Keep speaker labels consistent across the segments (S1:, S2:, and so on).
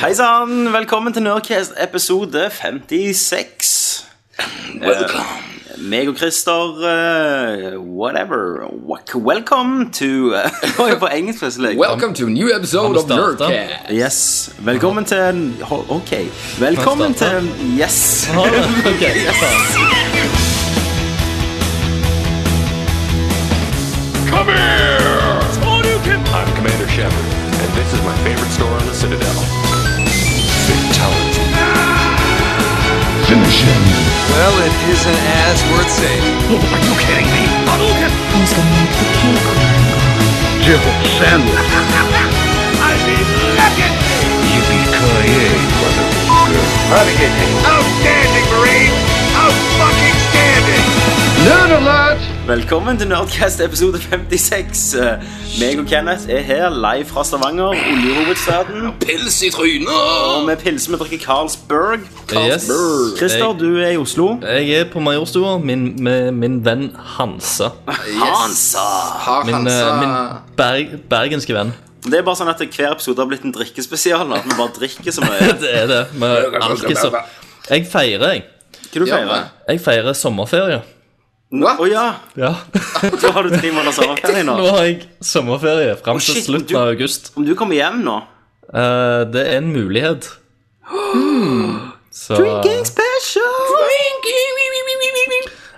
S1: Hei sann! Velkommen til Nerdcast episode 56.
S2: Eh,
S3: Welcome.
S1: Meg og Christer eh, Whatever. Wak- Welcome to eh, Det var jo på engelsk, plutselig.
S3: Welcome to a new episode of
S2: startet.
S3: Nerdcast.
S1: Yes. Velkommen til en- ho- OK. Velkommen
S2: Kan jeg
S1: til Yes.
S2: Ok, yes.
S4: Come here! I'm Commander Shepard, and this is my favorite store on the Citadel. Fatality.
S5: Well, it isn't as worth saying.
S4: Oh, I mean, look at me! Yippee-ki-yay, motherfucker. Outstanding, Marine! Out-fucking-standing!
S1: Velkommen til Nerdcast episode 56. Eh, Meg og Kenneth er her live fra Stavanger, oljehovedstaden.
S3: Pils i trynet!
S1: Og vi pilser med å drikke Carlsberg.
S2: Yes.
S1: Christer, du er i Oslo.
S2: Jeg, jeg er på Majorstua min, med min venn Hansa.
S1: Hansa!
S3: Har
S2: Min,
S3: Hansa
S2: eh, min berg, bergenske venn.
S1: Det er bare sånn at hver episode har blitt en drikkespesial. At vi bare drikker så mye.
S2: Det er det. Med alkiser. Jeg feirer, jeg.
S1: Hva du
S3: Ja,
S1: feirer
S2: Jeg feirer sommerferie.
S1: Å ja,
S2: Ja.
S1: da har du tre måneder sommerferie nå.
S2: Nå har jeg sommerferie fram til
S1: shit,
S2: slutten
S1: du-
S2: av august.
S1: Om du kommer hjem nå
S2: Eh, det er en mulighet. Så Drinking special!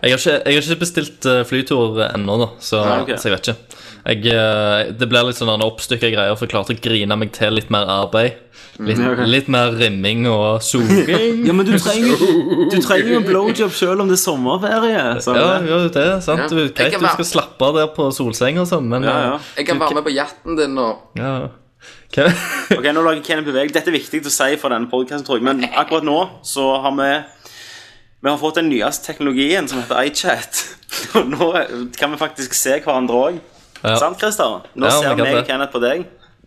S2: Jeg har, ikke, jeg har ikke bestilt eh, flytur ennå, da, så,
S1: Ah, ok.
S2: så jeg vet ikke. Jeg, eh, det blir litt sånn oppstykka greier, for jeg klarte å grine meg til litt mer arbeid.
S1: Mm,
S2: Litt, litt mer rimming og soging.
S1: Ja, men du trenger, du trenger jo en blowjob selv om det er sommerferie sa du
S2: Ja,
S1: det?
S2: jo, det er sant.
S3: Ja.
S2: Du,
S3: Jeg
S2: greit,
S3: kan
S2: du
S3: være-
S2: skal slappe av der på solseng og sånn, men
S1: Ja, ja.
S2: eh,
S3: Jeg kan være med på jatten din nå.
S2: ja. Ok.
S1: Ok, nå lager Kenneth beveg Dette er viktig å si for denne podcasten, tror jeg Men akkurat nå så har vi Vi har fått den nyeste teknologien som heter iChat Og nå kan vi faktisk se hverandre også
S2: Ja.
S1: Sant, Kristian? Nå
S2: Ja,
S1: ser
S2: vi kan
S1: meg og
S2: det.
S1: Kenneth på deg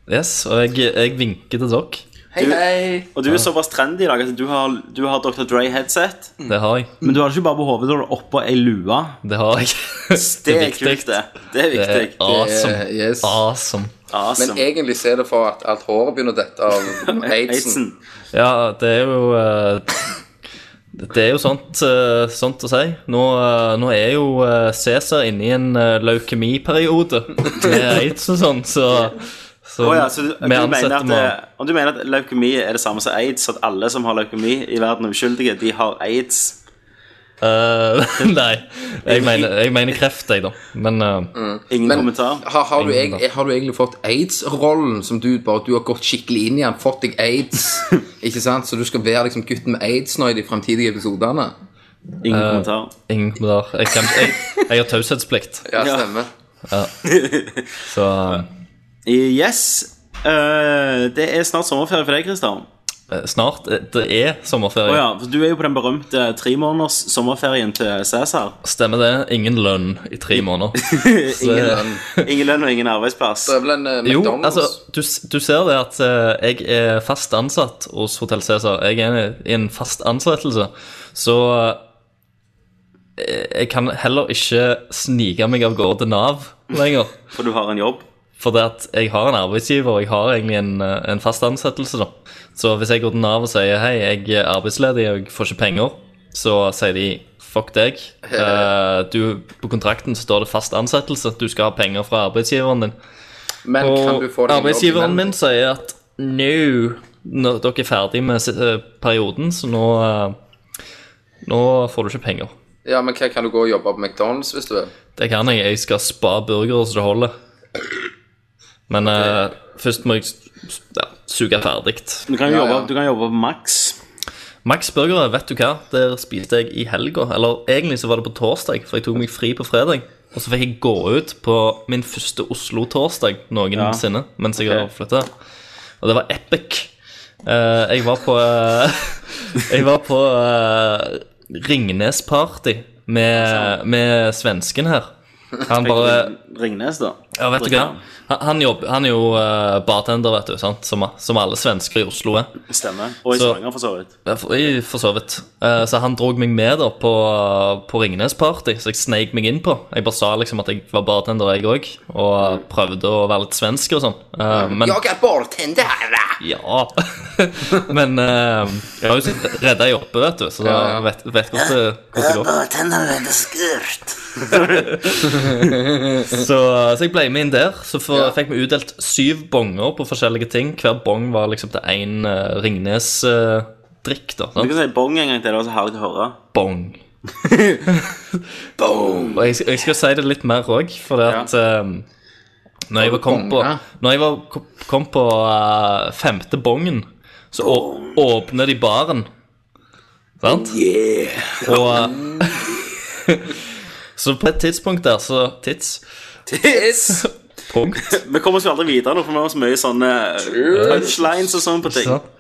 S2: Yes, og jeg, jeg vinker til dere.
S3: Hei, hei.
S1: Og du er såpass trendy i dag at du har, du har Dr. Dre headset
S2: Det har jeg.
S1: Men du har det ikke bare på hovedet, du har det oppå ei lua
S2: Det har jeg.
S1: Det
S2: er
S1: er kult det Det er
S2: Det er
S1: viktig
S2: awesome.
S3: Eh, yes.
S2: Awesome.
S1: Awesome.
S3: Men egentlig så er det for at alt håret begynner å dette av aidsen.
S1: Aidsen.
S2: Ja, det er jo eh, Det er jo sånt, eh, sånt å si. Nå, eh, nå er jo eh, Cæsar inne i en eh, leukemiperiode med aids og sånn, så, så
S1: Å ja, så du, du
S2: vi
S1: mener
S2: ansetter
S1: at,
S2: må
S1: eh, om du mener at leukemi er det samme som aids, at alle som har leukemi i verden er uskyldige, de har aids?
S2: Eh, Nei, jeg mener, jeg mener kreft, jeg, da. Men eh,
S1: Ingen
S3: Men-
S1: kommentar?
S3: Har, har, du eg, har du egentlig fått aids-rollen som du bare du har gått skikkelig inn i den? Fått deg aids? ikke sant? Så du skal være liksom gutten med aids nå i de fremtidige episodene?
S1: Ingen kommentar.
S2: ingen kommentar. Jeg, kan, jeg, jeg har taushetsplikt,
S3: Ja,
S1: Ja.
S3: stemmer.
S2: så
S1: Yes. eh, det er snart sommerferie for deg, Christer.
S2: eh, snart eh, Det er
S1: Å
S2: sommerferie.
S1: ja, for du er jo på den berømte tremåneders sommerferien til Cæsar.
S2: Stemmer det. Ingen lønn i tre måneder. Så-
S1: Ingen lønn. Ingen lønn og ingen arbeidsplass.
S3: Det er vel en eh,
S2: Eh, Jo,
S3: McDonald's?
S2: altså, du, du ser det at eh, jeg er fast ansatt hos Hotel Cæsar. Jeg er i en fast ansettelse, så eh, jeg kan heller ikke snike meg av gårde til Nav lenger.
S1: For du har en jobb.
S2: For det at jeg har en arbeidsgiver, og jeg har egentlig en, eh, en fast ansettelse, da. Så hvis jeg går til Nav og sier hei, jeg er arbeidsledig og jeg får ikke penger, så sier de fuck deg. Eh, du, på kontrakten så står det fast ansettelse, du skal ha penger fra arbeidsgiveren din.
S3: Men kan du få deg
S2: Og
S3: en jobb
S2: arbeidsgiveren
S3: imellom?
S2: min sier at nå, når dere er ferdig med si- eh, perioden, så nå eh, Nå får du ikke penger.
S3: Ja, men hva kan du gå og jobbe på McDonald's hvis du vil?
S2: Det kan jeg. Jeg skal spa burgere så det holder. Men eh, først må jeg s- s- ja, suge ferdig.
S1: Du kan jo
S3: Ja,
S1: jobbe,
S3: ja.
S1: du kan jobbe på Max.
S2: Max Burgere, vet du hva? Der spiste jeg i helga. Eller egentlig så var det på torsdag, for jeg tok meg fri på fredag. Og så fikk jeg gå ut på min første Oslo-torsdag noensinne mens jeg har
S1: Ok.
S2: flytta. Og det var epic. Eh, jeg var på eh, Jeg var på eh, Ringnes-party med, med svensken her. Han bare
S1: Ringnes, da.
S2: Ja, vet du hva? Han, han, jobber, han er jo eh, bartender, vet du, sant? Som, som alle svensker i Oslo er.
S1: Stemmer. Og i
S2: Så-
S1: Stavanger, for så vidt.
S2: Ja, Eh, For, i- for så vidt. Eh, så han drog meg med da på, på Ringnes-party, så jeg sneik meg inn på. Jeg bare sa liksom at jeg var bartender, jeg òg, og prøvde å være litt svensk og sånn. Eh, men
S3: Jeg er bartender!
S2: ja. men eh, jeg har jo sett redda jeg oppe, vet du, så da
S3: Ja, ja.
S2: vet, vet hvordan det, hvordan det går. Så, så jeg ble med inn der. Så for,
S3: Ja.
S2: fikk vi utdelt syv bonger på forskjellige ting. Hver bong var liksom til én Ringnes-drikk, eh, da.
S1: Du
S2: Sant?
S1: kan si bong en gang til. Det var så herlig å høre.
S2: Bong. Og jeg, jeg skal si det litt mer òg, for det at eh, når, jeg var kom på,
S3: bonger?
S2: når jeg var kom- kom på eh, femte bongen, så å, åpner de baren. Sant? Og eh, Så på et tidspunkt der, så Tids. Punkt.
S1: Vi kommer oss jo aldri videre nå, for vi har så mye sånne eh, punchlines og sånn på ting.
S2: Sant?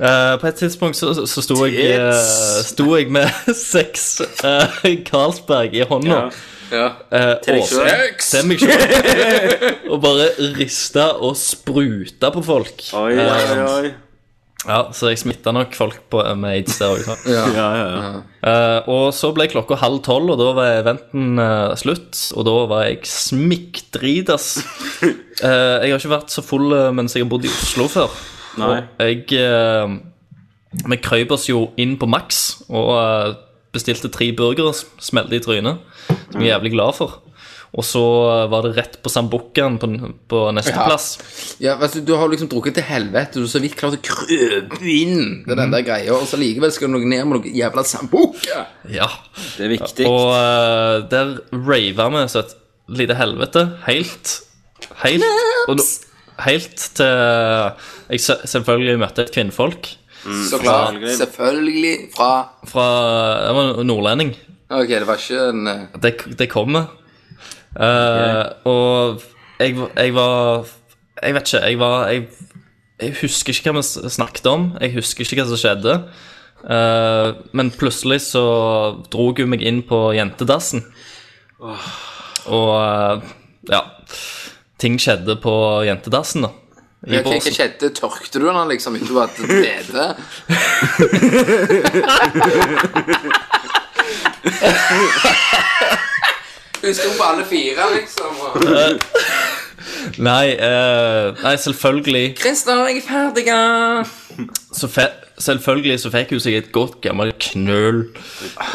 S2: Eh, på et tidspunkt så, så- så sto, jeg, eh,
S1: Tits.
S2: sto jeg med seks eh, Carlsberg i hånda.
S1: Ja.
S3: Ja.
S2: eh,
S1: Til deg
S2: og-
S1: selv.
S2: til meg selv. og bare rista og spruta på folk. Eh,
S1: Oi, oi, oi.
S2: Ja, Så jeg smitta nok folk på, med aids der òg.
S1: Ja, ja, ja.
S2: og så ble klokka halv tolv, og da var eventen eh, slutt. Og da var jeg smikkdritas. Eh, jeg har ikke vært så full eh, mens jeg har bodd i Oslo før.
S1: Nei.
S2: Jeg eh, Vi krøyp oss jo inn på Max og eh, bestilte tre burgere, s- smelte i trynet. Som jeg er jævlig glad for. Og så eh, var det rett på Sambucaen på, n- på neste
S3: Ja.
S2: plass.
S3: ja altså, du har liksom drukket til helvete, du er så vidt klart å krøpe inn til den der greia, og så likevel skal du noe ned med noe jævla sambuca.
S2: Ja.
S1: Det er viktig.
S2: Og eh, der rava vi så et lite helvete. Helt. Helt. Og nå, helt til eh, jeg se- selvfølgelig møtte et kvinnfolk
S3: Så klart.
S1: selvfølgelig.
S3: Mm. Selvfølgelig fra
S2: fra Jeg var nordlending.
S3: Ok, det var ikke en eh,
S2: Det, det kommer. Eh, Og jeg, jeg var Jeg vet ikke. Jeg var jeg, jeg husker ikke hva vi s- snakket om. Jeg husker ikke hva som skjedde. Eh, men plutselig så dro hun meg inn på jentedassen. Og eh, ja Ting skjedde på jentedassen, da. I
S3: ja, Hva hva
S2: Båsen.
S3: skjedde? Tørkte du den liksom utover at dede? Hun sto på alle fire, liksom. Og...
S2: Nei, eh, nei, selvfølgelig
S3: 'Christer, jeg er ferdig!' ja.
S2: så fe Selvfølgelig så fikk hun seg et godt gammelt knøl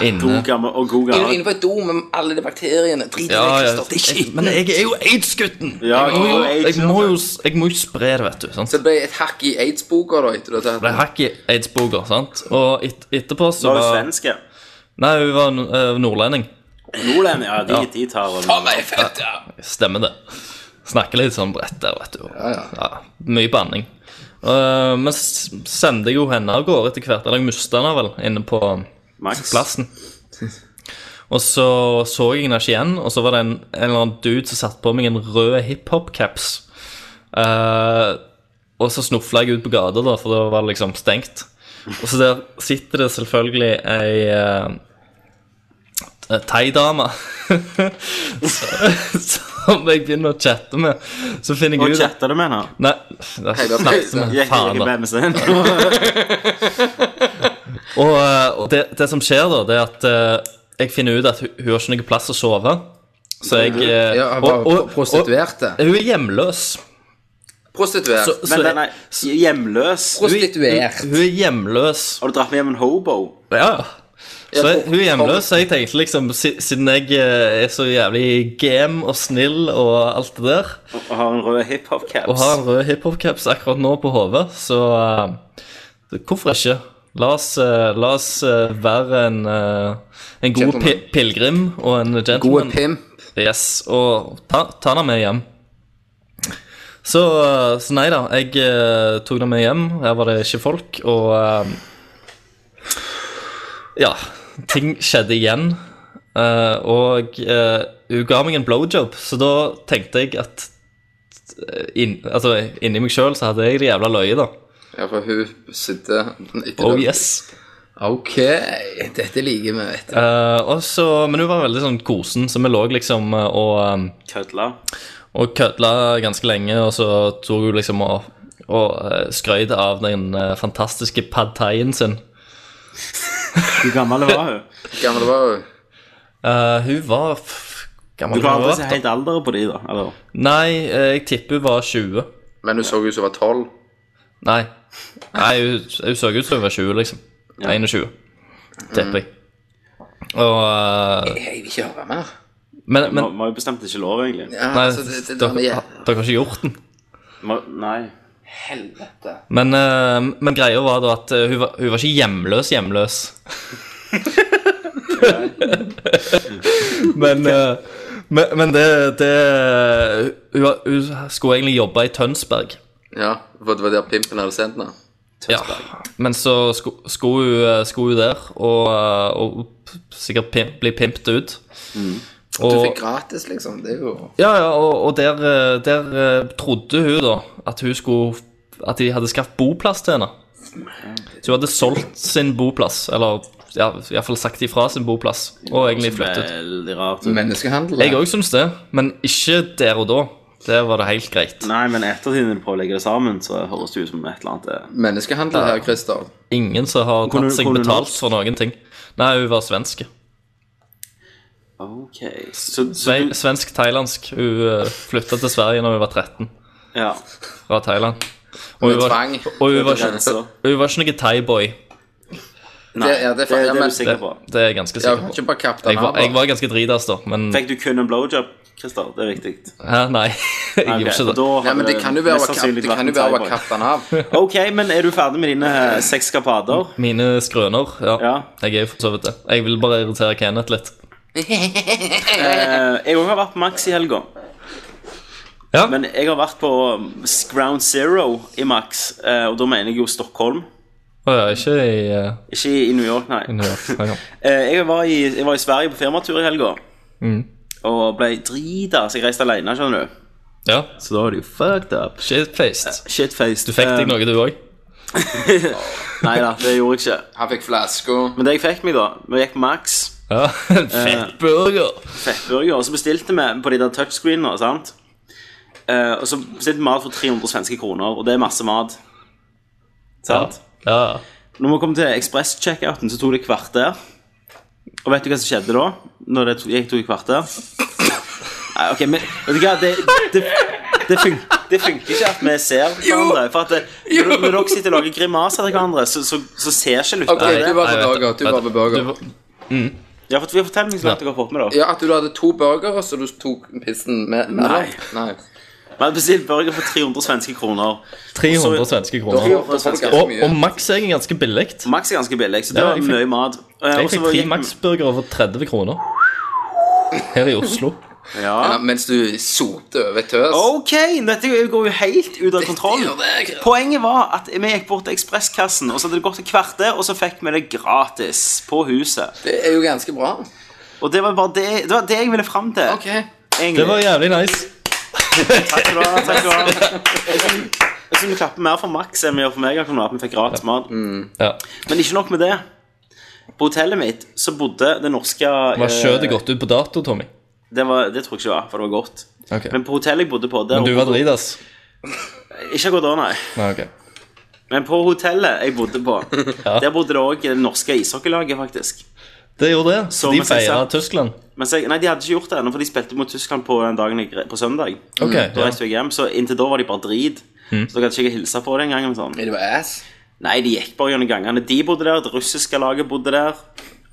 S2: inne.
S1: God gammel og god
S3: Inn-
S1: gammel.
S3: Inne på et do med alle de bakteriene. Drit i det,
S2: Ja, ja.
S3: Christer. Det er
S2: Jeg,
S3: ikke
S2: men jeg er jo aids-gutten!
S1: Ja,
S2: jeg, må jo-
S1: jeg er jo
S2: jeg, må jo s- jeg må jo spre det, vet du. sant?
S3: Så det ble et hakk i aids-boka, da? etter det,
S2: Det er hack i aids-boka, sant? Og et, etterpå så
S1: Så er du
S2: var
S1: svensk, ja.
S2: Nei, hun var n- eh, nordlending.
S1: Nordlending, ja, de, de tar over.
S2: Stemmer det. Snakker litt sånn bredt der, vet du.
S3: Ja, ja.
S2: mye banning. Eh, men s- sendte jeg jo henne av gårde etter hvert. Eller jeg mista henne vel inne på
S1: Max.
S2: plassen. Og så så jeg henne ikke igjen, og så var det en, en eller annen dude som satte på meg en rød hiphop-caps. Eh, og så snufla jeg ut på gata, da, for da var det liksom stengt. Og så der sitter det selvfølgelig ei uh, thaidame som jeg begynner å chatte med. Så finner
S1: Hva
S2: jeg ut at-
S1: chatter du med henne?
S2: Nei, snakkes med
S1: Gikk
S2: faen,
S1: ikke
S2: da.
S1: med seg inn?
S2: Og, eh, og det, det som skjer da, det er at eh, jeg finner ut at hun, hun har ikke noe plass å sove. Så
S1: Mm.
S2: jeg eh,
S3: Ja, hun var
S2: og- og-
S3: prostituerte.
S2: og- Hun er hjemløs.
S3: Prostituert.
S2: Så,
S1: Men
S2: så jeg,
S1: den er hjemløs.
S3: Prostituert.
S2: hun er hjemløs.
S1: Har du dratt med hjem en hobo?
S2: Ja. Så jeg,
S3: for-
S2: hun er hjemløs, så jeg tenkte liksom, si- siden jeg eh, er så jævlig game og snill og alt det der,
S1: Og har en rød
S2: og
S1: hiphop-caps?
S2: har en rød hiphop-caps akkurat nå på hodet, så eh, hvorfor ikke? La oss, eh, la oss eh, være en, eh, en god pi
S3: Gentleman.
S2: pilegrim og en
S3: Gode
S2: gentleman.
S3: pimp.
S2: Yes, og ta, ta henne med hjem. Så, så nei da, jeg eh, tok henne med hjem. Her var det ikke folk, og eh, Ja, ting skjedde igjen. Eh, og eh, hun ga meg en blowjob, så da tenkte jeg at eh, inn, Altså, inni meg sjøl så hadde jeg det jævla løye, da.
S3: Ja, for hun sitter ikke
S2: Oh
S3: der.
S2: yes.
S3: Ok, dette liker vi. vet du.
S2: Eh, og så, men hun var veldig sånn kosen, så vi lå liksom eh, og eh,
S1: Kødla.
S2: Og kødla ganske lenge, og så tok hun liksom og, og eh, skrøt av den eh, fantastiske pad thaien sin.
S1: Hvor gammel var hun?
S3: Gammel var hun.
S2: Eh, hun var f
S1: Du
S2: gammel
S1: kan aldri
S2: hun
S1: si
S2: var.
S1: helt alderen på de da. Eller?
S2: Nei, eh, jeg tipper hun var 20.
S3: Men hun så ut som hun var tolv.
S2: Nei, Nei hun, hun så ut som hun var 20, liksom. 21, tipper jeg. Og eh,
S3: Jeg vil ikke høre mer.
S2: Men,
S1: Vi
S2: men
S1: har jo bestemt ikke lov, egentlig.
S3: Ja,
S2: Nei,
S3: altså, det, det, det,
S2: dere, dere har ikke gjort den.
S1: Ma- Nei.
S3: Helvete.
S2: Men, eh, men greia var da at eh, hun var, hun var ikke hjemløs hjemløs. men eh, men, men det, det hun, var- hun skulle egentlig jobbe i Tønsberg.
S3: Ja, for det var der pimpen hadde sendt henne.
S2: Ja. Men så skulle, skulle, hun, eh, skulle hun der og, eh, og p- sikkert pimp, bli pimpet ut.
S3: Mm. Du
S2: Og,
S3: fikk gratis, liksom. Det er jo
S2: ja, ja, og, og der, eh, der eh, trodde hun da at hun skulle At de hadde skaffet boplass til henne. Så hun hadde solgt sin boplass, eller ja, iallfall sagt ifra sin boplass, og egentlig flyttet.
S1: Veldig rart. ut.
S3: menneskehandel.
S2: Jeg òg syns det, men ikke der og da. Der var det helt greit.
S1: Nei, men i ettertid når du prøver å legge det sammen, så høres det ut som et eller annet eh,
S3: Menneskehandel her, Christer.
S2: Ingen som har
S1: Kunne-
S2: tatt seg
S1: kunne hun
S2: betalt
S1: norsk?
S2: for noen ting. Nei, hun var svenske.
S1: Ok. Så, så
S2: Sve-
S1: du,
S2: Svensk-thailandsk. Hun eh, flytta til Sverige når hun var 13,
S1: ja.
S2: fra Thailand. Og hun
S3: Med
S2: var,
S3: tvang.
S2: og hun var, ikke,
S1: Grenser.
S2: hun var ikke noe thaiboy.
S1: Nei,
S3: Det- ja, det er
S1: det,
S3: fa-
S1: det
S3: ja,
S1: er
S3: men-
S1: du sikker
S2: Det,
S1: på.
S2: det er jeg ganske
S3: Jeg
S2: sikker
S3: har
S2: på.
S3: ikke bare kapt
S2: Jeg var, jeg
S3: den
S2: var ganske dritas, da, men
S1: Fikk du kun en blowjob, Christer? Det er viktig.
S2: Hæ, Nei, jeg
S1: Nei, ok,
S2: gjorde ikke
S1: og
S2: det.
S1: da
S3: Nei,
S1: hadde
S3: men det kan jo være
S1: mest
S3: å kapp-
S1: sannsynlig
S3: det kan jo
S1: vært en
S3: være å
S1: thaiboy.
S3: kappe den av.
S1: Ok, men er du ferdig med dine eh, sexkapader?
S2: Mine skrøner. Ja,
S1: Ja.
S2: jeg er jo for så vidt det. Jeg vil bare irritere Kenneth litt.
S1: Eh, jeg også har vært på Max i helga.
S2: Ja.
S1: Men jeg har vært på um, Ground Zero i Max, eh, og da mener jeg jo Stockholm.
S2: Å ja, ikke i eh,
S1: Ikke i New York, nei.
S2: i New York. Ja, ja.
S1: Eh, jeg, var i, jeg var i Sverige på firmatur i helga.
S2: Mm.
S1: Og ble drita, så jeg reiste alene, skjønner du.
S2: ja.
S1: Så da er det jo fucked up.
S2: Shitfaced.
S1: Shitfaced.
S2: Du fikk deg noe, du òg?
S1: Eh, Nei da, det gjorde jeg ikke.
S3: Han fikk flaska.
S1: Men det jeg fikk meg, da Vi gikk på Max,
S2: Ja.
S1: eh,
S2: En fett burger.
S1: fettburger, og så bestilte vi på de der touchscreenene, sant? Eh, og så bestilte vi mat for 300 svenske kroner, og det er masse mat.
S2: Ja.
S1: Sant?
S2: ja.
S1: Når vi kom til ekspress-checkouten, så tok det kvarter. Og vet du hva som skjedde da? Når det to- gikk to kvarter? Nei, ok, men vet du hva? Det, det, det, fun det funker ikke at vi ser hverandre. For at det, når, når dere sitter og lager grimaser til hverandre, så, så, så ser ikke lytterne
S3: Ok, du
S1: det.
S3: var på
S2: Nei, vet
S3: burger. Du
S2: vet
S3: var på burger.
S2: Du var-
S1: Ja, for fortell meg så langt dere har fått med det.
S3: Ja, at du hadde to burgere, så du tok pissen med
S1: Nei.
S3: Nei.
S1: Vi hadde bestilt burger for 300 svenske kroner.
S2: 300
S3: Da
S2: svenske kroner.
S3: får du ganske
S2: Og,
S3: mye.
S2: og Max er egentlig ganske billig.
S1: Max er ganske billig, så det
S2: Ja,
S1: var
S2: jeg fikk-
S1: mye mat. Eh,
S2: Jeg
S1: og så
S2: fikk
S1: var-
S2: tre
S1: gikk vi-
S2: Max-burgere for 30 kroner. Her i Oslo.
S3: Ja,
S1: Ja.
S3: mens du soter over tøs.
S1: Ok, dette går jo helt ut av kontroll.
S3: gjør det, Christian.
S1: Poenget var at vi gikk bort til ekspresskassen, og så hadde det gått et kvarter, og så fikk vi det gratis på huset.
S3: Det er jo ganske bra.
S1: Og det var bare det, det, var det jeg ville fram til.
S3: Ok.
S1: egentlig.
S2: Det var jævlig nice.
S1: Takk skal du ha. takk skal du ha. Jeg synes- Jeg syns vi klapper mer for Max enn vi gjør for meg. akkurat nå, at vi fikk gratis mat.
S2: Ja. Mm.
S1: Men ikke nok med det. På hotellet mitt så bodde det norske
S2: Var
S1: eh,
S2: kjøttet gått ut på dato, Tommy?
S1: det, var, det tror jeg ikke det var, for det var godt.
S2: Ok.
S1: Men på hotellet jeg bodde på der,
S2: Men du var dritas?
S1: Ikke godt da, nei.
S2: Nei, ok.
S1: Men på hotellet jeg bodde på, der bodde det òg det norske ishockeylaget, faktisk.
S2: Det gjorde det.
S1: Så
S2: de
S1: mens jeg
S2: feira
S1: satt- Mm,
S2: Tyskland.
S1: Men så, nei, de hadde ikke gjort det ennå, for de spilte mot Tyskland på den dagen jeg, re- på søndag.
S2: Ok,
S1: Da
S2: ja. Mm.
S1: reiste jeg hjem, så inntil da var de bare drit. Så da kan ikke jeg hilse på det engang. Sånn.
S3: Men det var ass.
S1: Nei, de gikk bare gjennom gangene. De bodde der, det russiske laget bodde der.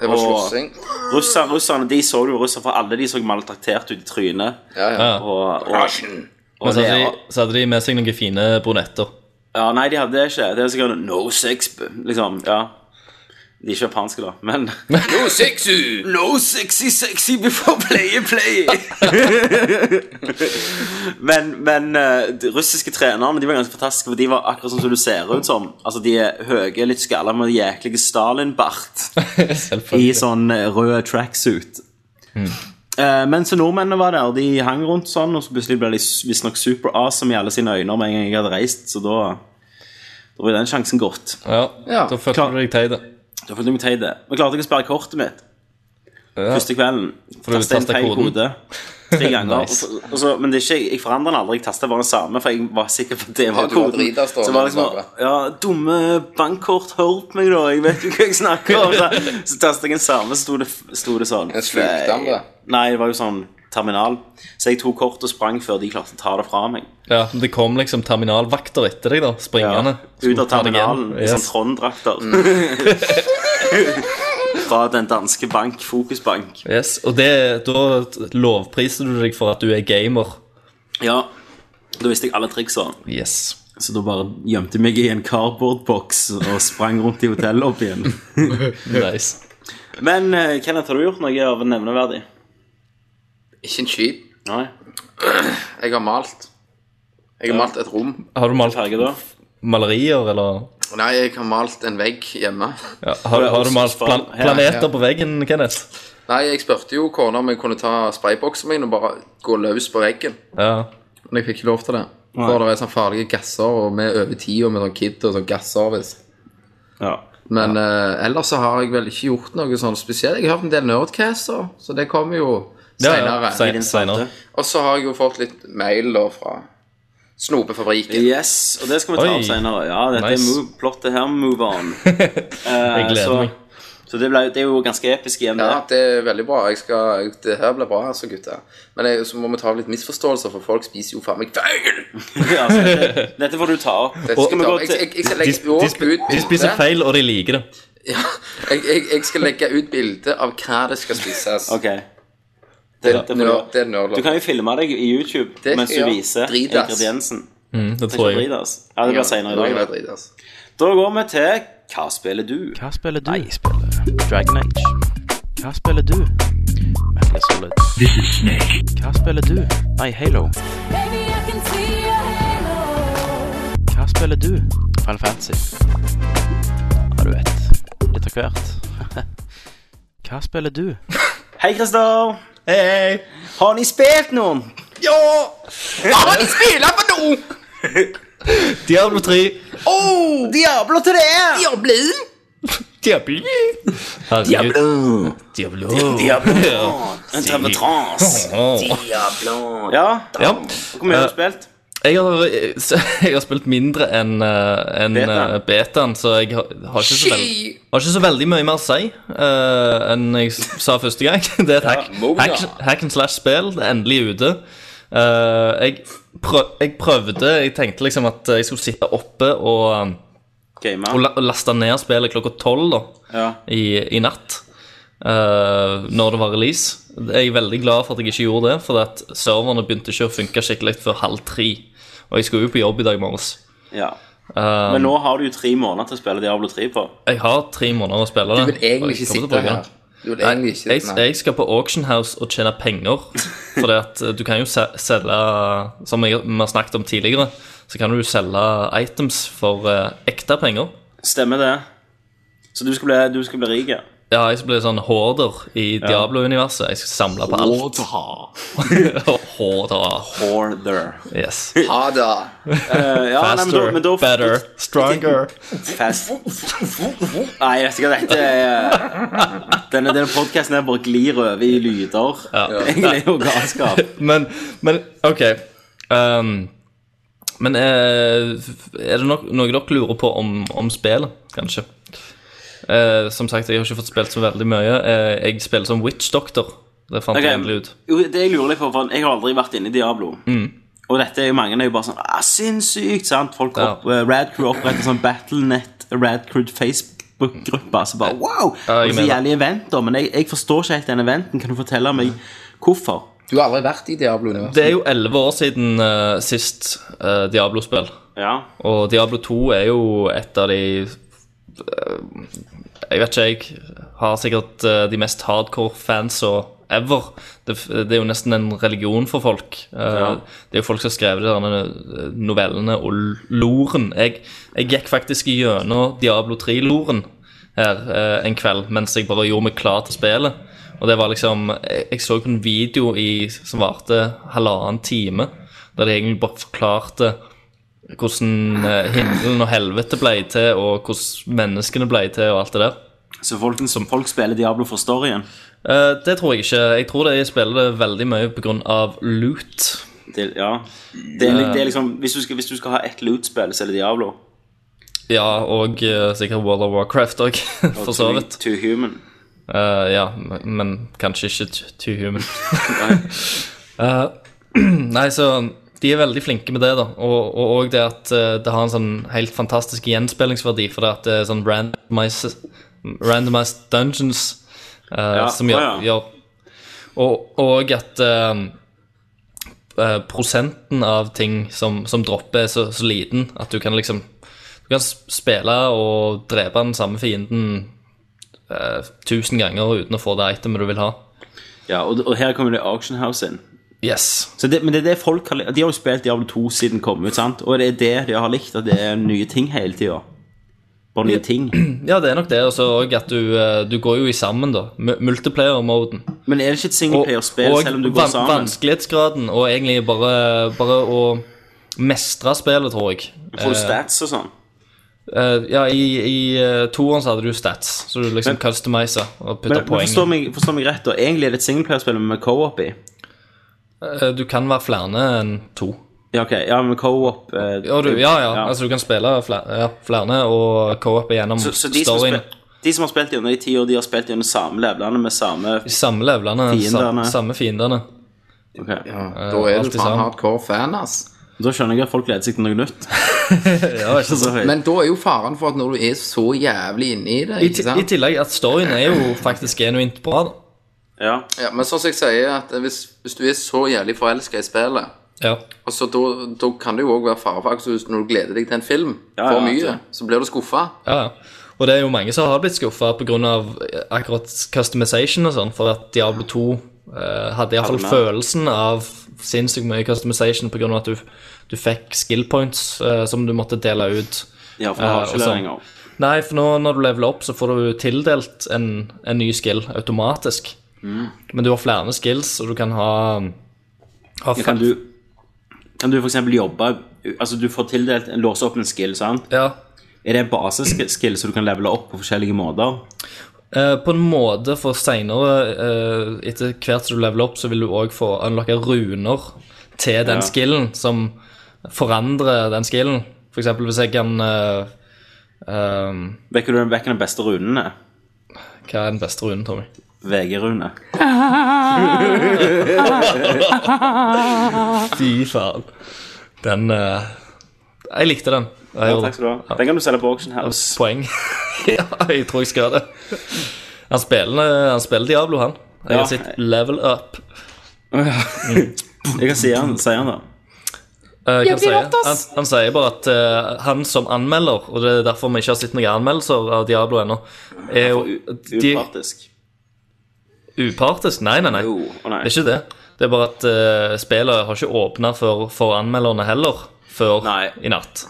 S3: Det var
S1: Og-
S3: slåssing.
S1: Russerne, russerne, de så jo russere, for alle de så maltraktert ut i trynet.
S3: Ja, ja.
S2: Ja.
S1: Og, og,
S3: Russian.
S1: og
S2: Men så
S1: det,
S2: hadde,
S1: ja.
S2: Altså, de, så hadde de med seg noen fine brunetter.
S1: ja, nei, de hadde det ikke. Det er sikkert no sex, liksom. Ja. De er ikke japanske, da, men
S3: No sexu!
S1: No sexy sexy before play play Men, men eh, de russiske trenerne De var ganske fantastiske For de var akkurat sånn som du ser ut som Altså de er høye, litt skalla Med jæklige Stalin-bart I
S2: Selvfølgelig.
S1: sånn eh, rød tracksuit Eh, Men så nordmennene var der Og de hang rundt sånn Og så plutselig ble de s- visstnok super awesome I alle sine øyne Med en gang jeg hadde reist Så da, da var den sjansen gått
S2: Ja,
S3: Ja,
S2: Da følte
S1: klar.
S2: du deg teit. da.
S1: Da følte jeg meg teit. Men klarte ikke å sperre kortet mitt. første kvelden.
S2: du
S1: Tastet en
S2: tastet
S1: feil
S2: koden.
S1: kode tre ganger. og
S2: Nice.
S1: så- og så, men det er ikke, jeg forandrer den aldri. Jeg tastet bare den samme, for jeg var sikker på at det var
S3: Ja, du var
S1: koden.
S3: drita strålende,
S1: så det var liksom
S3: Barbara.
S1: Ja, dumme bankkort, hør på meg, da. Jeg vet jo hva jeg snakker om. Så, så tastet jeg den samme, så sto det, sto det sånn.
S3: Jeg slukte den, da.
S1: Nei, det var jo sånn terminal. Så jeg tok kort og sprang før de klarte å ta det fra meg.
S2: Ja, men det kom liksom terminalvakter etter deg, da. Springende.
S1: Ut av
S2: Skulle ta deg igjen.
S1: terminalen i sånn
S2: Yes.
S1: Trond-drakter.
S3: Mm.
S1: Fra den danske bank, Fokusbank.
S2: yes. Og det, da lovpriser du deg for at du er gamer.
S1: Ja, da visste jeg alle triksene.
S2: Yes.
S1: Så da bare gjemte jeg meg i en cardboardboks og sprang rundt i hotellobbyen.
S2: Nice.
S1: Men eh, Kenneth, har du gjort noe av nevneverdig?
S3: Ikke en skit.
S1: Nei.
S3: Jeg har malt. Jeg har malt et rom.
S2: Har du malt
S1: Farge, da?
S2: malerier, eller
S3: Nei, jeg har malt en vegg hjemme.
S2: ja, har, har du malt plan planeter på veggen, Kenneth?
S3: Nei, jeg spurte jo kona om jeg kunne ta sprayboxen min og bare gå løs på veggen.
S2: Ja.
S3: Men jeg fikk ikke lov til det. For det er sånne farlige gasser, og vi er over tida med sånn kid og sånn gasservice.
S1: Ja.
S3: Men eh, ellers så har jeg vel ikke gjort noe sånn spesielt. Jeg har hørt en del nerdcaster, så det kommer jo
S2: Ja,
S3: seinere.
S2: ja, sen- senere.
S3: og så har jeg jo fått litt mail da fra Snopefabrikken.
S1: Yes, og det skal vi ta
S2: Oi.
S1: opp senere. Ja, dette
S2: Nice.
S1: er move, plottet her. Move on. Eh,
S2: Jeg gleder
S1: så,
S2: meg.
S1: Så det, ble, det er jo ganske episk igjen,
S3: Ja,
S1: det.
S3: det er veldig bra. Jeg skal, det her blir bra, altså, gutter. Men jeg, så må vi ta litt misforståelser, for folk spiser jo faen meg feil!
S1: Ja, så dette, dette får du ta opp. Skal
S3: Det
S1: vi
S3: skal
S1: gå
S3: jeg, jeg,
S1: til
S3: jeg skal
S2: De,
S3: legge
S2: sp- de,
S3: også
S2: sp
S3: ut
S2: de spiser
S3: bilde.
S2: feil, og de liker det.
S3: Ja, jeg, jeg, jeg skal legge ut bilde av hva det skal spises.
S1: Ok.
S3: det,
S1: dette
S3: er
S1: får
S3: nerd-
S1: du-
S3: det er nerdlov.
S1: Du kan jo filme deg i YouTube
S3: Det skal
S1: mens du
S3: jeg gjøre.
S1: viser
S3: Dritas.
S1: ingrediensen.
S2: Mm, det tror
S1: Ikke
S2: jeg.
S1: dritas. Ja, det blir senere i dag. da.
S3: altså.
S1: Da går vi til Hva spiller du?
S6: Hva spiller du? jeg spiller Dragon Age. Hva spiller du? Metal Gear Solid. This is Snake. Hva spiller du? Nei, Halo.
S7: Baby, I can see your halo.
S6: Hva spiller du? Final Fantasy. Ja, du vet. Litt av hvert. Hva spiller du?
S1: Hei, Christer!
S2: Hei, hei.
S1: Har ni spilt noen?
S3: Ja! Hva har de spilt for noe?!
S2: Diablo 3.
S3: Oh,
S1: Diablo til det!
S3: Diablo!
S2: Diablo. Herregud. Diablo.
S1: Diablo. En travetrans.
S2: Åh.
S1: Ja,
S2: Ja.
S1: hvor mye har du spilt?
S2: Jeg har, jeg har spilt mindre enn eh, enn,
S1: Beta.
S2: eh, betaen, så jeg har, har, ikke så veld,
S3: Shit.
S2: har ikke så veldig mye mer å si eh, enn jeg s- sa første gang. Det er et hack,
S3: må vi
S2: hack,
S3: da.
S2: hack and slash-spill. Det er endelig ute. Eh, jeg, prøv, jeg prøvde Jeg tenkte liksom at jeg skulle sitte oppe og, um, og,
S1: Gamer.
S2: la, og laste ned spillet klokka tolv da,
S1: Ja.
S2: i, i natt. eh, når det var release. Jeg er veldig glad for at jeg ikke gjorde det, for at serverne begynte ikke å funke skikkelig før halv tre. Og jeg skulle jo på jobb i dag morges.
S1: ja.
S2: Um,
S1: Men nå har du jo tre måneder til å spille Diablo 3 på.
S2: Jeg har tre måneder å spille det.
S3: Du vil egentlig
S2: og
S3: ikke
S2: jeg kommer til å
S3: sitte
S2: bruke
S3: her.
S2: det.
S3: Du vil
S2: Nei,
S3: egentlig ikke
S2: jeg,
S3: sitte her.
S2: jeg skal på Auction House og tjene penger. For det at eh, du kan jo se- selge Som jeg- vi har snakket om tidligere, så kan du jo selge items for eh, ekte penger.
S1: Stemmer det? Så du skal bli, du skal bli rik? ja.
S2: Ja, jeg blir sånn hoarder i Diablo-universet. Jeg skal samle på alt. Hoarder.
S1: Hoarder.
S2: Yes.
S3: Ha det.
S1: Eh, ja, nei, men da,
S2: Faster,
S1: men da
S2: better, stronger.
S1: Fast. Nei, jeg vet ikke hva dette er. Denne, denne podkasten her bare glir over i lyder. Egentlig er jo galskap.
S2: Men, men OK. Ehm, men eh, er det nok, noe dere lurer på om, om spillet, kanskje? Eh, som sagt, jeg har ikke fått spilt så veldig mye. Eh, jeg spiller som Witch Doctor. Det fant
S1: Ok.
S2: jeg endelig ut. Mm.
S1: Jo, det jeg lurer litt på, for jeg har aldri vært inne i Diablo. Og dette er jo mange er jo bare sånn ah, Sinnssykt, sant? Folk
S2: Ja.
S1: opp, eh, Rad Crew oppretter sånn Battlenet Rad Crew Facebook-gruppe. Så bare wow!
S2: Ja, jeg
S1: og så
S2: mener.
S1: jævlig eventer. Men jeg, jeg forstår ikke helt den eventen. Kan du fortelle meg hvorfor?
S3: Du har aldri vært i Diablo-universet.
S2: Det er jo elleve år siden eh, sist eh, Diablo-spill.
S1: Ja.
S2: Og Diablo 2 er jo et av de eh, Jeg vet ikke, jeg har sikkert eh, de mest hardcore fansa ever. Det, f- det er jo nesten en religion for folk. Eh, Det er jo folk som har skrevet de der novellene og l- loren. Jeg, jeg gikk faktisk gjennom Diablo 3-loren her eh, en kveld mens jeg bare gjorde meg klar til spillet. Og det var liksom Jeg, jeg så på en video i, som varte halvannen time, der de egentlig bare forklarte hvordan eh, himmelen og helvete ble til, og hvordan menneskene ble til, og alt det der.
S1: Så folk, som folk spiller Diablo for storyen.
S2: Eh, det tror jeg ikke. Jeg tror de spiller det veldig mye pga. loot.
S1: Det, ja. det, er, li- det er liksom Hvis du skal, hvis du skal ha ett loot-spill, så er det Diablo.
S2: Ja, og eh, sikkert World of Warcraft òg, for så vidt.
S1: Too Human.
S2: Eh, ja, men kanskje ikke t- too human. Eh, nei, så de er veldig flinke med det, da. Og og også det at eh, det har en sånn helt fantastisk gjenspillingsverdi, for det at det er sånn randomized, randomized dungeons eh, som gjør,
S1: å ja.
S2: gjør og, og at eh, eh, prosenten av ting som, som dropper, er så, så liten at du kan liksom Du kan s- spille og drepe den samme fienden eh, tusen ganger uten å få det itemet du vil ha.
S1: Ja, og, og her kommer det Auction House inn.
S2: Yes.
S1: Så det, men det er det folk har, li- De har jo spilt Diablo 2 siden det kom ut, sant? og det er det de har likt, at det er nye ting hele tida. Bare nye ting.
S2: Ja, det er nok det. Og så òg at du, eh, du går jo i sammen, da. Mu- Multiplayer-moden.
S1: Men er det ikke et
S2: Og,
S1: singleplayer-spill, selv om du går
S2: van-
S1: sammen?
S2: vanskelighetsgraden, og egentlig bare, bare å mestre spillet, tror jeg.
S1: Får du stats og sånn?
S2: Eh, ja, i, i eh, toeren så hadde du stats, så du liksom customiser og
S1: Men,
S2: putter
S1: men
S2: poeng.
S1: forstår, meg, forstår meg rett, da. Egentlig er det et singleplayer-spill men med co-op i.
S2: Eh, du kan være flere enn to.
S1: Ja, ok. Ja, med co-op eh,
S2: Ja, du, ja, ja,
S1: Ja.
S2: altså du kan spille flere, ja, flere og co-op gjennom
S1: Så, så de, som
S2: storyen.
S1: spil, de som har spilt gjennom de ti år, de har spilt gjennom samme levelene med samme
S2: Samme levelene,
S1: Fiendene.
S2: sa, samme fiendene.
S1: Ok.
S2: Eh,
S3: Da er
S2: alltid
S3: du faen
S2: sånn.
S3: hardcore fan, ass.
S1: Da skjønner jeg at folk gleder seg til noe nytt.
S2: Ja, ikke sant?
S1: Så-
S3: Men da er jo faren for at når du er så jævlig inne i det
S2: I,
S3: ikke
S2: ti- I
S3: sant?
S2: tillegg at storyen er jo faktisk genuint bra. da.
S1: ja.
S3: Ja, Men sånn som jeg sier, at hvis, hvis du er så jævlig forelska i spillet
S2: Ja.
S3: Og så da, da kan det jo òg være fare for akkurat når du gleder deg til en film
S1: Ja,
S3: for
S1: ja,
S3: mye,
S1: ja.
S3: så blir du skuffa.
S2: ja, ja. Og det er jo mange som har blitt skuffa pga. eh, akkurat customization og sånn, for at Diablo 2 eh, hadde iallfall
S1: Hadde mer.
S2: følelsen av sinnssykt mye customization pga. at du, du fikk skill points eh, som du måtte dele ut.
S1: ja, for jeg har
S2: Eh,
S1: ikke
S2: og
S1: det
S2: sånn.
S1: lenger.
S2: Nei, for nå når du leveler opp, så får du tildelt en, en ny skill automatisk.
S1: Mm.
S2: Men du har flere skills, og du kan ha, ha
S1: Kan
S2: fem-
S1: du, kan du for eksempel jobbe Altså, du får tildelt Låse opp en skill, sant?
S2: Ja.
S1: Er det en baseskill som du kan levele opp på forskjellige måter?
S2: Eh, på en måte, for seinere, eh, etter hvert som du leveler opp, så vil du òg få unlocka runer til den
S1: Ja.
S2: skillen som forandrer den skillen. For eksempel hvis jeg kan eh, ehm,
S1: Vekker du den, vekker den beste runene?
S2: Hva er den beste runen, Tommy?
S1: VG-rune.
S2: Fy faen. Den eh, Jeg likte den. Jeg
S1: Ja,
S2: gjorde
S1: takk
S2: det.
S1: skal du ha. Den kan du selge på Auction House.
S2: poeng. ja, jeg tror jeg skal det. Han spiller, han spiller Diablo, han. Jeg
S1: Ja.
S2: har sett Level Up.
S1: Jeg kan si han, si han da.
S2: Eh, hva sier han? han, han sier bare at eh, han som anmelder, og det er derfor vi ikke har sett noen anmeldelser av Diablo ennå, er jo de,
S1: Upartisk.
S2: upartisk. Nei, nei, nei.
S1: Jo, å nei.
S2: Det er ikke det. Det er bare at eh, spillet har ikke åpna for, for anmelderne heller før
S1: Nei.
S2: i natt.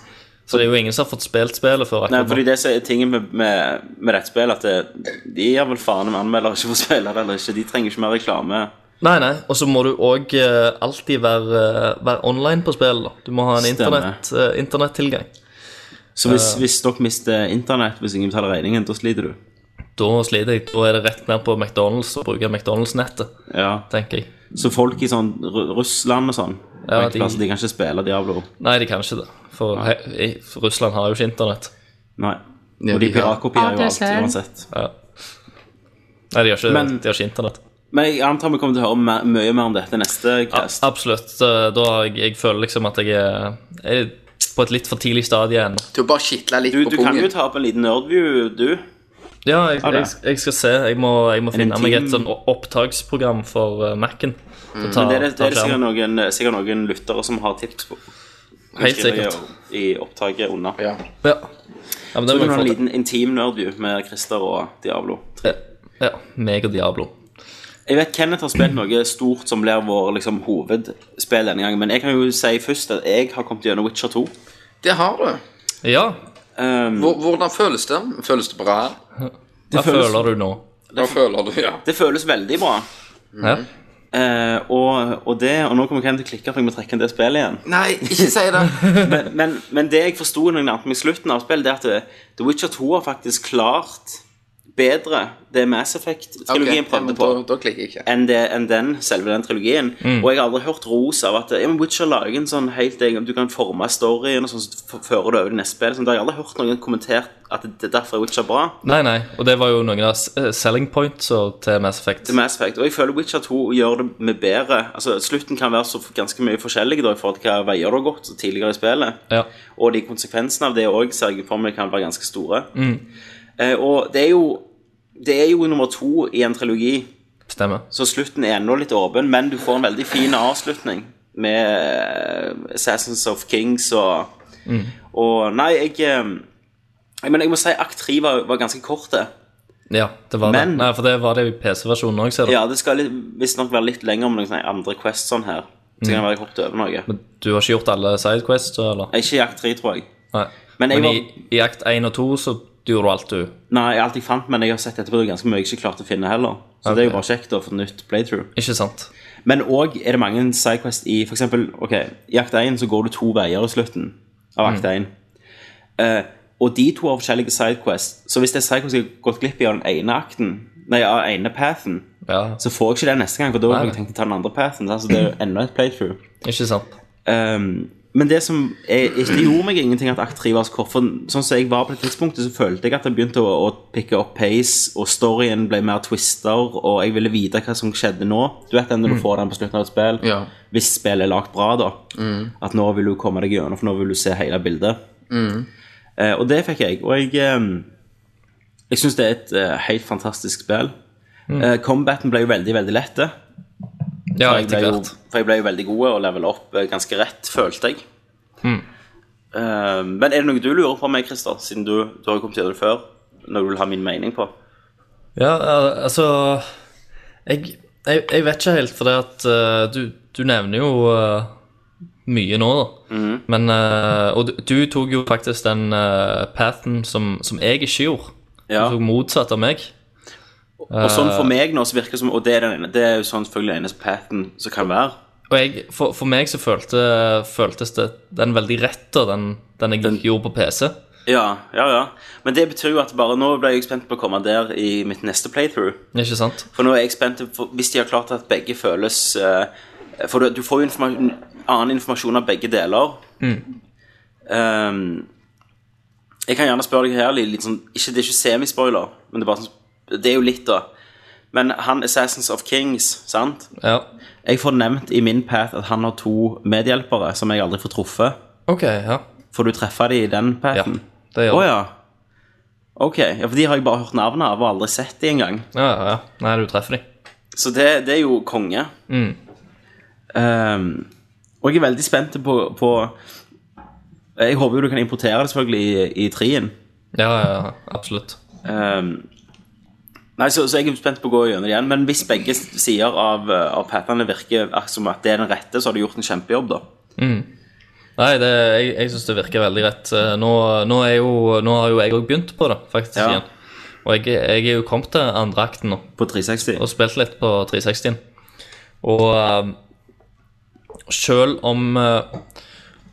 S2: Så det er jo ingen som har fått spilt spillet før
S1: Nei,
S2: akkurat
S1: fordi
S2: nå.
S1: det som er tingen med, med, med dette spillet, at det, de gir vel faen om anmeldere ikke får spille det eller ikke. De trenger ikke mer reklame.
S2: Nei, nei. Og så må du òg alltid være, eh, være online på spillet. da. Du må ha en
S1: Stemmer.
S2: internett, eh, internettilgang.
S1: Så hvis, hvis dere mister internett hvis ingen betaler regningen, da sliter du.
S2: Da sliter jeg. Da er det rett ned på McDonald's og bruke McDonald's-nettet,
S1: Ja.
S2: tenker jeg.
S1: Så folk i sånn Ru- Russland og sånn,
S2: Ja,
S1: de... de kan ikke spille Diablo.
S2: Nei, de kan ikke det. For he- i- for Russland har jo ikke internett.
S1: Nei.
S3: Ja,
S1: Og de
S3: de har-
S1: piratkopierer jo alt uansett.
S2: Nei, de har ikke,
S1: Men-
S2: de har ikke internett.
S1: Men jeg antar vi kommer til å høre mer, mye mer om dette neste cast.
S2: Absolutt. eh, Da har jeg, jeg føler liksom at jeg er, er på et litt for tidlig stadie ennå.
S3: Til å bare kitle litt
S1: Du, du
S3: på
S1: kan jo
S3: pungen.
S1: ta opp en liten nerdview, du.
S2: Ja, jeg,
S1: det.
S2: jeg, jeg skal se. Jeg må, jeg må
S1: det en
S2: finne meg et
S1: team? Mm.
S2: sånn o- opptaksprogram for eh, Mac-en. Så ta-
S1: Det er, det,
S2: ta
S1: er det sikkert,
S2: skjermen.
S1: noen, sikkert noen lyttere som har tips på.
S2: Helt
S1: Skriver
S2: sikkert.
S1: jeg I opptaket under.
S3: Ja.
S2: Ja. ja, men det
S1: Så kan du
S2: må jeg
S1: ha en
S2: få til.
S1: liten intim nerdview med Christer og Diablo.
S2: Ja, Ja, meg og Diablo.
S1: Jeg vet Kenneth har spilt noe stort som blir vår liksom, hovedspill denne gangen, men jeg kan jo si først at jeg har kommet gjennom Witcher 2.
S3: Det har du.
S2: Ja,
S1: Um,
S3: Hvor- Hvordan føles det? Føles det bra?
S2: hva
S1: føles-
S2: føler du nå?
S3: Hva føler du? Ja.
S1: det føles veldig bra. Mm.
S2: Ja.
S1: Eh, og, og det, og nå kommer Kenneth til å klikke, for jeg må trekke inn det spillet igjen.
S3: Nei, ikke si det.
S1: Men, men, men det jeg forsto når jeg nærmet meg slutten av spillet, det er at eh, The Witcher 2 har faktisk klart bedre det Mass Effect-trilogien
S3: Ok,
S1: prøvde
S3: men
S1: på,
S3: Da, da klikker jeg ikke.
S1: enn, det, enn den, selve den trilogien. Og jeg har aldri hørt ros av at eh, ja, men Witcher lager en sånn helt egen Du kan forme storyen, og sånn så f- fører du over til neste spill. Sånn. Jeg har aldri hørt noen kommentert at det er derfor er Witcher bra.
S2: Nei, nei. Og det var jo noen av s- eh, selling points og- til Mass Effect.
S1: til Mass Effect. Og jeg føler Witcher 2 gjør det med bedre. Altså, Slutten kan være så f- ganske mye forskjellig da, i forhold til hva veier du har gått tidligere i spillet.
S2: Ja.
S1: Og de konsekvensene av det òg ser jeg for meg kan være ganske store. Eh, og det er, jo, det er jo nummer to i en trilogi,
S2: Stemmer.
S1: så slutten er ennå litt åpen, men du får en veldig fin avslutning med eh, Assassins of Kings og Og nei, jeg eh, jeg, mener, jeg må si akt 3 var, var ganske kort, det.
S2: Ja, det var
S1: Men-
S2: det. Nei, for det var det i PC-versjonen òg, ser du.
S1: Ja, det skal litt- visstnok være litt lenger om noen sånne andre quests sånn her.
S2: Mm.
S1: Så kan det være jeg hoppet over noe.
S2: Du har ikke gjort alle sidequests, eller?
S1: Ikke i Jakt 3, tror jeg.
S2: Nei.
S1: Men jeg
S2: Men i, i akt 1 og 2 så gjorde du alt, du.
S1: Nei, alt jeg fant, men jeg har sett etterpå det er ganske mye jeg ikke klarte å finne heller. Så det er jo bare kjekt å få nytt playthrough.
S2: Ikke sant?
S1: Men òg er det mange sidequests i for eksempel, ok, I Akt 1 så går du to veier i slutten av Akt
S2: Mm.
S1: 1. Eh, og de to har forskjellige sidequests. Så hvis det er sidequest jeg har gått glipp i av den ene akten, nei, av den ene pathen,
S2: Ja,
S1: så får jeg ikke det neste gang, for da har jeg
S2: Nei.
S1: tenkt å ta den andre pathen. sant? Så det er jo enda et playthrough.
S2: ikke sant?
S1: Ehm, men det som er, ikke det gjorde meg ingenting at akt 3 var så kort. For sånn som jeg var på det tidspunktet, så følte jeg at det begynte å, å pikke opp pace, og storyen ble mer twister, og jeg ville vite hva som skjedde nå. Du vet den når du får den på slutten av et spill,
S3: Ja.
S1: hvis spillet er lagt bra, da. At nå vil du komme deg gjennom, for nå vil du se hele bildet. Eh, og det fikk jeg. Og jeg, ehm, jeg syns det er et eh, helt fantastisk spill. Eh, combaten ble jo veldig, veldig lett. det.
S2: Ja,
S1: For jeg,
S2: etter
S1: ble jo,
S2: hvert.
S1: for jeg ble jo veldig god og level opp eh, ganske rett, følte jeg. Eh, men er det noe du lurer på meg, Christer, siden du, du har jo kommet til det før? Noe du vil ha min mening på?
S2: Ja, al- altså Jeg, jeg, jeg vet ikke helt, for det at eh, du, du nevner jo eh, mye nå, da.
S1: Mhm.
S2: Men eh, Og du, du tok jo faktisk den eh, pathen som, som jeg ikke gjorde.
S1: Ja.
S2: Du tok motsatt av meg.
S1: Og sånn for meg nå, så virker det som Og det er, den ene, det er jo sånn selvfølgelig den eneste pathen som kan være.
S2: Og jeg, for, for meg så følte, føltes det den veldig rett, da, den, den jeg gjorde på PC.
S1: Ja, ja, ja. Men det betyr jo at bare nå ble jeg spent på å komme der i mitt neste playthrough.
S2: Ikke sant?
S1: For nå er jeg spent for, Hvis de har klart at begge føles eh, For du, du får jo informasjon, annen informasjon av begge deler. Mm. Ehm, jeg kan gjerne spørre deg her, Lili, litt sånn, ikke, det er ikke semispoiler, men det er, bare sånn, det er jo litt, da. Men han Assassins of Kings, sant?
S2: Ja.
S1: Jeg får nevnt i min path at han har to medhjelpere som jeg aldri får truffet.
S2: OK, ja.
S1: Får du treffe dem i den
S2: ja.
S1: pathen?
S2: Det
S1: Å
S2: gjør
S1: ja. Ok. Ja, for de har jeg bare hørt navnet av og aldri sett de engang.
S2: Ja, ja, ja. Nei, du treffer dem.
S1: Så det, det er jo konge.
S2: Mm.
S1: Ehm, og jeg er veldig spent på, på Jeg håper jo du kan importere det selvfølgelig i, i trien.
S2: Ja, ja, ja. Absolutt.
S1: Ehm, nei, så, så jeg er spent på å gå gjennom det igjen. Men hvis begge sider av, eh, av patterne virker ak- som at det er den rette, så har du gjort en kjempejobb, da.
S2: Nei, det, jeg, jeg syns det virker veldig rett. Eh, Nå, nå, er jo, nå har jo jeg òg begynt på det, faktisk.
S1: Ja.
S2: igjen. Og jeg, jeg er jo kommet til andre akten nå,
S1: På 360.
S2: og spilt litt på 360-en. Og eh, sjøl om eh,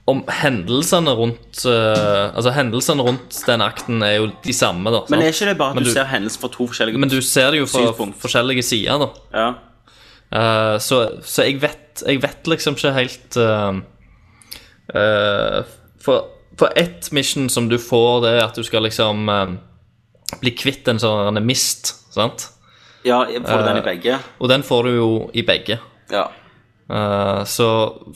S2: om hendelsene rundt eh, Altså, hendelsene rundt den akten er jo de samme, da. sant?
S1: Men er ikke det bare at
S2: Men
S1: du,
S2: du-
S1: ser hendelser fra to forskjellige
S2: Men du ser det jo fra
S1: Synspunkt.
S2: forskjellige sider, da.
S1: Ja.
S2: Eh, så, så jeg vet Jeg vet liksom ikke helt eh, eh, For, for ett mission som du får, det er at du skal liksom eh, bli kvitt en sånn en mist, sant?
S1: ja, får du
S2: Eh,
S1: den i begge?
S2: Og den får du jo i begge.
S1: Ja.
S2: Eh, så,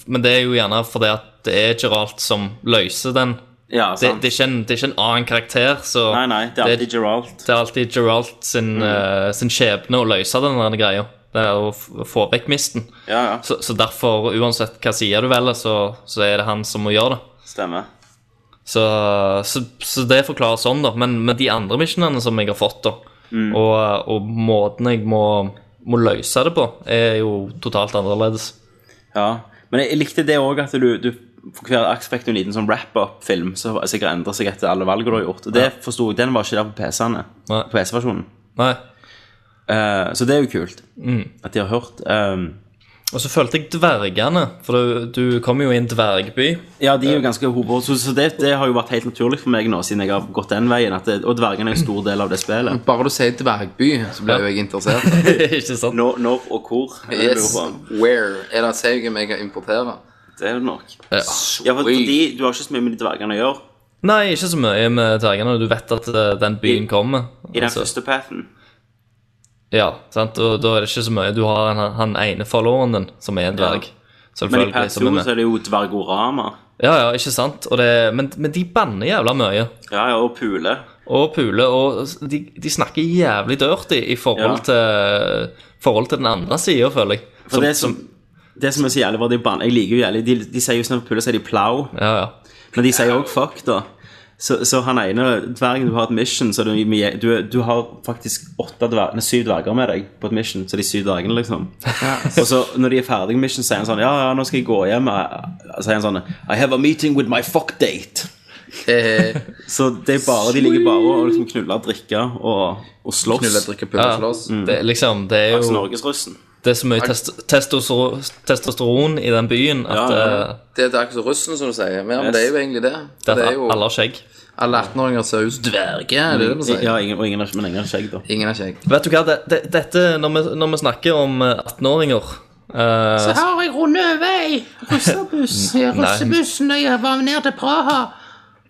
S2: men det er jo gjerne fordi at det er Geralt som løser den.
S1: ja
S2: Det,
S1: sant.
S2: det, er, ikke en, det er ikke en annen karakter, så
S1: nei, nei, det er alltid
S2: det,
S1: Geralt. Mm.
S2: det er alltid Geralt sin, eh, sin skjebne å løse den der greia. Det er å f- få vekk misten.
S1: Ja, ja,
S2: Så, så derfor, uansett hva side du velger, så, så er det han som må gjøre det.
S1: stemmer.
S2: Så, så, så det forklarer sånn, da. Men med de andre missionene som jeg har fått, da,
S1: Mm.
S2: og, og måten jeg må, må løse det på, er jo totalt annerledes.
S1: Ja, men jeg, jeg likte det òg at du, du for hver akt fikk du en liten sånn wrap-up-film som sikkert endrer seg etter alle valg du har gjort. Og det forsto jeg, den var ikke der på PC-ene.
S2: Nei.
S1: På PC-versjonen.
S2: Nei. Mm.
S1: Eh, så det er jo kult at de har hørt. Um,
S2: Og så følte jeg dvergene, for du, du kommer jo i en dvergby.
S1: Ja, de er jo ganske hover, så, så det, det har jo vært helt naturlig for meg nå, siden jeg har gått den veien. At det, og dvergene er en stor del av det spillet.
S3: Eh, Bare du sier dvergby, så blir jo jeg interessert.
S2: Ikke sant?
S1: Når når og hvor. er det jeg
S3: Yes,
S1: lurer på.
S3: where? Er det et saugum jeg kan importere?
S1: Det er det nok.
S2: Ja.
S1: Ja, for fordi Du har ikke så mye med de dvergene å gjøre
S2: Nei, ikke så mye med dvergene. Du vet at eh, den byen kommer.
S1: i den
S2: Altså,
S1: første pathen.
S2: Ja, sant? Og da er det ikke så mye. Du har han, han ene followeren din, som er en dverg.
S1: Men i
S2: Selvfølgelig.
S1: path
S2: som er
S1: 2
S2: med.
S1: så er det jo dvergorama.
S2: Ja, ja, ikke sant? Og det, men, men de banner jævla mye.
S1: Ja, ja, og pule.
S2: Og puler, og de, de snakker jævlig dirty i forhold, til, forhold til den andre sida, føler jeg.
S1: For det som... Det som er så jævlig var de ban- Jeg liker jo jævlig De, de sier jo sånn på pule, sier de plow.
S2: Ja, ja.
S1: Men de sier òg fuck, da. Så, så han ene dvergen du har et mission, så du, du, du har faktisk åtte dver, nei, syv dverger med deg på et mission. Så de syv dvergene, liksom. Og så når de er ferdige med mission, sier han sånn Ja, ja, nå skal jeg gå hjem. eh, Sier han sånn I have a meeting with my fuck date.
S3: Eh,
S1: Så det er bare, de ligger bare og liksom knuller, drikker og, og slåss.
S3: Knulle, drikke, pulle,
S2: Ja.
S3: slåss.
S1: Mm.
S2: Det, er liksom, det er
S1: Altså,
S2: jo
S1: Norgesrussen.
S2: det er så mye test, testosteron, testosteron i den byen at,
S1: Ja, ja, ja.
S2: eh,
S3: Det er ikke så russen, som du sier. Men ja, men
S1: Yes.
S3: det er jo egentlig det.
S2: det
S3: Det
S2: er
S3: er jo
S2: at alle har skjegg.
S3: Alle 18-åringer ser ut som dverger, er det det man sier?
S1: Mm. Ja, ingen, og ingen har, men ingen har skjegg, da.
S3: Ingen er kjekk.
S2: Vet du hva, det, det, dette, når vi, når vi snakker om eh, 18-åringer eh,
S8: har jeg rundet vei. Russebuss. Russebussen da jeg var ned til Praha.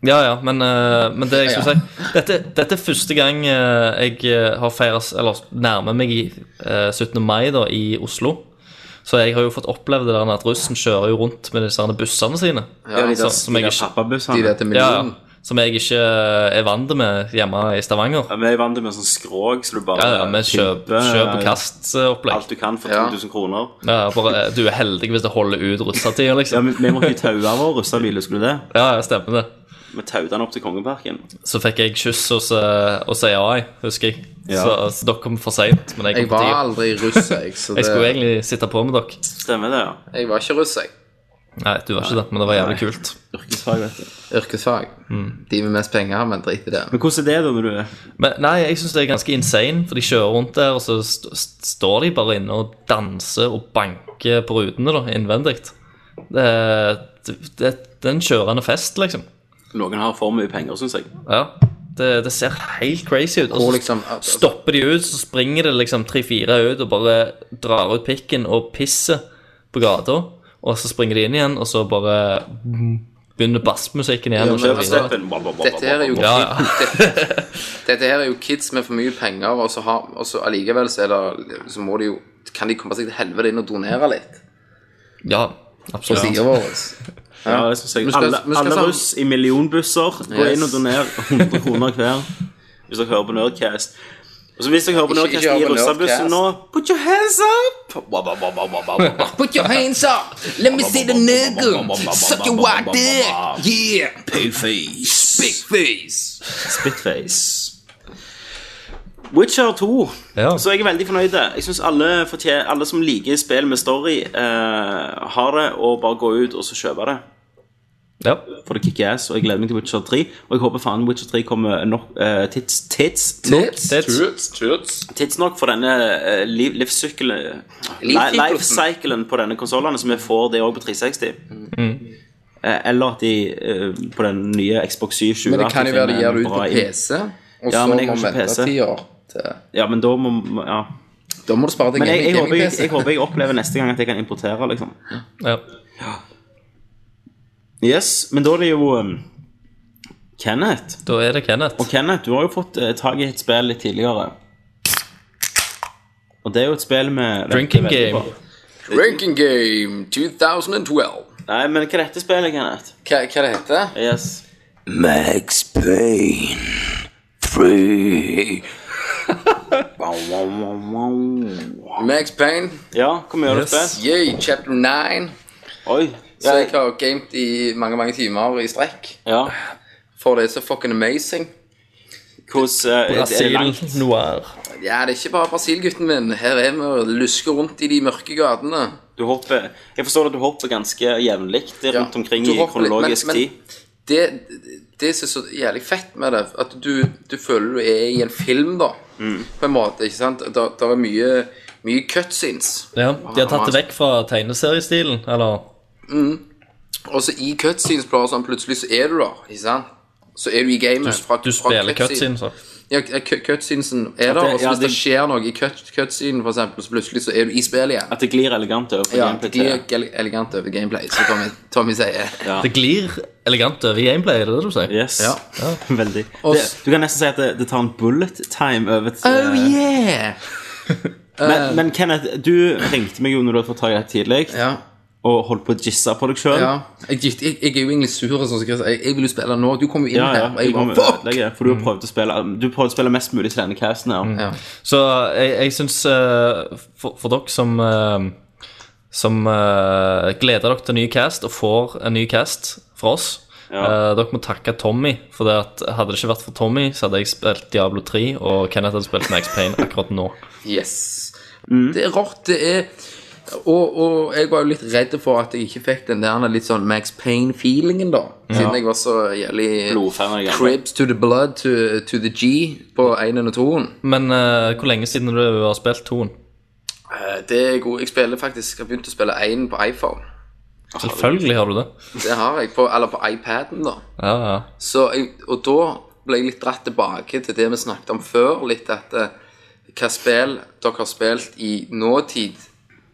S2: Ja, ja, men, eh, men det jeg skulle si dette, dette er første gang eh, jeg eh, har feiret, eller nærmer meg i eh, 17. mai da, i Oslo. Så jeg har jo fått oppleve det der med at russen kjører jo rundt med disse her bussene sine.
S1: Ja, de
S2: så-
S1: der,
S2: som
S1: de
S2: jeg
S1: der
S2: ikke-
S1: pappabussene.
S3: altså, De der til
S2: Ja,
S1: Mm.
S3: millionen.
S2: ja, som jeg ikke eh, er vant med hjemme i Stavanger.
S1: Ja, Vi er vant til med sånn skrog, så du bare
S2: Ja, ja, med kjøp,
S1: pimper,
S2: kjøp og
S1: eh,
S2: kast-opplegg.
S1: Alt du kan for
S3: Ja.
S1: 2000 kroner.
S2: Ja, bare, eh, du er heldig hvis det holder ut russetida,
S1: Ja,
S2: liksom.
S1: men Vi måtte jo taue vår russebil, husker du det?
S2: Ja, ja, stemmer det.
S1: Vi tauet den opp til Kongeparken.
S2: Så fikk jeg kyss hos, eh, hos AI, husker jeg.
S1: Ja.
S2: Så, eh, så dere kom for seint. Men jeg,
S3: Jeg
S2: kom
S3: var
S2: til tid.
S3: aldri russ, jeg. Så det,
S2: jeg skulle egentlig sitte på med dere.
S1: Stemmer det, ja.
S3: jeg var ikke russ, jeg.
S2: Nei, du var ikke det, men det var jævlig kult.
S1: Yrkesfag, vet du.
S3: Yrkesfag.
S1: Mm.
S3: De med mest penger, men drit i det.
S1: Men hvordan er det da når du er
S2: Men nei, jeg syns det er ganske insane, for de kjører rundt der, og så st st står de bare inne og danser og banker på rutene, da, innvendig. Det, det, det det er en kjørende fest, liksom.
S1: Noen har for mye penger, syns jeg.
S2: Ja. Det, det ser helt crazy ut. Og
S3: Hvor
S2: så
S3: liksom
S2: stopper de ut, så springer det liksom tre-fire ut og bare drar ut pikken og pisser på gata. Og så springer de inn igjen, og så bare begynner bassmusikken igjen.
S3: Ja, men
S2: og kjører
S1: Kjøper
S3: altså,
S1: steppen.
S2: videre.
S3: Dette her er jo
S2: Ja, ja.
S3: Dette her er jo kids med for mye penger, og så, har, og så allikevel så, er det, så må de jo Kan de komme seg til helvete inn og donere litt?
S2: ja,
S3: På
S2: absolutt.
S3: sida vår.
S1: Ja, det synes jeg.
S3: Vi skal-
S1: alle
S3: vi skal
S1: alle
S3: sammen-
S1: russ i millionbusser. Gå
S3: Yes.
S1: inn og doner 100 kroner hver hvis dere hører på Nerdcast. Og så hvis dere hører på
S3: Ikke-
S1: Nerdcast
S3: ikke hør
S1: i
S3: på
S1: russebussen
S3: Nerdcast.
S1: nå Put your hands up! Wah, wah, wah, wah, wah, wah, wah.
S3: Put your hands up! Let me see the nigger! Suck your white dick! Yeah!
S1: Payface.
S3: Big face!
S1: Spitface. Witcher 2.
S2: Ja.
S1: Så jeg er veldig fornøyd. Jeg synes alle, fortje- alle som liker spill med story, eh, har det, og bare gå ut og så kjøpe det.
S2: Ja.
S1: For det kicker ass, og jeg gleder meg til Witcher 3. Og jeg håper faen Witcher 3 kommer nok, eh, tids, tids,
S3: Tits,
S2: Tits.
S3: tits, tits.
S1: tidsnok for denne eh, liv, livssykkelen
S3: Livsyklusen.
S1: Lifecyclen på denne konsollene, så vi får det òg på 360. Eh, eller at de eh, på den nye Xbox 720
S3: Men det kan jo være de
S1: finner
S3: gjør
S1: en
S3: det ut på
S1: bra inn-
S3: PC, og
S1: Ja, men
S3: så må
S1: jeg har
S3: vi
S1: ikke
S3: vente
S1: PC.
S3: ti år til
S1: Ja, men da må Ja.
S3: Da må du spare deg
S1: Men jeg, jeg, håper jeg, jeg
S3: gaming-PC.
S1: håper jeg opplever neste gang at jeg kan importere, liksom.
S2: ja.
S1: Yes, Men da er det jo um, Kenneth.
S2: Da er det Kenneth.
S1: Og Kenneth, du har jo fått uh, tak i et spill litt tidligere. Og det er jo et spill med
S2: Drinking
S1: venter veldig
S2: game.
S1: på.
S3: Ranking Game 2012.
S1: Nei, men hva er dette spillet, Kenneth?
S3: Hva, hva det heter
S1: Yes.
S9: Max Payne. Free. Wow, wow, wow, wow.
S3: Max Payne.
S1: Ja, hvor mye har du
S2: Yes.
S1: spilt?
S3: Yay, chapter 9.
S1: Oi.
S3: Så
S1: Ja,
S3: jeg har gamet i mange, mange timer i strekk.
S1: ja.
S3: For det er så fucking amazing.
S1: Hvordan uh, er det
S2: Brasil
S1: langt?
S2: noir.
S3: Ja, det er ikke bare Brasil, gutten min. Her er vi og lusker rundt i de mørke gatene.
S1: Du hopper Jeg forstår at du hopper ganske jevnlig
S3: Ja,
S1: rundt omkring
S3: du
S1: i
S3: hopper litt, men-
S1: kronologisk
S3: men
S1: tid.
S3: Det, det som er så jævlig fett med det, at du, du føler du er i en film, da. På en måte, ikke sant? Det er mye Mye cutscenes.
S2: Ja, De har tatt det vekk fra tegneseriestilen, eller?
S3: Og så i cutscenes bare sånn, plutselig så er du der, ikke sant? Så er du i gamet fra,
S2: Du
S3: fra
S2: spiller
S3: cutscene.
S2: cutscene, så.
S3: Ja, cu- cutscenesen er der, og så
S1: ja,
S3: hvis det
S1: det-
S3: skjer noe i cut, cutscenen, for eksempel, så plutselig så er du i spillet igjen.
S1: At det glir elegant over. på
S3: Ja,
S1: gameplay
S3: det
S1: til
S3: glir
S1: det.
S3: ele- elegant over gameplay, som Tommy, Tommy sier.
S2: Det glir elegant over i gameplay, er det det du sier?
S1: Yes.
S3: Ja.
S1: Veldig.
S3: Og
S1: Det,
S3: s-
S1: du kan nesten si at det, det tar en bullet time over til
S3: Oh yeah!
S1: men, men Kenneth, du ringte meg jo når du hadde fått tak i det tidlig,
S3: eh. Ja,
S1: og holdt på å gisse på deg sjøl.
S3: ja. Jeg, jeg, jeg er jo egentlig sur, og sånn, så jeg, jeg vil jo spille nå. Du kommer jo inn
S1: Ja, ja.
S3: her, og
S1: Jeg
S3: jeg
S1: må
S3: bare, fuck!
S1: ødelegge, for du har prøvd å spille Du prøvde å spille mest mulig til denne casten her.
S3: Mm.
S2: Så jeg, jeg syns for, for dere som eh, Som eh, gleder dere til ny cast og får en ny cast fra oss eh, Dere må takke Tommy. For det at hadde det ikke vært for Tommy, så hadde jeg spilt Diablo 3, og Kenneth hadde spilt Max Payne akkurat nå.
S3: Yes. Det er rart, det er og, og jeg var jo litt redd for at jeg ikke fikk den der litt sånn Max Payne-feelingen, da. Siden jeg var så jævlig
S1: Blodfan av det gamle.
S3: Cribs to the blood to, to the G på 1 og 2.
S2: Men eh, hvor lenge siden du har spilt toen?
S3: Eh, Det er god. Jeg spiller faktisk, jeg har begynt å spille 1 på iPhone.
S2: Selvfølgelig har du det.
S3: Det har jeg. På, eller på iPaden, da.
S2: Ja, ja.
S3: Så jeg, og da ble jeg litt dratt tilbake til det vi snakket om før, litt at eh, hva spill dere har spilt i nåtid,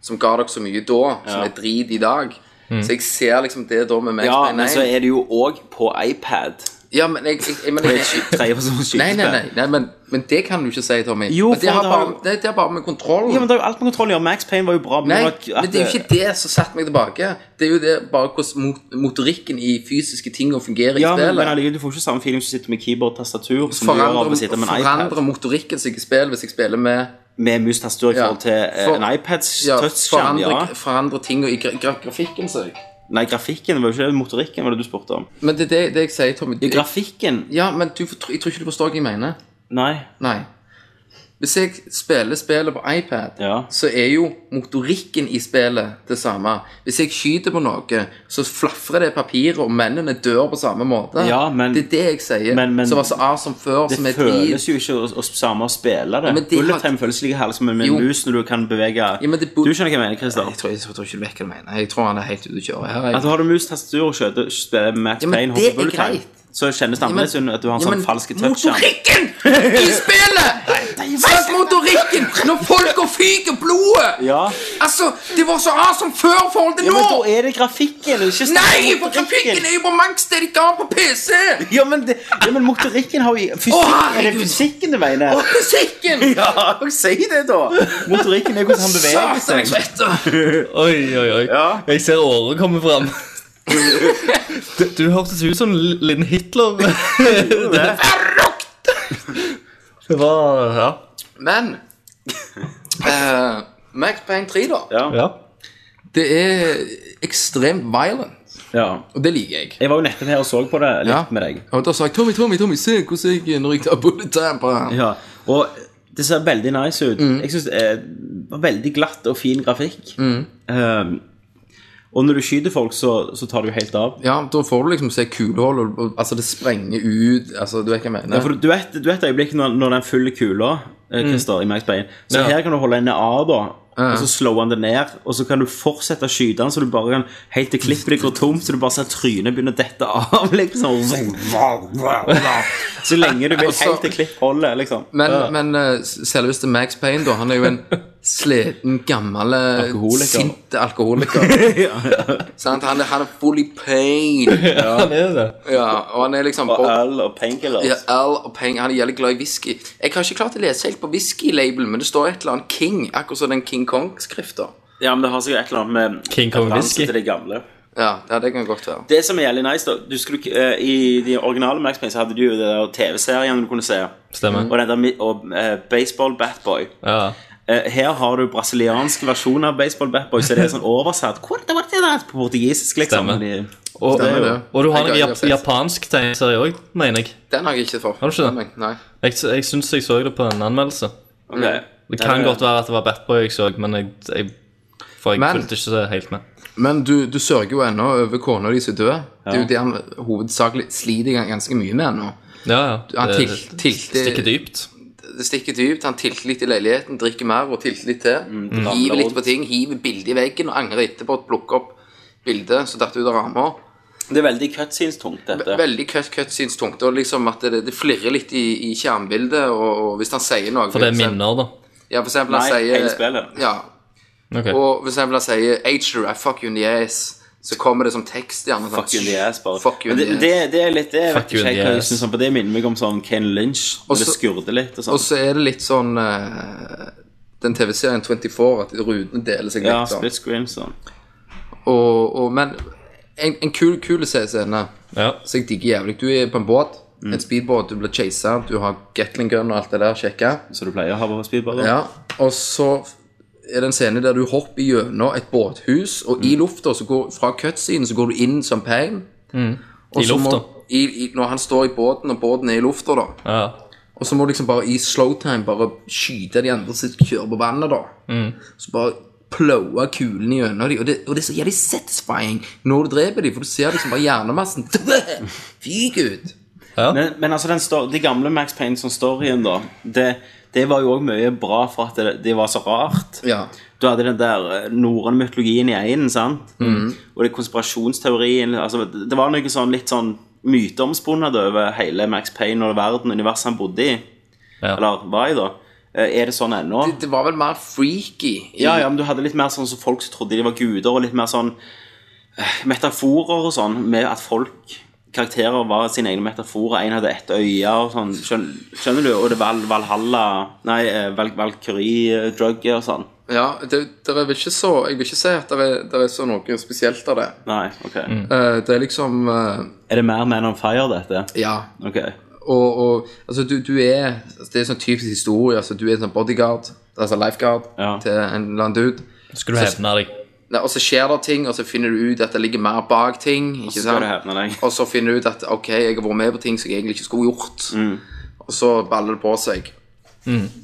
S3: som ga dere så mye da, som er drit i dag. Så jeg ser liksom det da med Max
S1: Mm. Ja,
S3: Payne
S1: men så
S3: 1.
S1: er det jo òg på iPad.
S3: Ja, men jeg, jeg, jeg, men jeg,
S1: Tredjepersons
S3: Nei, nei, nei,
S1: skytespill.
S3: nei men, men det kan du ikke si, Tommy.
S1: Jo,
S3: men det,
S1: for
S3: har
S1: det
S3: bare,
S1: har-
S3: det, det har bare med kontroll
S1: Ja, men det er jo alt med kontroll å gjøre. Max Payne var jo bra. Men
S3: Nei,
S1: det var at-
S3: men det er jo ikke det som satte meg tilbake. Det er jo det bare hvordan mot- motorikken i fysiske ting og fungerer
S1: Ja,
S3: i
S1: men,
S3: spillet.
S1: men allikevel, du får ikke samme feeling som å sitte med keyboard og tastatur som du gjør av å sitte med
S3: forandrer,
S1: en iPad.
S3: forandrer motorikken som jeg spiller hvis jeg spiller med
S1: Med mus-tastatur i
S3: Ja.
S1: forhold til eh,
S3: For-
S1: en iPads
S3: ja,
S1: touchskjerm.
S3: forandrer,
S1: Ja.
S3: forandrer ting i gra gra grafikken seg.
S1: Nei, grafikken var jo ikke det, motorikken var det du spurte om.
S3: Men det er det, det jeg sier, Tommy.
S1: Det
S3: Du,
S1: er grafikken.
S3: ja, men du, fortr- jeg tror ikke du forstår hva jeg mener.
S1: Nei.
S3: Nei. Hvis jeg spiller spillet på iPad,
S1: Ja.
S3: så er jo motorikken i spillet det samme. Hvis jeg skyter på noe, så flafrer det papiret, og mennene dør på samme måte.
S1: Ja, men-
S3: det er det jeg sier.
S1: men- men-
S3: som var så awesome før,
S1: Det
S3: som er
S1: føles
S3: drit.
S1: jo ikke å, å samme å spille det.
S3: Ja, men det
S1: Bullet
S3: har-
S1: time føles like herlig som en med
S3: Jo.
S1: en mus når du kan bevege
S3: Ja, men det bu-
S1: Du skjønner hva jeg mener, Christer.
S3: Jeg tror, jeg tror ikke du vet hva du mener. Jeg tror han er helt ute å kjøre her. Jeg,
S1: At du har du mus, tastatur og skjøter, spiller med Max
S3: Ja, men
S1: Payne
S3: det
S1: hopper
S3: er
S1: bullet time,
S3: greit.
S1: så kjennes det annerledes ut at du har en sånn falsk touchskjerm.
S3: Motorikken i spillet! Sett motorikken når folk og fyker blodet!
S1: Ja.
S3: Altså, det var så awesome før i forhold til
S1: ja,
S3: nå!
S1: men da er det grafikken. og Ikke
S3: Nei, for grafikken er jo på maks det de ga på PC!
S1: ja men, det, ja, men motorikken har jo fysikk,
S3: herregud.
S1: Er det fysikken du mener?
S3: Og musikken!
S1: Ja, si det, da! Motorikken er jo hvordan han beveger
S3: Satan, jeg
S1: seg.
S3: vet det!
S2: Oi, oi, oi.
S1: Ja.
S2: Jeg ser året komme fram. Du, du hørtes ut som Linn Hitler. det, det var Ja.
S3: Men eh, Max Payne 3, da.
S2: ja.
S3: Det er ekstremt violent,
S1: Ja.
S3: og det liker jeg.
S1: Jeg var jo nettopp her og så på det litt
S3: Ja.
S1: med deg.
S3: Og da sa jeg Tommy, Tommy, Tommy, se hvordan jeg når jeg tar bullet time på han.
S1: Ja, og det ser veldig nice ut. Jeg synes det var veldig glatt og fin grafikk. Ehm, og når du skyter folk, så, så tar du helt av.
S3: Ja, da får du liksom se kulehull, og- og- altså det sprenger ut Altså, du vet hva jeg mener?
S1: Ja, for du vet, du vet øyeblikket når, når den fyller kula, eh, Christer, i Max Payne. Så
S2: Ja.
S1: her kan du holde henne av, da. Og så slår han det ned, og så kan du fortsette å skyte den, så du bare kan helt til klippet ditt går tomt, så du bare ser trynet begynne å dette av, liksom. Så lenge du vil
S3: så-
S1: helt til klipp holder, liksom.
S3: Men, men eh, selveste Max Payne, da, han er jo en sliten, gammel, eh,
S1: Alkoholiker.
S3: sint alkoholiker. Sant? Han, er- han er full i pain.
S2: Han er det.
S3: Ja, og han er liksom
S1: Og
S3: på
S1: øl og painkillers.
S3: ja, L og pain. Han er jævlig glad i whisky. Jeg har ikke klart å lese helt på whisky-labelen, men det står et eller annet King, akkurat som den King Kong-skrifta.
S1: Ja, men det har sikkert et eller annet med
S2: King Kong
S1: referanse
S2: whisky.
S1: til det gamle.
S3: Ja, ja, det kan godt være.
S1: Det som er jævlig nice, da du skulle, ikke- eh, I de originale Max Payne så hadde du jo det der TV-serien du kunne se.
S2: Stemmer.
S1: Og, den der, mi- og eh, Baseball Batboy.
S2: Ja.
S1: Eh, her har du brasiliansk versjon av Baseball Batboy, så det er sånn oversatt Hvordan var det der? på portugisisk, liksom.
S2: Stemmer.
S1: Men de-
S2: Og,
S3: Stemmer det.
S2: og du har
S3: Jeg
S2: en
S3: har- jeg har
S2: jap
S3: sett.
S2: japansk tegneserie òg, mener jeg.
S3: Den har jeg ikke fått.
S2: Har du ikke det?
S3: med meg, Nei.
S2: Jeg, jeg syns jeg så det på en anmeldelse.
S1: Ok.
S2: Det kan
S1: Ja,
S2: godt være at det var Batboy jeg så, men jeg, jeg, for jeg
S3: Men-
S2: fulgte ikke så helt med.
S3: Men du, du sørger jo ennå over kona di som er død. Det er jo det han hovedsakelig sliter gans- ganske mye med ennå.
S2: Ja, ja.
S3: Han
S2: Det
S3: til- tilte-
S2: stikker dypt.
S3: det stikker dypt. Han tilter litt i leiligheten, drikker mer og tilter litt til.
S1: ramler
S3: hiver litt
S1: rundt.
S3: på ting, hiver bildet i veggen og angrer etterpå og plukker opp bildet som datt ut av ramma.
S1: Det er veldig cutscenes-tungt, dette.
S3: Veldig cut, cut syns tungt. Og liksom at det, det flirrer litt i, i skjermbildet, og, og hvis han sier noe
S2: For det er
S3: for eksempel-
S2: minner, da.
S3: Ja, for eksempel han
S1: Nei,
S3: sier
S1: hele spillet.
S3: Ja.
S2: Ok.
S3: Og for eksempel han sier Ager, I fuck you in the ass. Så kommer det som tekst gjerne. sånn,
S1: Fuck you in the ass, bare.
S3: Fuck you in
S1: Men
S3: the
S1: det,
S3: ass.
S1: det, det er litt det. Jeg
S2: Fuck
S1: vet
S2: you
S1: ikke
S2: in the
S1: helt hva jeg
S2: ass.
S1: synes om, for det minner meg om sånn Ken Lynch. Når det
S3: Også-
S1: skurder litt og
S3: Og
S1: sånn.
S3: så er det litt sånn eh, Den TV-serien 24, at rutene deler seg litt.
S1: Ja,
S3: sånn.
S1: split screen sånn.
S3: og, og, men en, en kul, kul scene
S2: Ja.
S3: som jeg digger jævlig. Du er på en båt, en speedbåt, du blir chasa, du har Gatling gun og alt det der, sjekka.
S1: Som du pleier å ha på speedbar.
S3: Ja, og så er det en scene der du hopper gjennom et båthus, og
S2: Mm.
S3: i lufta, så går, fra cutscene, så går du inn som Pain. Og
S2: Mm. I
S3: så må-
S2: lufta.
S3: I, i, når han står i båten, og båten er i lufta, da.
S2: ja.
S3: Og så må du liksom bare i slowtime bare skyte de andre som kjører på vannet, da.
S2: Mm.
S3: Så bare plowe kulene gjennom dem. Og, det- og det er så jævlig satisfying når du dreper dem, for du ser liksom bare hjernemassen fyke ut.
S1: Men, men altså, den sto- de gamle Max Payne-storyen, da, det, det var jo òg mye bra for at det, det var så rart.
S3: Ja.
S1: Du hadde den der eh, norrøne mytologien i einen, sant? Og det konspirasjonsteorien altså, Det det var noe sånn litt sånn myteomspunnet over hele Max Payne og verden, universet han bodde i.
S2: Ja.
S1: Eller var i, da. Eh, Er det sånn ennå?
S3: Det, det var vel mer freaky. i-
S1: Ja, ja, men du hadde litt mer sånn som folk som trodde de var guder, og litt mer sånn eh, metaforer og sånn, med at folk, karakterer var sine egne metaforer. En hadde ett øye og sånn, skjønner, skjønner du? Og det Val, Valhalla, nei, eh, Val, Valkyrie-drugget og sånn.
S3: ja det, det er vel ikke så Jeg vil ikke si at det er, det er så noe spesielt av det.
S1: Nei, ok.
S3: Eh, det er liksom eh,
S1: Er det mer Man on Fire, dette?
S3: Ja.
S1: Ok.
S3: Og, og altså, du, du er Det er sånn typisk historie. Altså, du er en sånn bodyguard, altså lifeguard,
S1: Ja.
S3: til en eller annen dude.
S2: Skal du hevne deg?
S3: Nei, og så skjer det ting, og så finner du ut at det ligger mer bak ting. Ikke
S1: Så skal
S3: sant?
S1: du hevne deg.
S3: Og så finner du ut at ok, jeg har vært med på ting som jeg egentlig ikke skulle gjort.
S1: Mm.
S3: Og så baller det på seg.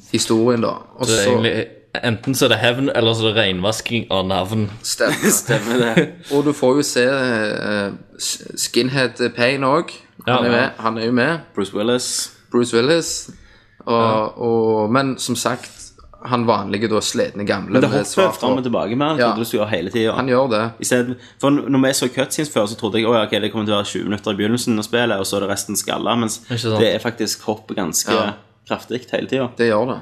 S3: Historien, da. Og
S2: Det
S3: så
S2: er egentlig, enten så er det hevn, eller så er det renvasking av navn.
S3: stemmer det.
S1: Stemmer det.
S3: Og du får jo se eh, s- Skinhead Payne òg.
S2: Ja,
S3: Han, er
S2: ja.
S3: med- han er jo med.
S1: Bruce Willis.
S3: Bruce Willis. Og, og, men som sagt, han vanlige, da slitne gamle
S1: Men det
S3: med
S1: hopper
S3: svart
S1: frem og
S3: hår.
S1: tilbake mer enn
S3: Ja.
S1: trodde du skulle gjøre hele tiden.
S3: Han gjør det.
S1: I stedet, for når vi så cutscenes før, så trodde jeg oh, det kommer til å være 20 minutter i begynnelsen av spillet, og så er det resten skalla. Mens
S2: Ikke sant.
S1: det er faktisk hopp ganske
S3: Ja.
S1: kraftig hele tida.
S3: Det gjør det.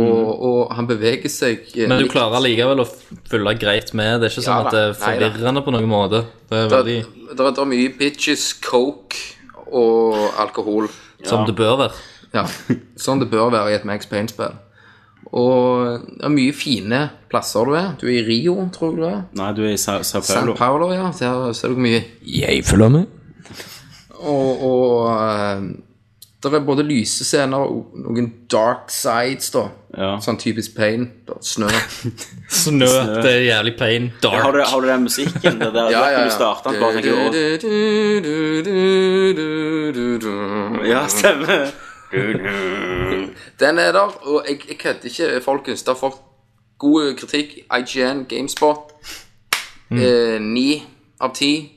S3: Og, og han beveger seg eh,
S2: Mm. Men du
S3: litt-
S2: klarer likevel å følge greit med. Det er ikke sånn
S3: Ja da.
S2: at det
S3: Nei
S2: er
S3: da.
S2: forvirrende på noen måte. Det er veldig
S3: Det er, det er mye bitches, coke og alkohol.
S2: som det bør være.
S3: Ja, Sånn det bør være i et Max Payne-spill. Og det er mye fine plasser du er. Du er i Rio, tror jeg du er.
S1: Nei, du er i Sa- Sao
S3: San
S1: Paulo.
S3: Paulo, ja. Der ser du hvor mye
S9: Jeg følger med.
S3: Og, og det er både lyse scener og noen dark sides, da.
S1: Ja.
S3: Sånn typisk Payne. da. Snø.
S2: Snø. Det er jævlig pain. Dark.
S1: Har du, har du den musikken? Det der,
S3: Ja, ja,
S1: Du starter, den, bare tenker du, «Å,
S3: ja.
S1: Ja, stemmer.
S3: Den er der, og jeg, jeg kødder ikke, folkens. Det har fått god kritikk. IGN, Gamespot. Eh, Ni av ti.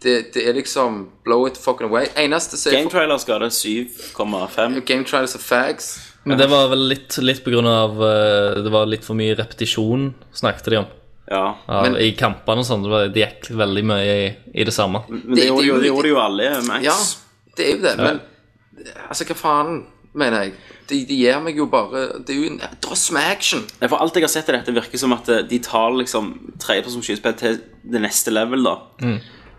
S3: Det, det er liksom blow it fucking away. Eneste som
S1: Game
S3: er
S1: Trailers ga det 7,5.
S3: Game Trials of Fags.
S2: Men det var vel litt, litt på grunn av eh, Det var litt for mye repetisjon, snakket de om.
S1: Ja.
S2: Ja,
S3: Men-
S2: I kampene og sånn. Det var- de gikk veldig mye i, i det samme.
S1: Men det,
S3: Det-
S1: gjorde
S3: det-
S1: jo- det gjorde jo alle, Max.
S3: Ja, det er jo det, men altså, hva faen, mener jeg. De, de gir meg jo bare Det er jo en drøss med action.
S1: Nei, For alt jeg har sett i dette, virker som at eh, de tar liksom tredjepersons skytespill til det neste level, da.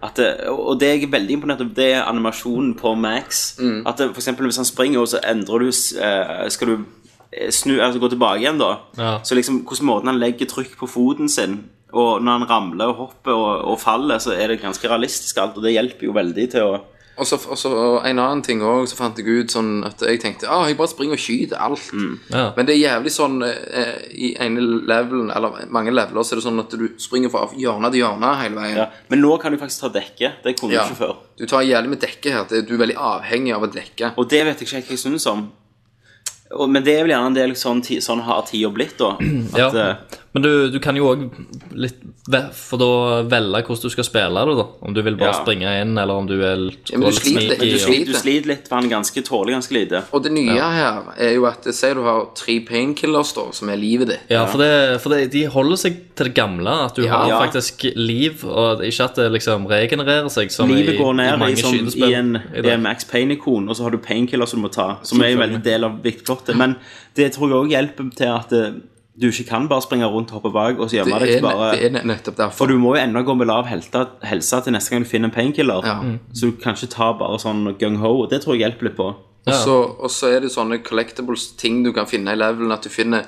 S1: At, eh, og og det jeg er veldig imponert over, det er animasjonen på Max. At det, for eksempel hvis han springer, så endrer du s- eh, Skal du eh, snu, altså gå tilbake igjen, da.
S2: Ja.
S1: Så liksom hvordan måten han legger trykk på foten sin, og når han ramler og hopper og, og faller, så er det ganske realistisk alt, og det hjelper jo veldig til å
S3: Og så, og så og en annen ting òg, så fant jeg ut sånn at jeg tenkte ah, jeg bare springer og skyter alt.
S1: Mm.
S2: Ja.
S3: Men det er jævlig sånn eh, i ene levelen, eller mange leveler, så er det sånn at du springer fra hjørne til hjørne hele veien.
S1: ja. Men nå kan du faktisk ta dekke. Det kunne
S3: Ja.
S1: du ikke før.
S3: Du tar jævlig med dekke her. det- Du er veldig avhengig av et dekke.
S1: Og det vet jeg ikke helt hva jeg syns om. Og, men det er vel gjerne en del sånn, ti, sånn har tida blitt, da. At,
S2: Ja.
S1: eh,
S2: Men du, du kan jo òg litt ve- For da velge hvordan du skal spille det, da. Om du vil bare
S1: Ja.
S2: springe inn, eller om du vil
S3: Ja, men du sliter litt, men du
S2: og-
S3: sliter.
S1: du sliter litt, for han ganske tåler ganske lite.
S3: Og det nye her er jo at Si du har tre painkillers, da, som er livet ditt.
S2: Ja, for, det, for det, de holder seg til det gamle. At du
S3: Ja.
S2: har
S1: Ja.
S2: faktisk liv, og ikke at det liksom regenererer seg. Som
S1: Livet går
S2: i
S1: ned i,
S2: mange
S1: sånn, i
S2: skytespill
S1: en,
S2: i
S1: i
S2: dag.
S1: en Max Payne-ikon, og så har du painkiller som du må ta, som er en veldig del av viktigplottet. Men det tror jeg òg hjelper til at eh, du ikke kan bare springe rundt, hoppe bak og så
S3: Det
S1: gjemme
S3: er,
S1: deg.
S3: ne-
S1: Bare,
S3: det er ne- nettopp
S1: For
S3: derfor.
S1: du må jo ennå gå med lav helte, helse til neste gang du finner en painkiller.
S3: Ja. Mm.
S1: Så du kan ikke ta bare sånn gung-ho. og Det tror jeg hjelper litt på.
S3: Og så- Og så er det sånne collectibles ting du kan finne i levelen. At du finner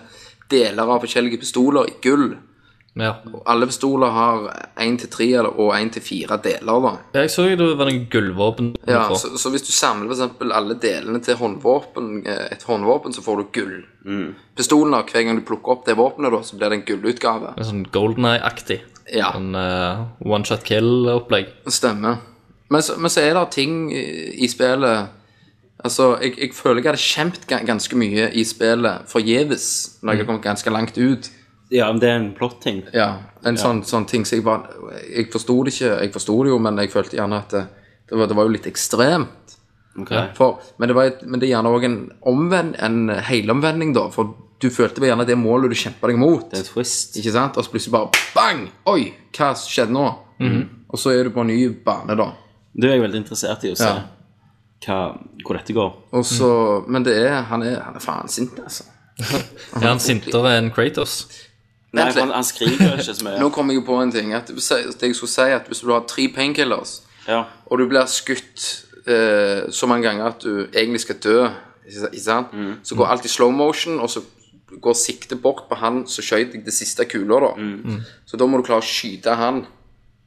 S3: deler av forskjellige pistoler i gull.
S2: Ja.
S3: Og alle pistoler har én til tre eller- og én til fire deler. da
S2: Jeg så jo det var noen gullvåpen du
S3: Ja,
S2: får.
S3: så, så hvis du samler for eksempel alle delene til håndvåpen, eh, et håndvåpen, så får du gull. Pistolen har hver gang du plukker opp det våpenet, da, så blir det en gullutgave.
S2: En sånn Golden Eye-aktig.
S3: Ja,
S2: En one shot kill-opplegg.
S3: stemmer. Men så, men så er det ting i i spillet Altså, jeg, jeg føler jeg hadde kjempet ga- ganske mye i spillet forgjeves når jeg har kommet ganske langt ut.
S1: Ja, men det er en plot-ting.
S3: Ja, en Sånn, sånn ting som jeg bare Jeg forsto det ikke. Jeg forsto det jo, men jeg følte gjerne at det, det, var, det var jo litt ekstremt.
S1: Okay.
S3: For, men, det var et, men det er gjerne òg en, omvend- en helomvending, da. For du følte vel gjerne det målet du kjempa deg mot.
S1: Det er en twist.
S3: Ikke sant? Og så plutselig bare bang! Oi, hva skjedde nå? Og så er du på en ny bane, da.
S1: Det er jeg veldig interessert i å se
S3: Ja.
S1: hva, hvor dette går.
S3: Og så, Men det er han, er han er faen sint, altså.
S2: Er han sintere enn Kratos?
S1: Nei,
S3: Vent
S1: for
S3: litt.
S1: han, han skriker ikke så mye.
S3: Nå kommer jeg jo på en ting. At, det jeg skulle si at Hvis du har tre painkillers,
S1: Ja.
S3: og du blir skutt eh, så mange ganger at du egentlig skal dø, ikke ikke sant? så går alt i slow motion, og så går siktet bort på han som skjøt deg det siste kula, da. Så da må du klare å skyte han.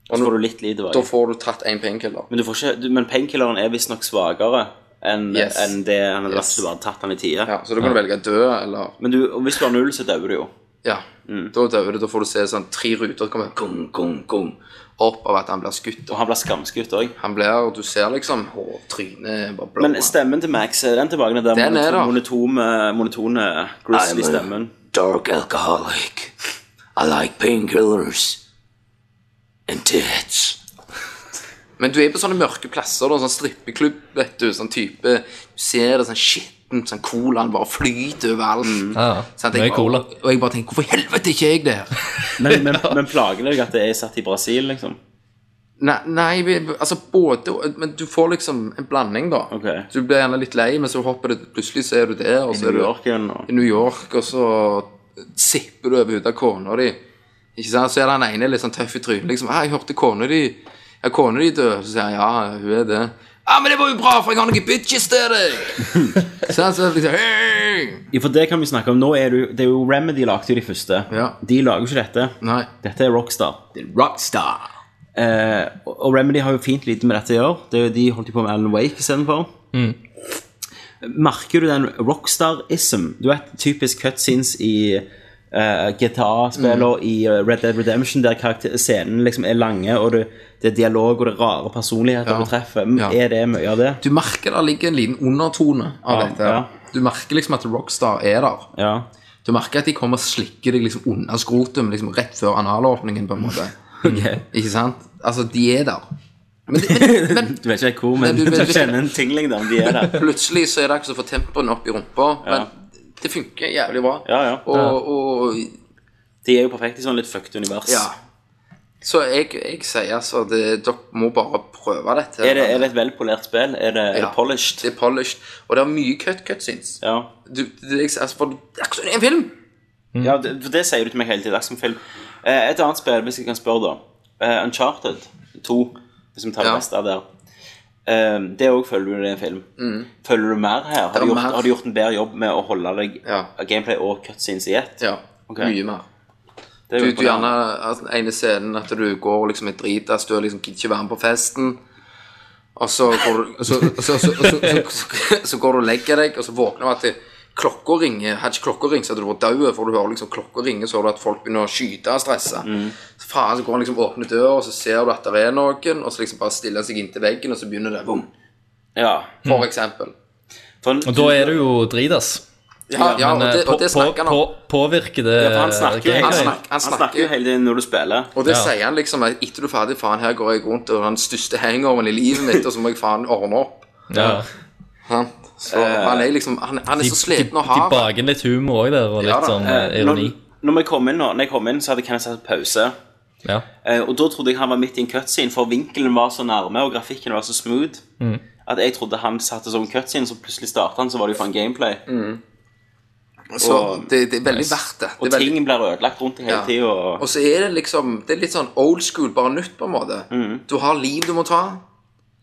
S1: Så får du litt lite
S3: Da
S1: tilbake.
S3: får du tatt én painkiller.
S1: Men, du får ikke, du, men painkilleren er visstnok svakere enn
S3: Yes.
S1: enn det han hadde vært
S3: Yes.
S1: hvis du bare hadde tatt han i tide.
S3: Ja, så da kan du velge å dø, eller
S1: Men du, og hvis du har null, så dauer du jo.
S3: Ja. Da dør du. Da får du se sånn tre ruter komme gung, gung, gung, opp av at han blir skutt.
S1: Og han blir skamskutt òg.
S3: Han blir, og du ser liksom hår, trynet bare blå.
S1: Men stemmen til Max, er den tilbake? Den, der
S3: Den er der.
S1: monotone, monotone grizzly-stemmen.
S9: Dark alcoholic. I like painkillers and tits.
S3: Men du er på sånne mørke plasser, da, sånn strippeklubb, vet du, sånn type Du ser det sånn skittent, sånn colaen bare flyter overalt.
S2: Mm. Ja,
S3: Sånn at
S2: mye
S3: jeg bare-
S2: cola.
S3: Og jeg bare tenker, hvorfor i helvete er ikke jeg der?
S1: Men, men, men plager det deg at det er satt i Brasil, liksom?
S3: Nei, nei, vi- altså både Men du får liksom en blanding, da.
S1: Ok.
S3: Du blir gjerne litt lei, men så hopper det plutselig, så er du der, og så er
S1: New
S3: du
S1: York igjen og
S3: i New York, og så sipper du over hodet av kona di. Ikke sant? Så er den ene litt sånn tøff i trynet. Liksom, «Ah, 'Jeg hørte kona di Ja, kona di død.' Så sier han 'Ja, hun er det'. 'Ja, men det var jo bra, for jeg har noen bitches til deg'. så han så liksom «Hey!»
S1: Ja, For det kan vi snakke om. Nå er du, det er jo Remedy lagde jo de første.
S3: Ja.
S1: De lager jo ikke dette.
S3: Nei.
S1: Dette er Rockstar.
S3: Rockstar.
S1: Eh, og- og Remedy har jo fint lite med dette å gjøre. Det er jo De holdt jo på med Alan Wake istedenfor. Mm. Merker du den rockstar-ism? Du vet typisk cutscenes i eh, GTA-spiller i eh, Red Dead Redemption, der karakter- scenen liksom er lange, og det, det er dialog og det er rare personligheter
S3: Ja.
S1: du treffer. M-
S3: Ja.
S1: Er det mye av det?
S3: Du merker det ligger en liten undertone av
S1: Ja,
S3: dette.
S1: ja.
S3: Du merker liksom at Rockstar er der.
S1: Ja.
S3: Du merker at de kommer og slikker deg liksom under skrotum liksom rett før analåpningen, på en måte.
S1: Mm.
S3: Ikke sant? Altså, de er der. Men, men, men
S1: Du vet ikke helt hvor, men
S3: Nei,
S1: du,
S3: du vet ikke.
S1: kjenner en tingling der om de er der.
S3: Plutselig så er det akkurat som å få tempoen opp i rumpa, men det funker jævlig bra.
S1: Ja, ja.
S3: Og, og
S1: De er jo perfekte i sånn litt fucked univers.
S3: ja. Så jeg, jeg sier altså at det- dere må bare prøve dette.
S1: Er, det, er det et velpolert spill? Er det, er
S3: Ja.
S1: det polished?
S3: Det er polished. Og det er mye cut cutscenes.
S1: Ja.
S3: Du, det, jeg, altså, for, det er akkurat som en film! Mm.
S1: Ja, det, for det sier du til meg hele tiden. Som film. Eh, et annet spill, hvis jeg kan spørre, da. Eh, Uncharted 2, hvis vi tar det
S3: Ja.
S1: beste av der. Eh, det òg føler du det er en film. Føler du mer her?
S3: Mm. Det
S1: Har
S3: er
S1: du, gjort,
S3: mer.
S1: har du gjort en bedre jobb med å holde deg
S3: Ja.
S1: gameplay og cutscenes i ett?
S3: Ja,
S1: Ok.
S3: mye mer.
S1: Det er
S3: Du,
S1: jo
S3: du
S1: imponerende.
S3: gjerne altså, den ene scenen at du går og liksom er drita, du liksom gidder ikke være med på festen. Og så går du så, så, så, så, så, så, så går du og legger deg, og så våkner du at det- klokka ringer. Hadde ikke klokka ringt, så hadde du vært død. For du hører liksom klokka ringe, så har du at folk begynner å skyte og stresse. Så faen, så går han liksom og åpner døra, og så ser du at det er noen, og så liksom bare stiller han seg inntil veggen, og så begynner det. Boom.
S1: Ja.
S3: For eksempel.
S1: For,
S2: Og da er du jo dritas.
S3: Ja, ja og,
S2: Men, eh,
S3: det, og det
S2: på-
S3: snakker han om.
S2: på- Påvirker det
S1: For han snakker jo
S2: gameplay?
S1: hele tiden.
S3: snakker- han
S1: Han snakker jo
S3: snakker.
S1: hele tiden når du spiller.
S3: Og det
S2: Ja.
S3: sier han liksom at etter du er ferdig, faen, her går jeg rundt og har den største hangoveren i livet mitt, og så må jeg faen ordne opp.
S2: Ja.
S3: Sant? Så han er liksom Han, han er
S2: Eh, De,
S3: så
S2: de,
S3: sliten og
S2: de
S3: hard.
S2: baker inn litt humor òg der, og litt
S3: Ja da.
S2: sånn eh, ironi.
S1: Når, når, vi kom inn, nå- når jeg kom inn, så hadde Kenneth hatt pause.
S2: Ja.
S1: Eh, Og da trodde jeg han var midt i en cutscene, for vinkelen var så nærme, og grafikken var så smooth, at jeg trodde han satte som cutscene, så plutselig startet han, så var det jo faen gameplay.
S3: Mm. Så
S1: og-
S3: det, det er veldig verdt det.
S1: Og
S3: det er veldig,
S1: ting blir ødelagt rundt i hele
S3: Ja.
S1: tiden, og...
S3: Og så er det liksom Det er litt sånn old school, bare nytt, på en måte.
S2: Mm.
S3: Du har liv du må ta.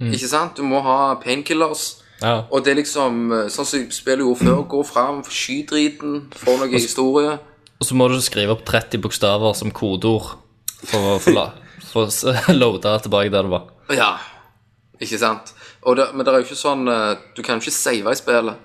S3: Ikke sant? Du må ha painkillers.
S2: Ja.
S3: Og det er liksom eh, sånn som spillet gjorde før. Gå fram, sky driten, få noe historie.
S2: Og så må du skrive opp 30 bokstaver som kodeord for å få la- for å s- loade tilbake der du var.
S3: Ja, ikke sant? Og det, men det er jo ikke sånn eh, Du kan jo ikke save i spillet.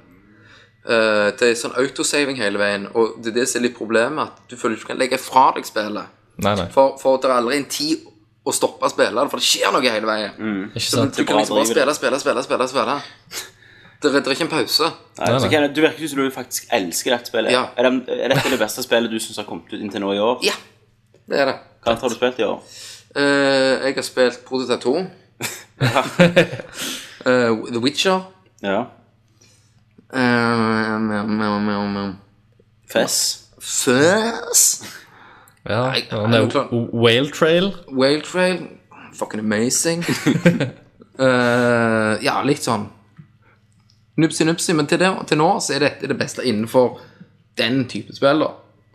S3: Eh, det er sånn autosaving hele veien, og det er det som er litt problemet. At du føler ikke du kan legge fra deg spillet.
S2: Nei, nei.
S3: For, for det er aldri en tid å stoppe spillet, for det skjer noe hele veien.
S2: Ikke
S3: Så du,
S2: sant?
S3: du kan liksom bare
S1: driver
S3: spille, spille, spille, spille. spille. Det, er- det er ikke en pause.
S1: Nei,
S2: Nei,
S1: så
S2: nei.
S1: Kenneth, du virker jo som du faktisk elsker dette spillet.
S3: Ja.
S1: Er, det, er dette det beste spillet du syns har kommet ut inntil nå i år?
S3: Ja, det er det.
S1: Hva annet har du spilt i år?
S3: Eh, jeg har spilt Prototype 2. Eh, The Witcher.
S1: Ja.
S3: Eh, mm, mm, mm, mm.
S1: Fess.
S3: Fuzz.
S2: Ja,
S3: Nei,
S2: han er
S3: er du klar?
S2: jo Whale Trail.
S3: Whale Trail. Fucking amazing. Eh, ja, litt sånn Nupsi, nupsi. Men til, det, til nå så er dette det beste innenfor den type spill, da.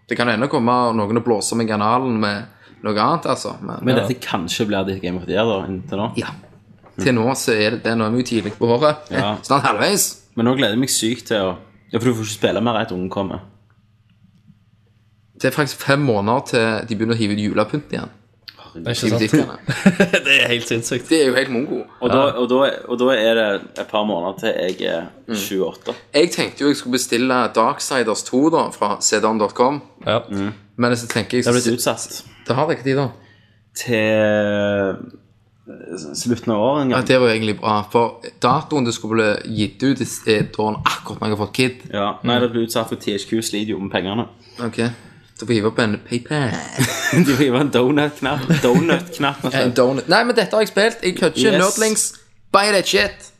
S3: Det kan ennå komme noen og blåse med kanalen med noe annet, altså. Men,
S1: Men dette kanskje blir ditt Game of the Year da, inntil nå.
S3: ja. Til nå så er det det. Nå er vi jo tidlig på året.
S1: Ja.
S3: Snart halvveis.
S1: Men nå gleder jeg meg sykt til å Ja, For du får ikke spille mer etter ungen kommer.
S3: Det er faktisk fem måneder til de begynner å hive ut julepynt igjen.
S2: Ikke
S3: i
S2: sant?
S3: butikkene.
S2: Det er helt sinnssykt.
S3: Det er jo helt mongo.
S1: Og, da, og, da, og da er det et par måneder til jeg er
S3: Mm.
S1: 28.
S3: Jeg tenkte jo jeg skulle bestille Darksiders 2 da, fra cdon.com.
S2: Ja.
S3: Mm. Men så tenker jeg
S1: Jeg er blitt utsatt
S3: Det har det ikke de, da.
S1: til slutten av året en
S3: Ja,
S1: gang.
S3: det var jo egentlig bra, for datoen det skulle bli gitt ut, er dagen akkurat når jeg har fått kid.
S1: Ja, Nei, det ble utsatt, og THQ sliter jo med pengene.
S3: Ok, Så får vi hive opp en PayPal.
S1: De river en donut-knapp. Donut-knapp.
S3: En donut. Nei, men dette har jeg spilt. Jeg kødder ikke.
S1: Yes.
S3: Nerdlings. Buy that shit.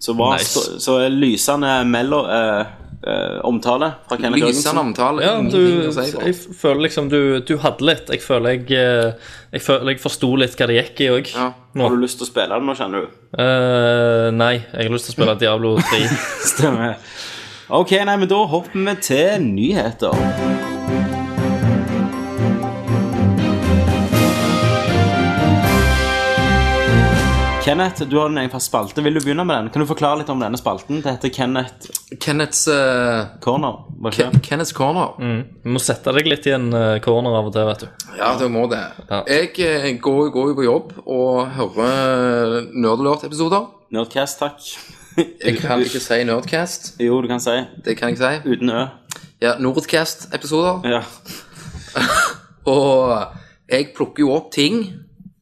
S1: Så, var,
S2: Nice.
S1: så, så er lysende mellom eh, eh, omtale fra Kenneth
S3: Lysende
S1: Jørgensen.
S3: omtale.
S2: Ja, du,
S3: ingenting å si
S2: jeg
S3: for.
S2: føler liksom du, du hadde litt. Jeg føler jeg, eh, jeg, føler jeg forsto litt hva det gikk i òg.
S3: Ja.
S1: Har du lyst til å spille det nå, kjenner du?
S2: Eh, nei, jeg har lyst til å spille Diablo 3.
S1: Stemmer. Ok, nei, men da hopper vi til nyheter. Kenneth, du har din egen fast spalte. Vil du begynne med den? Kan du forklare litt om denne spalten? Det heter Kenneth
S3: Kenneths, eh,
S1: Corner. Var
S3: Ke
S1: ikke det?
S3: Kenneths Corner.
S2: Mm. Du må sette deg litt i en eh, corner av og til, vet du.
S3: Ja, du må det.
S2: Ja.
S3: Jeg eh, går går jo på jobb og hører Nerdlort-episoder.
S1: Nerdcast, takk.
S3: Jeg kan ikke si Nerdcast.
S1: Jo, du kan si.
S3: Det kan jeg si.
S1: Uten Ø.
S3: Ja, Nordcast-episoder.
S1: Ja.
S3: Og jeg plukker jo opp ting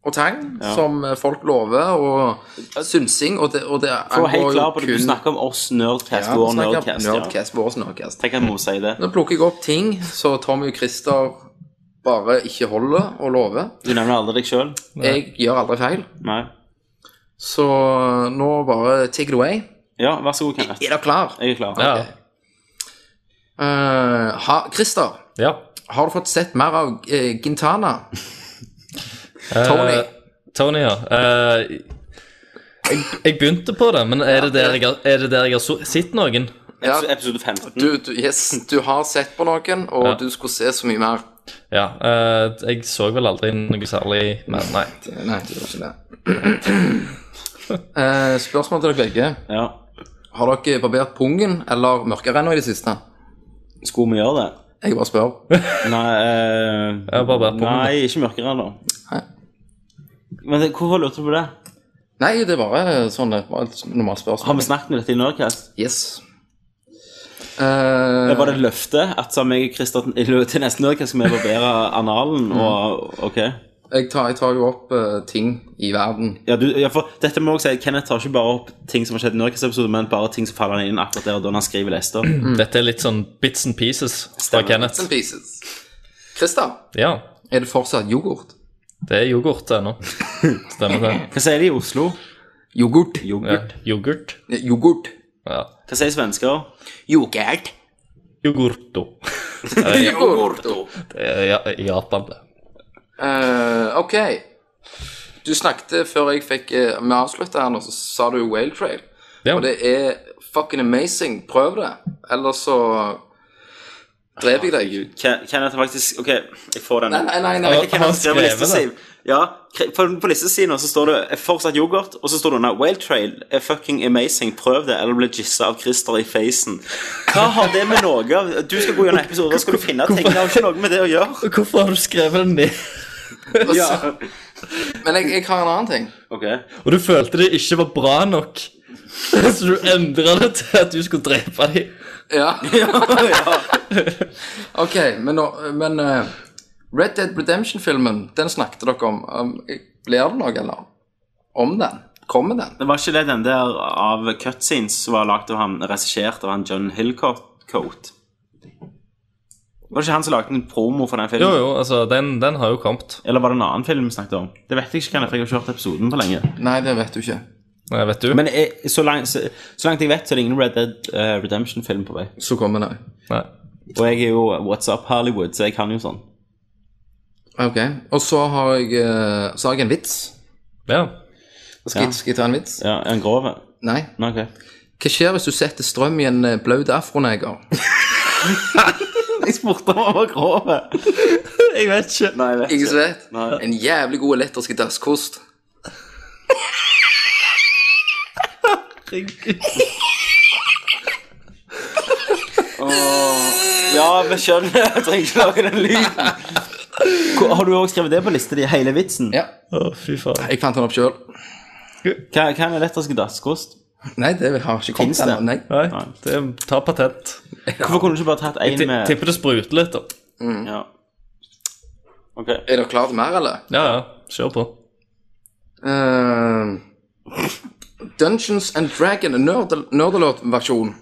S3: og tang som folk lover, og synsing, og det, og det
S1: For å være
S3: angår
S1: helt
S3: jo
S1: klar på det, du
S3: kun-
S1: snakker om oss Nerdcast,
S3: ja,
S1: vår
S3: snakker om
S1: Nerdcast. Ja.
S3: Nerdcast, vår Nerdcast.
S1: Tenk at vi må si det.
S3: Nå plukker jeg opp ting så Tommy og Christer bare ikke holder og lover.
S1: Du nevner aldri deg sjøl?
S3: Jeg gjør aldri feil.
S1: Nei.
S3: Så nå bare take it away.
S1: Ja, vær så god, Kenneth.
S3: Er dere klar?
S1: Jeg er klar.
S2: Ja.
S3: Eh, ha, Christer,
S2: ja.
S3: har du fått sett mer av eh, Gintana? Tony.
S2: Eh, Tony, ja. Eh, jeg, jeg begynte på det, men er det der jeg har, er det der jeg har so- sett noen?
S3: Ja.
S1: Episode 15.
S3: Du, du, yes, du har sett på noen, og
S2: Ja.
S3: du skulle se så mye mer.
S2: Ja. eh, jeg så vel aldri noe særlig Men nei.
S3: Nei, det gjør ikke det. Eh, spørsmål til dere begge.
S1: Ja.
S3: Har dere barbert pungen eller mørkerenna i det siste?
S1: Skulle vi gjøre det?
S3: Jeg bare spør.
S1: Nei, eh,
S2: Jeg har bare vært på
S1: nei ikke mørkere ennå.
S3: Nei.
S1: Men det, hvorfor lurte du på det?
S3: Nei, det er bare sånn det var et normalt
S1: Har
S3: spørsmål.
S1: vi snakket med dette i Nerdcast?
S3: Yes. Eh,
S1: Det var det et
S3: Mm.
S1: løfte at sammen med meg og Christer til til neste Nerdcast skal vi barbere analen og OK.
S3: Jeg tar, jeg tar jo opp eh, ting i verden.
S1: Ja, du, ja, for dette må jeg også si, Kenneth tar ikke bare opp ting som har skjedd i Norges episode, men bare ting som faller inn akkurat der og da når han skriver lester.
S2: Dette er litt sånn bits and pieces fra
S1: Stemmer.
S2: Kenneth.
S3: Bits and pieces. Christer,
S2: Ja,
S3: er det fortsatt yoghurt?
S2: det er yoghurt ennå. Stemmer det.
S1: Hva sier de i Oslo?
S3: Yoghurt.
S2: Ja.
S1: Yoghurt.
S2: Yoghurt.
S3: Eh, Yoghurt.
S2: Ja.
S1: Hva sier svensker?
S3: Yoghurt.
S2: Yoghurto.
S3: Yoghurt.
S2: Det er ja, i Japan, det.
S3: Eh, ok. Du snakket før jeg fikk eh, Vi avslutta her nå, så sa du Whale Trail.
S2: Ja.
S3: Og det er fucking amazing. Prøv det. Ellers så dreper jeg deg.
S1: Ken- Kenneth har faktisk Ok, jeg får den.
S3: Nei, nei, nei. nei.
S2: Ja.
S1: Ikke Kenneth
S2: Han
S1: skrev på
S2: skrev det.
S1: listesiden. Ja, kre- på- på listesiden så står det eh, fortsatt yoghurt, og så står det under Whale Trail er fucking amazing, prøv det, eller bli jissa av Christer i facen. Hva har det med noe av- Du skal gå gjennom episoder, skal du finne ting. Det har ikke noe med det å gjøre.
S2: Hvorfor har du skrevet den ned?
S3: Men jeg, jeg har en annen ting.
S1: Ok,
S2: Og du følte det ikke var bra nok. Så du endra det til at du skulle drepe dem.
S3: Ja. ok, men, nå- men eh, Red Dead Redemption-filmen, den snakket dere om. Um, Blir det noe, eller? Om den? Kommer den?
S1: Det var ikke det den der av cutscenes som var lagd av han regissert av han John Hillcoat? Var det ikke han som lagde en promo for den
S2: Jo,
S1: filmen?
S2: jo, altså, den, den har jo kommet.
S1: Eller var det en annen film vi snakket om? Det vet jeg ikke, Kenneth, for jeg har ikke hørt episoden på lenge.
S3: Nei, det vet du ikke.
S2: Nei, vet du.
S1: Men jeg, så, langt, så, så langt jeg vet, så er det ingen Red Dead eh, Redemption-film på vei.
S3: Så kommer den.
S2: Nei.
S1: Og jeg er jo What's Up Hollywood, så jeg kan jo sånn.
S3: Ok, og så har jeg, eh, så har jeg en vits.
S2: Ja.
S3: Skal, jeg, skal jeg ta en vits?
S1: Ja, En grov en?
S3: Nei.
S1: Nei, ok.
S3: Hva skjer hvis du setter strøm i en eh, blaut afroneger?
S1: Jeg spurte om han var grov.
S2: Jeg vet ikke.
S1: Nei, jeg vet
S3: Ingen som vet?
S1: Nei.
S3: En jævlig god elektrisk dasskost.
S1: Ja, vi skjønner. Jeg trenger ikke lage den lyden. Hvor- Har du òg skrevet det på lista di, hele vitsen?
S3: Ja,
S2: Å, fy faen.
S3: jeg fant den opp sjøl.
S1: Hva, hva er en elektrisk dasskost?
S3: Nei, det har ikke kommet
S1: Finns det?
S3: ennå. Nei.
S2: Nei, det, ta patent.
S1: Hvorfor kunne du ikke bare tatt
S2: Jeg
S1: én
S2: ti-
S1: med
S2: tipper det spruter litt, da.
S1: ja. Ok.
S3: Er dere klare til mer, eller?
S2: Ja, ja. Kjør på.
S3: Eh, Dungeons and Dragon nerdel- Nerdelord-versjon.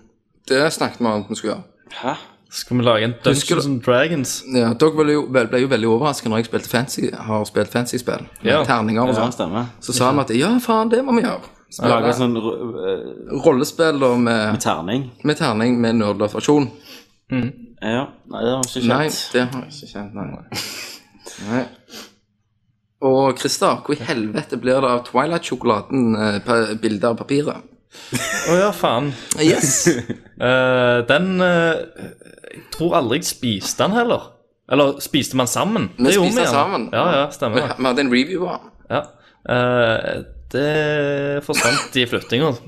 S3: Det snakket vi om at vi skulle gjøre.
S1: Hæ?
S2: Skal vi lage en
S3: Husker
S2: Dungeons
S3: du-
S2: and Dragons?
S3: Ja, dere ble jo, vel- ble jo veldig overrasket når jeg spilte fancy, har spilt fancy-spill. med
S2: Ja.
S3: Terninger og
S1: Ja,
S3: sånn.
S1: stemmer.
S3: Så sa vi at ja, faen, det må vi gjøre.
S1: Lage
S3: Spille
S1: sånn uh,
S3: rollespill og med,
S1: terning.
S3: med terning med nerdelord-versjon.
S1: Ja. Nei, det har jeg ikke
S3: Nei,
S1: skjedd.
S3: det har jeg ikke kjent. Nei. nei. Og Christer, hvor i helvete blir det av Twilight-sjokoladen-bildet av papiret?
S2: Å ja, faen.
S3: Yes!
S2: Eh, den eh, Jeg tror aldri jeg spiste den heller. Eller spiste man sammen?
S3: Vi
S2: Det gjorde
S3: spiste den
S2: gjerne.
S3: sammen.
S2: Ja, ja,
S3: Vi
S2: stemmer det.
S3: vi hadde en review av den.
S2: Ja. Eh, det forsvant i flyttinga.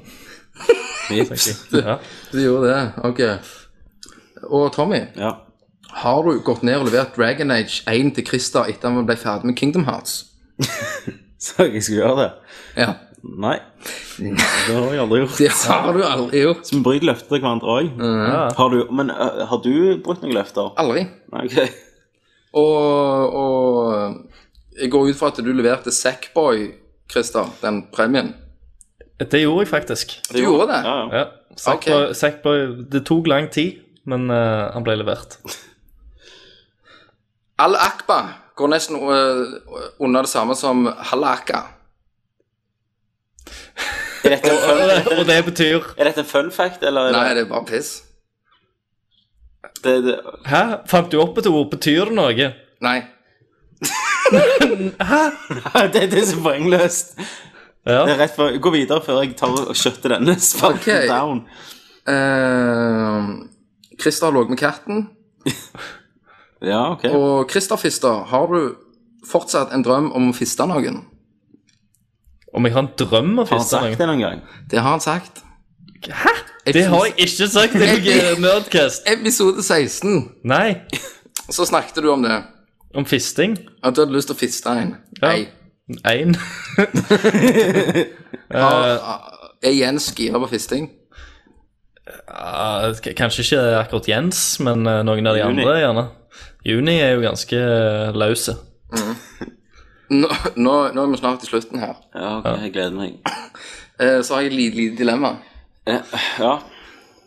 S2: Ja.
S3: Du gjorde det, ok. Og Tommy,
S1: Ja.
S3: har du gått ned og levert Dragon Age 1 til Krista etter han ble ferdig med Kingdom Hearts?
S1: Så jeg skulle gjøre det.
S3: Ja.
S1: Nei. Det har jeg aldri gjort.
S3: Det har du aldri gjort.
S1: Så vi bryter løfter til hverandre òg. Har du, men øh, har du brutt noen løfter?
S3: Aldri.
S1: Nei, ok.
S3: Og, og jeg går ut fra at du leverte Sackboy, Krista, den premien.
S2: Det gjorde jeg faktisk.
S3: Du gjorde det?
S1: Ja, ja.
S2: Ja. Sackboy, Sackboy, det tok lang tid, men eh, han ble levert.
S3: Al-Akba går nesten øh, under det samme som Halaka.
S1: Er dette en fun,
S2: Og det betyr
S1: er dette en fun fact, eller
S3: Nei,
S1: er det,
S3: det er bare piss.
S1: det, det
S2: Hæ? Fant du opp et ord? Betyr det noe?
S3: Nei.
S1: det, det er så poengløst.
S2: Ja.
S1: Det er rett for, Gå videre før jeg tar og kjøtter denne sparken
S3: Ok.
S1: down.
S3: Eh, Krista lå med katten.
S1: Ja, ok.
S3: Og Krista Fister, har du fortsatt en drøm om å fiste noen?
S2: Om jeg har en drøm å
S1: Har han
S2: fiste
S1: sagt
S2: noe?
S1: det noen gang?
S3: Det har han sagt. Hæ?
S2: Det har jeg ikke sagt i noen Nerdcast.
S3: Episode 16
S2: Nei.
S3: så snakket du om det.
S2: Om fisting?
S3: At du hadde lyst til å fiste en.
S2: Ja.
S3: Nei.
S2: Én.
S3: Er Jens gira på fisting?
S2: Ja, k- kanskje ikke akkurat Jens, men eh, noen av de
S1: Juni.
S2: andre, gjerne. Juni er jo ganske eh, løse.
S3: Nå, nå, nå er vi snart til slutten her.
S1: Ja, ok, jeg gleder meg.
S3: Eh, så har jeg et lite, lite dilemma.
S1: Ja, ja.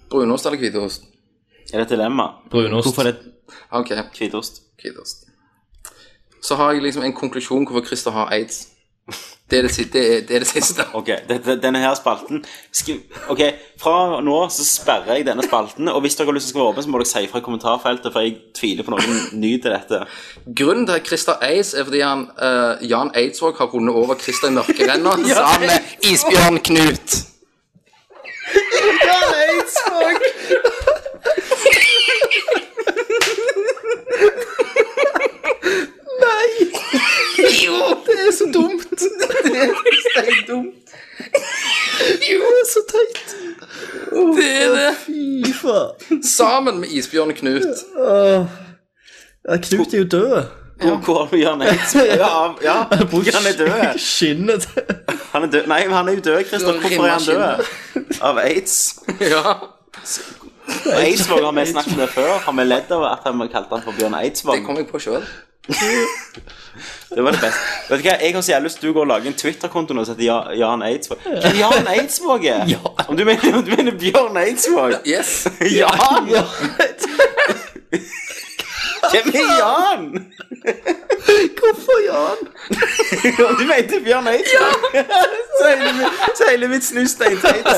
S3: Brunost eller hvitost? Ah,
S1: er det et dilemma?
S2: Brunost.
S1: Hvorfor er det
S3: Ok,
S1: hvitost?
S3: hvitost. Så har jeg liksom en konklusjon hvorfor Christer har aids. Det er det, si- det, er, det, er det siste.
S1: Ok, dette, denne her spalten skri- Ok, Fra nå så sperrer jeg denne spalten. Og hvis dere har lyst til å være åpen, så må dere si fra i kommentarfeltet, for jeg tviler på noen ny til dette.
S3: Grunnen til at Christer aids, er fordi han, eh, Jan Eidsvåg har vunnet over Christer i mørkerenna sammen med Isbjørn Knut. Sammen med Isbjørn Knut.
S2: Knut er jo død.
S1: Hvor hvor har du Jan Eidsvåg? Ja, ja, han er død.
S2: Skinnet
S1: Han er død. Nei, men han er jo død, Christer. Hvorfor er han død? Av aids?
S3: Ja.
S1: Eidsvåg har vi snakket om det før. Har vi ledd over at han kalte han for Bjørn
S3: Det
S1: Eidsvåg?
S3: kom jeg på sjøl.
S1: Det var det beste. Vet du hva, Jeg har så jævlig lyst til å gå og lage en Twitter-konto nå som heter Ja- Jan Eidsvåg. Hvem Jan Eidsvåg er? Om, du mener, om du mener Bjørn Eidsvåg?
S3: Yes.
S1: Jan! Hvem er Jan?
S2: Hvorfor Jan?
S1: Om du mente Bjørn Eidsvåg? så hele mitt- så hele mitt snus steinteite.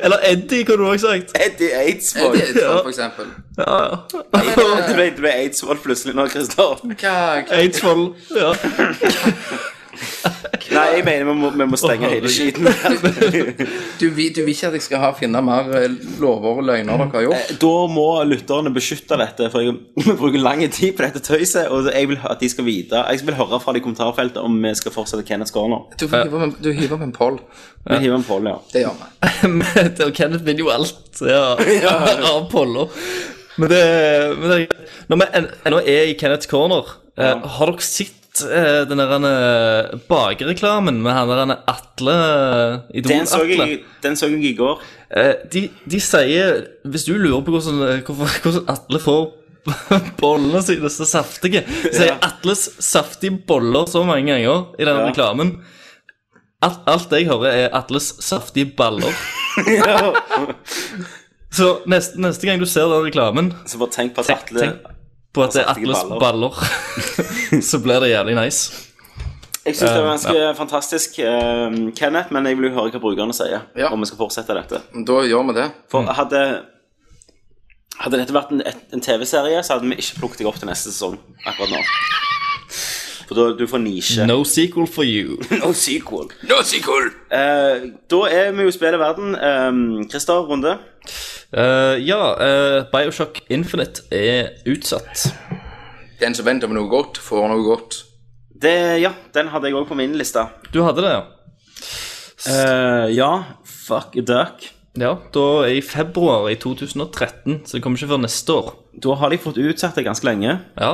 S2: Eller Eddie, kunne du også sagt.
S1: Eddie Eidsvåg.
S3: Det er det, for eksempel.
S2: Ja, ja.
S1: Du ble, du ble Eidsvoll plutselig nå, Kristian.
S3: Hva, hva?
S2: Eidsvoll. Ja.
S1: Nei, jeg mener vi må, vi må stenge hele skiten.
S3: Du, vil- du vil ikke at jeg skal ha, finne mer eh, lover og løgner dere har gjort?
S1: Da må lytterne beskytte dette, for jeg vi bruker lang tid på dette tøyset. Og jeg vil at de skal vite Jeg vil høre fra de i kommentarfeltet om vi skal fortsette Kenneth Corner.
S3: Du hiver med, du hiver med en poll.
S1: Vi hiver en poll, ja.
S3: Det gjør vi.
S2: Men det- og Kenneth vinner jo alt ja, av Pollo. Men det, men det Når vi en- ennå er i Kenneths corner, eh, har dere sett eh, den der eh, bakereklamen med han der han er Atle eh,
S1: Den så
S2: Idol-Atle?
S1: jeg, den så jeg i går.
S2: Eh, de, de sier Hvis du lurer på hvordan, eh, hvorfor, hvordan Atle får bollene sine så saftige, så sier
S1: Ja.
S2: Atles saftige boller så mange ganger i den
S1: Ja.
S2: reklamen. At, alt jeg hører, er Atles saftige baller. så neste, neste gang du ser den reklamen,
S1: Så bare tenk på at
S2: tenk,
S1: Atle
S2: tenk på at det er
S1: saftige
S2: Atles
S1: baller.
S2: baller. så blir det jævlig nice.
S1: Jeg syns det var ganske fantastisk, eh, Kenneth, men jeg vil jo høre hva brukerne sier.
S3: Ja.
S1: Om vi skal fortsette dette.
S3: Da gjør vi det.
S1: For hadde, hadde dette vært en, et- en TV-serie, så hadde vi ikke plukket deg opp til neste sesong akkurat nå. For da du får nisje.
S2: No sequel for you.
S1: No sequel. Eh, da er vi jo spillet verden. Um, Christer, runde.
S2: Eh, ja, eh, Bioshock Infinite er utsatt.
S3: Den som venter på noe godt, får noe godt.
S1: Det, ja, den hadde jeg òg på min liste.
S2: Du hadde det, ja?
S1: Eh, ja. Fuck a duck.
S2: Ja, da er i februar i 2013, så det kommer ikke før neste år.
S1: Da har de fått utsatt det ganske lenge.
S2: Ja.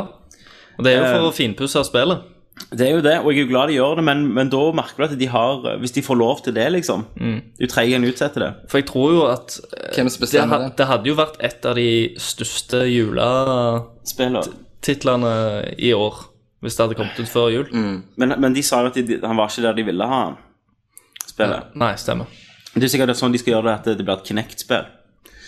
S2: Og det er jo for
S1: Eh.
S2: å finpusse spillet.
S1: Det er jo det, og jeg er jo glad de gjør det, men, men da merker du at de har Hvis de får lov til det, liksom.
S2: Mm.
S1: Du trenger en utsetter det.
S2: For jeg tror jo at eh,
S3: Hvem som
S2: det,
S3: bestemmer
S2: ha-
S3: det?
S2: det hadde jo vært et av de største juletitlene
S1: Spiller.
S2: i år. Hvis det hadde kommet ut før jul.
S1: Men, men de sa jo at de, han var ikke der de ville ha han. Spillet.
S2: Nei, stemmer.
S1: Det er sikkert sånn de skal gjøre det, at det blir et Kinect-spill.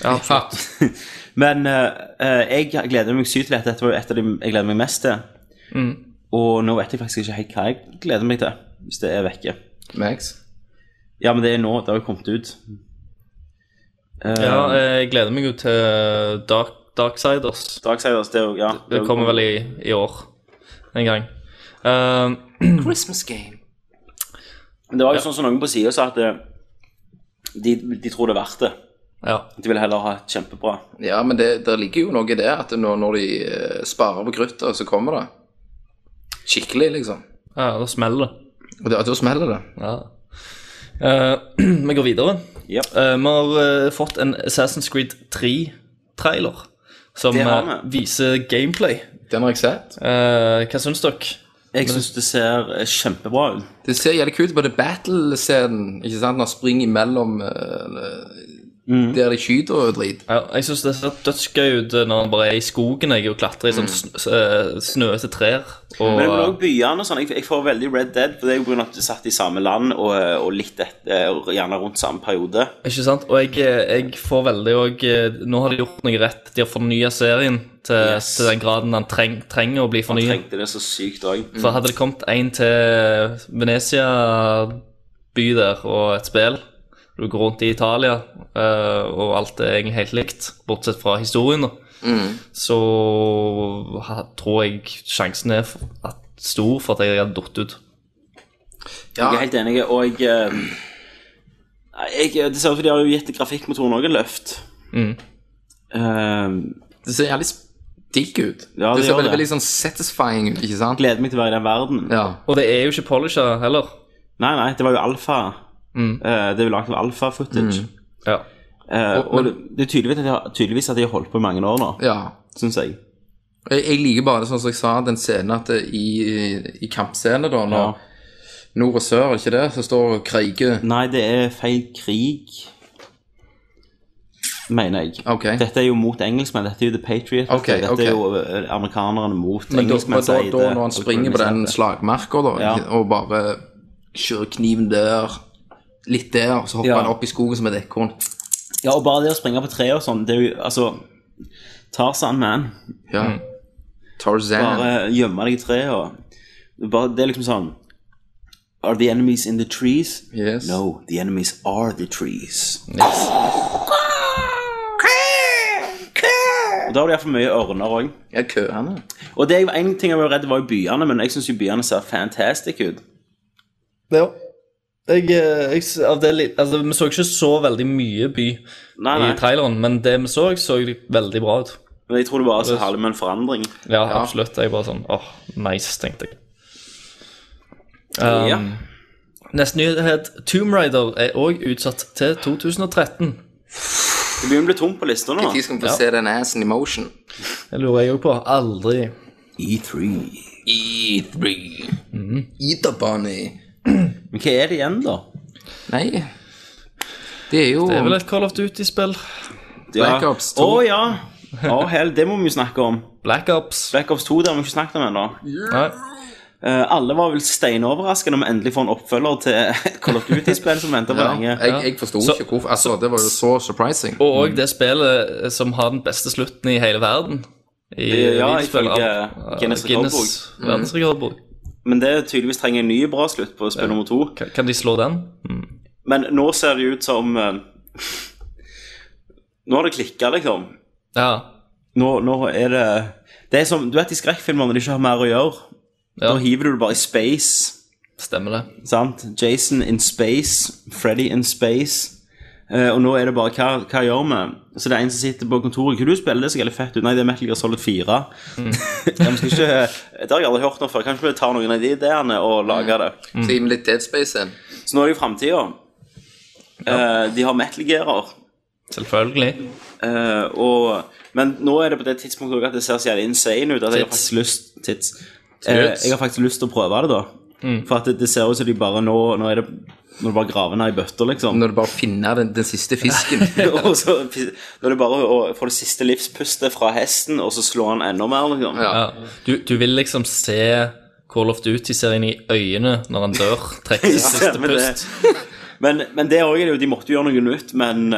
S2: Ja, absolutt.
S1: Men eh, eh, jeg gleder meg sykt til dette. Dette var jo et av de jeg gleder meg mest til.
S2: Mm.
S1: Og nå vet jeg faktisk ikke helt hva jeg gleder meg til, hvis det er vekke.
S3: Max?
S1: Ja, men det er nå. Det har jo kommet ut. Eh,
S2: Ja, jeg gleder meg jo til Dark, Darksiders.
S1: Darksiders, det er jo ja,
S2: Det kommer vel i, i år en gang. Eh,
S3: Christmas game.
S1: Men det var jo sånn som noen på sida sa at eh, de, de tror det er verdt det.
S2: ja.
S1: De vil heller ha et kjempebra.
S3: Ja, men det, der ligger jo noe i det at når, når de eh, sparer på kruttet, så kommer det. Skikkelig, liksom.
S2: ja, da smeller det.
S3: Og da, da smeller det.
S2: Ja. Eh, vi går videre.
S1: Yep.
S2: Eh, vi har eh, fått en Assassin's Creed 3-trailer som
S1: Det har
S2: eh,
S1: vi.
S2: viser gameplay.
S3: Den har jeg sett.
S2: Eh, hva syns dere?
S1: Jeg syns det ser eh, kjempebra ut.
S3: Det ser jævlig kult ut på det battle-scenen, ikke sant? Når han springer imellom eh, der de skyter og drit.
S2: Ja, jeg syns det ser dødsgøy ut når han bare er i skogen jeg, og klatrer i sånn sn eh, snøete trær. Og,
S1: Mm. Men også byene og sånn. Jeg, jeg får veldig Red Dead. For det er jo på grunn av at det er satt i samme land og, eh, og litt et, og gjerne rundt samme periode.
S2: eh, Ikke sant? Og jeg, eh, jeg får veldig òg Nå har de gjort noe rett. De har fornya serien til,
S1: Yes.
S2: til den graden den treng, trenger å bli
S1: Jeg
S2: fornya.
S1: trengte det så sykt òg.
S2: For hadde det kommet en til Venezia by der og et spill Du går rundt i Italia, eh, og alt er egentlig helt likt, bortsett fra historien, da.
S1: Mm.
S2: Så ha- tror jeg sjansen er f- at, stor for at jeg hadde datt ut.
S1: Jeg er
S3: Ja,
S1: helt enig, og jeg, eh, nei, jeg eh, Det ser ut som de har jo gitt grafikkmotoren òg et løft. Eh,
S3: det ser jævlig sp- digg ut.
S1: Ja, det
S3: det ser
S1: gjør
S3: veldig,
S1: det.
S3: veldig sånn satisfying ut, ikke sant?
S1: gleder meg til å være i den verden.
S3: Ja.
S2: Og det er jo ikke polisha heller.
S1: Nei, nei, det var jo alfa. Eh, det er jo lagd av alfa-footage.
S2: Ja.
S1: Eh,
S3: Og-
S1: og det, det er tydeligvis at, de har, tydeligvis at de har holdt på i mange år nå,
S3: ja.
S1: syns jeg.
S3: Jeg, jeg liker bare, sånn som jeg sa, den scenen at det, i, i kampscenen, da, når
S1: Ja.
S3: nord og sør, er det ikke det, som står og kriger
S1: Nei, det er feil krig, mener jeg.
S3: Ok.
S1: Dette er jo mot engelskmenn. Dette er jo The Patriot.
S3: Ok,
S1: dette
S3: ok.
S1: er jo eh, amerikanerne mot
S3: Men da,
S1: engelskmenn.
S3: men da,
S1: sier
S3: da
S1: det,
S3: når
S1: og
S3: han springer på den
S1: koloniserte.
S3: slagmarka da,
S1: Ja.
S3: og bare kjører kniven der, litt der, og så hopper
S1: Ja.
S3: han opp i skogen som et ekorn.
S1: Ja, og bare det å springe på treet og sånn, det er jo altså Tarzan, man.
S3: Ja. Tarzan.
S1: Mm. Bare gjemme deg i treet og bare, Det er liksom sånn Are the enemies in the trees?
S3: Yes.
S1: No, the enemies are the trees. Og Da har du iallfall mye ørner òg.
S3: Ja, køene.
S1: Og det er jo en ting jeg var redd var jo byene, men jeg syns jo byene ser fantastic ut.
S2: Ja. Jeg, eh, jeg, s- av det, li- altså, vi så ikke så veldig mye by
S1: Nei, nei,
S2: i traileren, men det vi så, så veldig bra ut.
S1: men jeg tror det bare er så herlig med en forandring.
S2: Ja, absolutt. Jeg bare sånn åh, nice, tenkte jeg. Um,
S1: ja.
S2: Neste nyhet Tomb Raider er òg utsatt til 2013.
S1: Det begynner å bli tomt på lista nå.
S3: De skal vi få se den assen i motion.
S2: Det lurer jeg òg på. Aldri.
S1: E3.
S3: E3. Eater bunny.
S1: Men hva er det igjen, da?
S3: Nei. Det er jo
S2: Det er vel et Call of Duty-spill.
S3: Black Ops 2.
S1: Å ja. Å, hell, det må vi jo snakke om.
S2: Black Ops.
S1: Black Ops 2 det har vi ikke snakket om ennå.
S2: Nei.
S1: Eh, alle var vel steinoverraskende om vi endelig får en oppfølger til Call of Duty-spill som venter på
S3: ja,
S1: lenge.
S3: jeg, jeg forsto
S2: Så-
S3: ikke hvorfor. Altså, det var jo så surprising.
S2: Og òg det spillet som har den beste slutten i hele verden. I
S1: Ja,
S2: videospill
S1: ifølge
S2: av- av
S1: Guinness Mm.
S2: Guinness verdensrekordbok.
S1: Men det tydeligvis trenger en ny bra slutt på spill nummer to.
S2: Kan- Kan de slå den?
S1: Men nå ser det ut som eh, Nå har det klikka, liksom.
S2: Ja.
S1: Nå, nå er det Det er som Du vet i skrekkfilmer når de ikke har mer å gjøre.
S2: ja.
S1: Da hiver du det bare i space.
S2: Stemmer det.
S1: Sant? Jason in space. Freddy in space. Eh, og nå er det bare hva, hva gjør vi? Så det er en som sitter på kontoret. Hva du spiller det så jævlig fett ut? Nei, det er Metal Gear Solid 4. ja, men skal ikke, det har jeg aldri hørt noe før. Kanskje vi tar noen av de ideene og lager det.
S2: Mm.
S3: Så gi meg litt Dead Space igjen.
S1: Så nå er det jo framtida. de har Metal Gearer.
S2: Selvfølgelig.
S1: eh, og, men nå er det på det tidspunktet også at det ser så jævlig insane ut. At jeg har
S2: Tits.
S1: faktisk lyst Tits. Eh, jeg har faktisk lyst til å prøve det, da. For at det, det ser ut som de bare nå Nå er det Når du bare graver ned i bøtter, liksom.
S3: Når du bare finner den, den siste fisken.
S1: og så Nå er det bare å få det siste livspustet fra hesten, og så slå han enda mer, liksom.
S3: Ja.
S2: Ja. Du, du vil liksom se Call of Duty-serien i øynene når han dør. Trekke sitt siste
S1: Stemmer det.
S2: pust.
S1: Men, men det òg er det jo De måtte jo gjøre noe nytt, men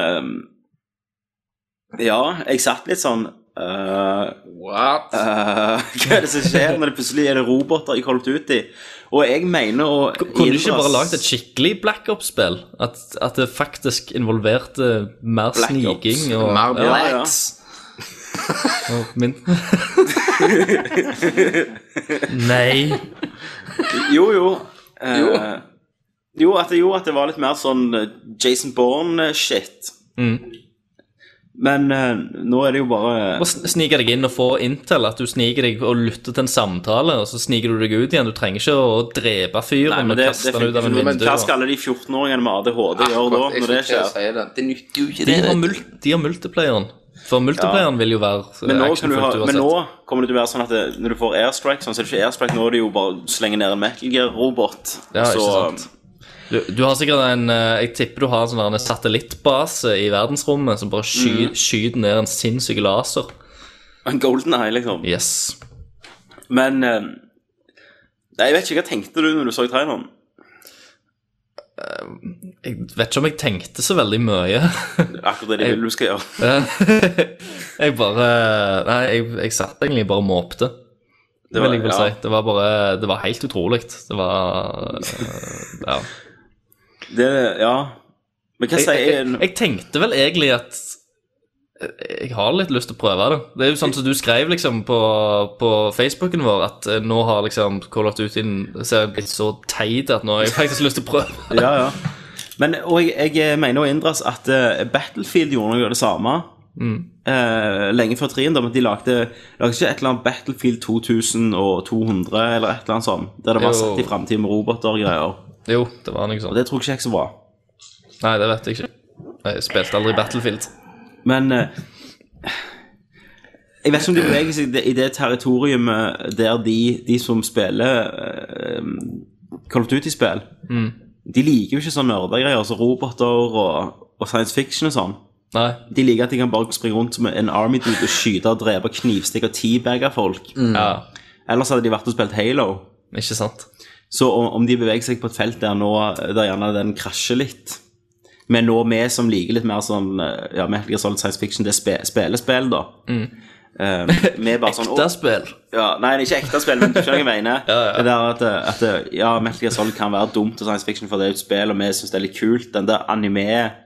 S1: eh, Ja, jeg satt litt sånn eh,
S3: What?
S1: Eh, hva er det som skjer når det plutselig er det roboter i Call of Duty? Og jeg mener å
S2: Kunne du ikke bare lagd et
S1: et
S2: skikkelig Black Ops-spill? At, at det faktisk involverte mer
S1: Black
S2: sniking og
S3: Mer
S1: ja,
S3: blacks.
S1: ja.
S2: og min... Nei.
S1: Jo, jo. Eh, jo, at, det- jo, at det var litt mer sånn eh, Jason Bourne-shit.
S2: Mm.
S1: Men eh, nå er det jo bare
S2: Og sn- snike deg inn og få intel. At du sniker deg og lytter til en samtale, og så sniker du deg ut igjen. Du trenger ikke å drepe
S1: Nei,
S2: fyren
S1: men
S2: og
S1: det,
S2: kaste
S1: det
S2: han ut av en
S1: men
S2: vindu.
S1: hva
S2: og-
S1: skal alle de 14-åringene med ADHD gjøre da,
S3: Akkurat, jeg
S1: når det
S3: skulle til å
S1: skjer?
S3: si det. Det nytter jo ikke
S2: De
S3: det.
S2: har, mul de har multiplayeren. For multiplayeren vil jo være eh,
S1: Men nå, kan du
S2: actionfullt
S1: ha,
S2: uansett.
S1: men nå kommer det til å være sånn at det, når du får airstrike, sånn, så er det ikke airstrike, nå er det jo bare å slenge ned en Metal Gear-robot.
S2: Ja, ikke
S1: så
S2: sant. Du, du har sikkert en eh, Jeg tipper du har en sånn der en satellittbase i verdensrommet som bare sky,
S1: Mm.
S2: skyter ned en sinnssyk laser.
S1: En golden eye, liksom.
S2: Yes.
S1: Men eh, Nei, jeg vet ikke, hva tenkte du når du så traileren?
S2: Jeg vet ikke om jeg tenkte så veldig mye.
S1: Akkurat det de vil du skal gjøre.
S2: jeg bare Nei, jeg, jeg satt egentlig bare og måpte. Det,
S1: var-
S2: vil jeg vel
S1: ja.
S2: si. Det var bare Det var helt utrolig. Det var eh, Ja.
S1: Det, ja. Men hva
S2: jeg,
S1: sier
S2: jeg, jeg tenkte vel egentlig at eh, jeg har litt lyst til å prøve det. Det er jo sånn som du skrev liksom på, på Facebooken vår, at eh, nå har liksom Call of Duty-serien blitt så teit at nå har jeg faktisk lyst til å prøve.
S1: Ja, ja. Men, og jeg, jeg mener å inndras at eh, Battlefield gjorde noe av det samme. eh, lenge før 3 men de lagde, lagde ikke et eller annet Battlefield 2200 eller et eller annet sånt. Der det var
S2: Jo.
S1: satt i framtiden med roboter og greier.
S2: Jo, det var noe
S1: Og
S2: sånt.
S1: det tror jeg ikke er så bra.
S2: Nei, det vet jeg ikke. Jeg spilte aldri Battlefield.
S1: Men eh, jeg vet ikke om de beveger seg i det- i det territoriet der de, de som spiller eh, Call of Duty-spill De liker jo ikke sånne nerdegreier, altså roboter og, og science fiction og sånn.
S2: Nei.
S1: De liker at de kan bare springe rundt som en army dude og skyte og drepe, knivstikke og teabagge folk.
S2: Ja,
S1: Ellers hadde de vært og spilt Halo.
S2: ikke sant.
S1: Så om om de beveger seg på et felt der nå der gjerne den krasjer litt Men nå vi som liker litt mer sånn eh, Ja, Metal Gear Solid Science Fiction, det er spe spillespill, da. Eh, vi er bare sånn
S2: Det er spill.
S1: «Å, ja, Nei, det er ikke ekte spill, men du skjønner hva jeg mener. Det der at, eh, at eh, ja, Metal Gear Solid kan være dumt og science fiction, for det er jo et spill, og vi syns det er litt kult, den der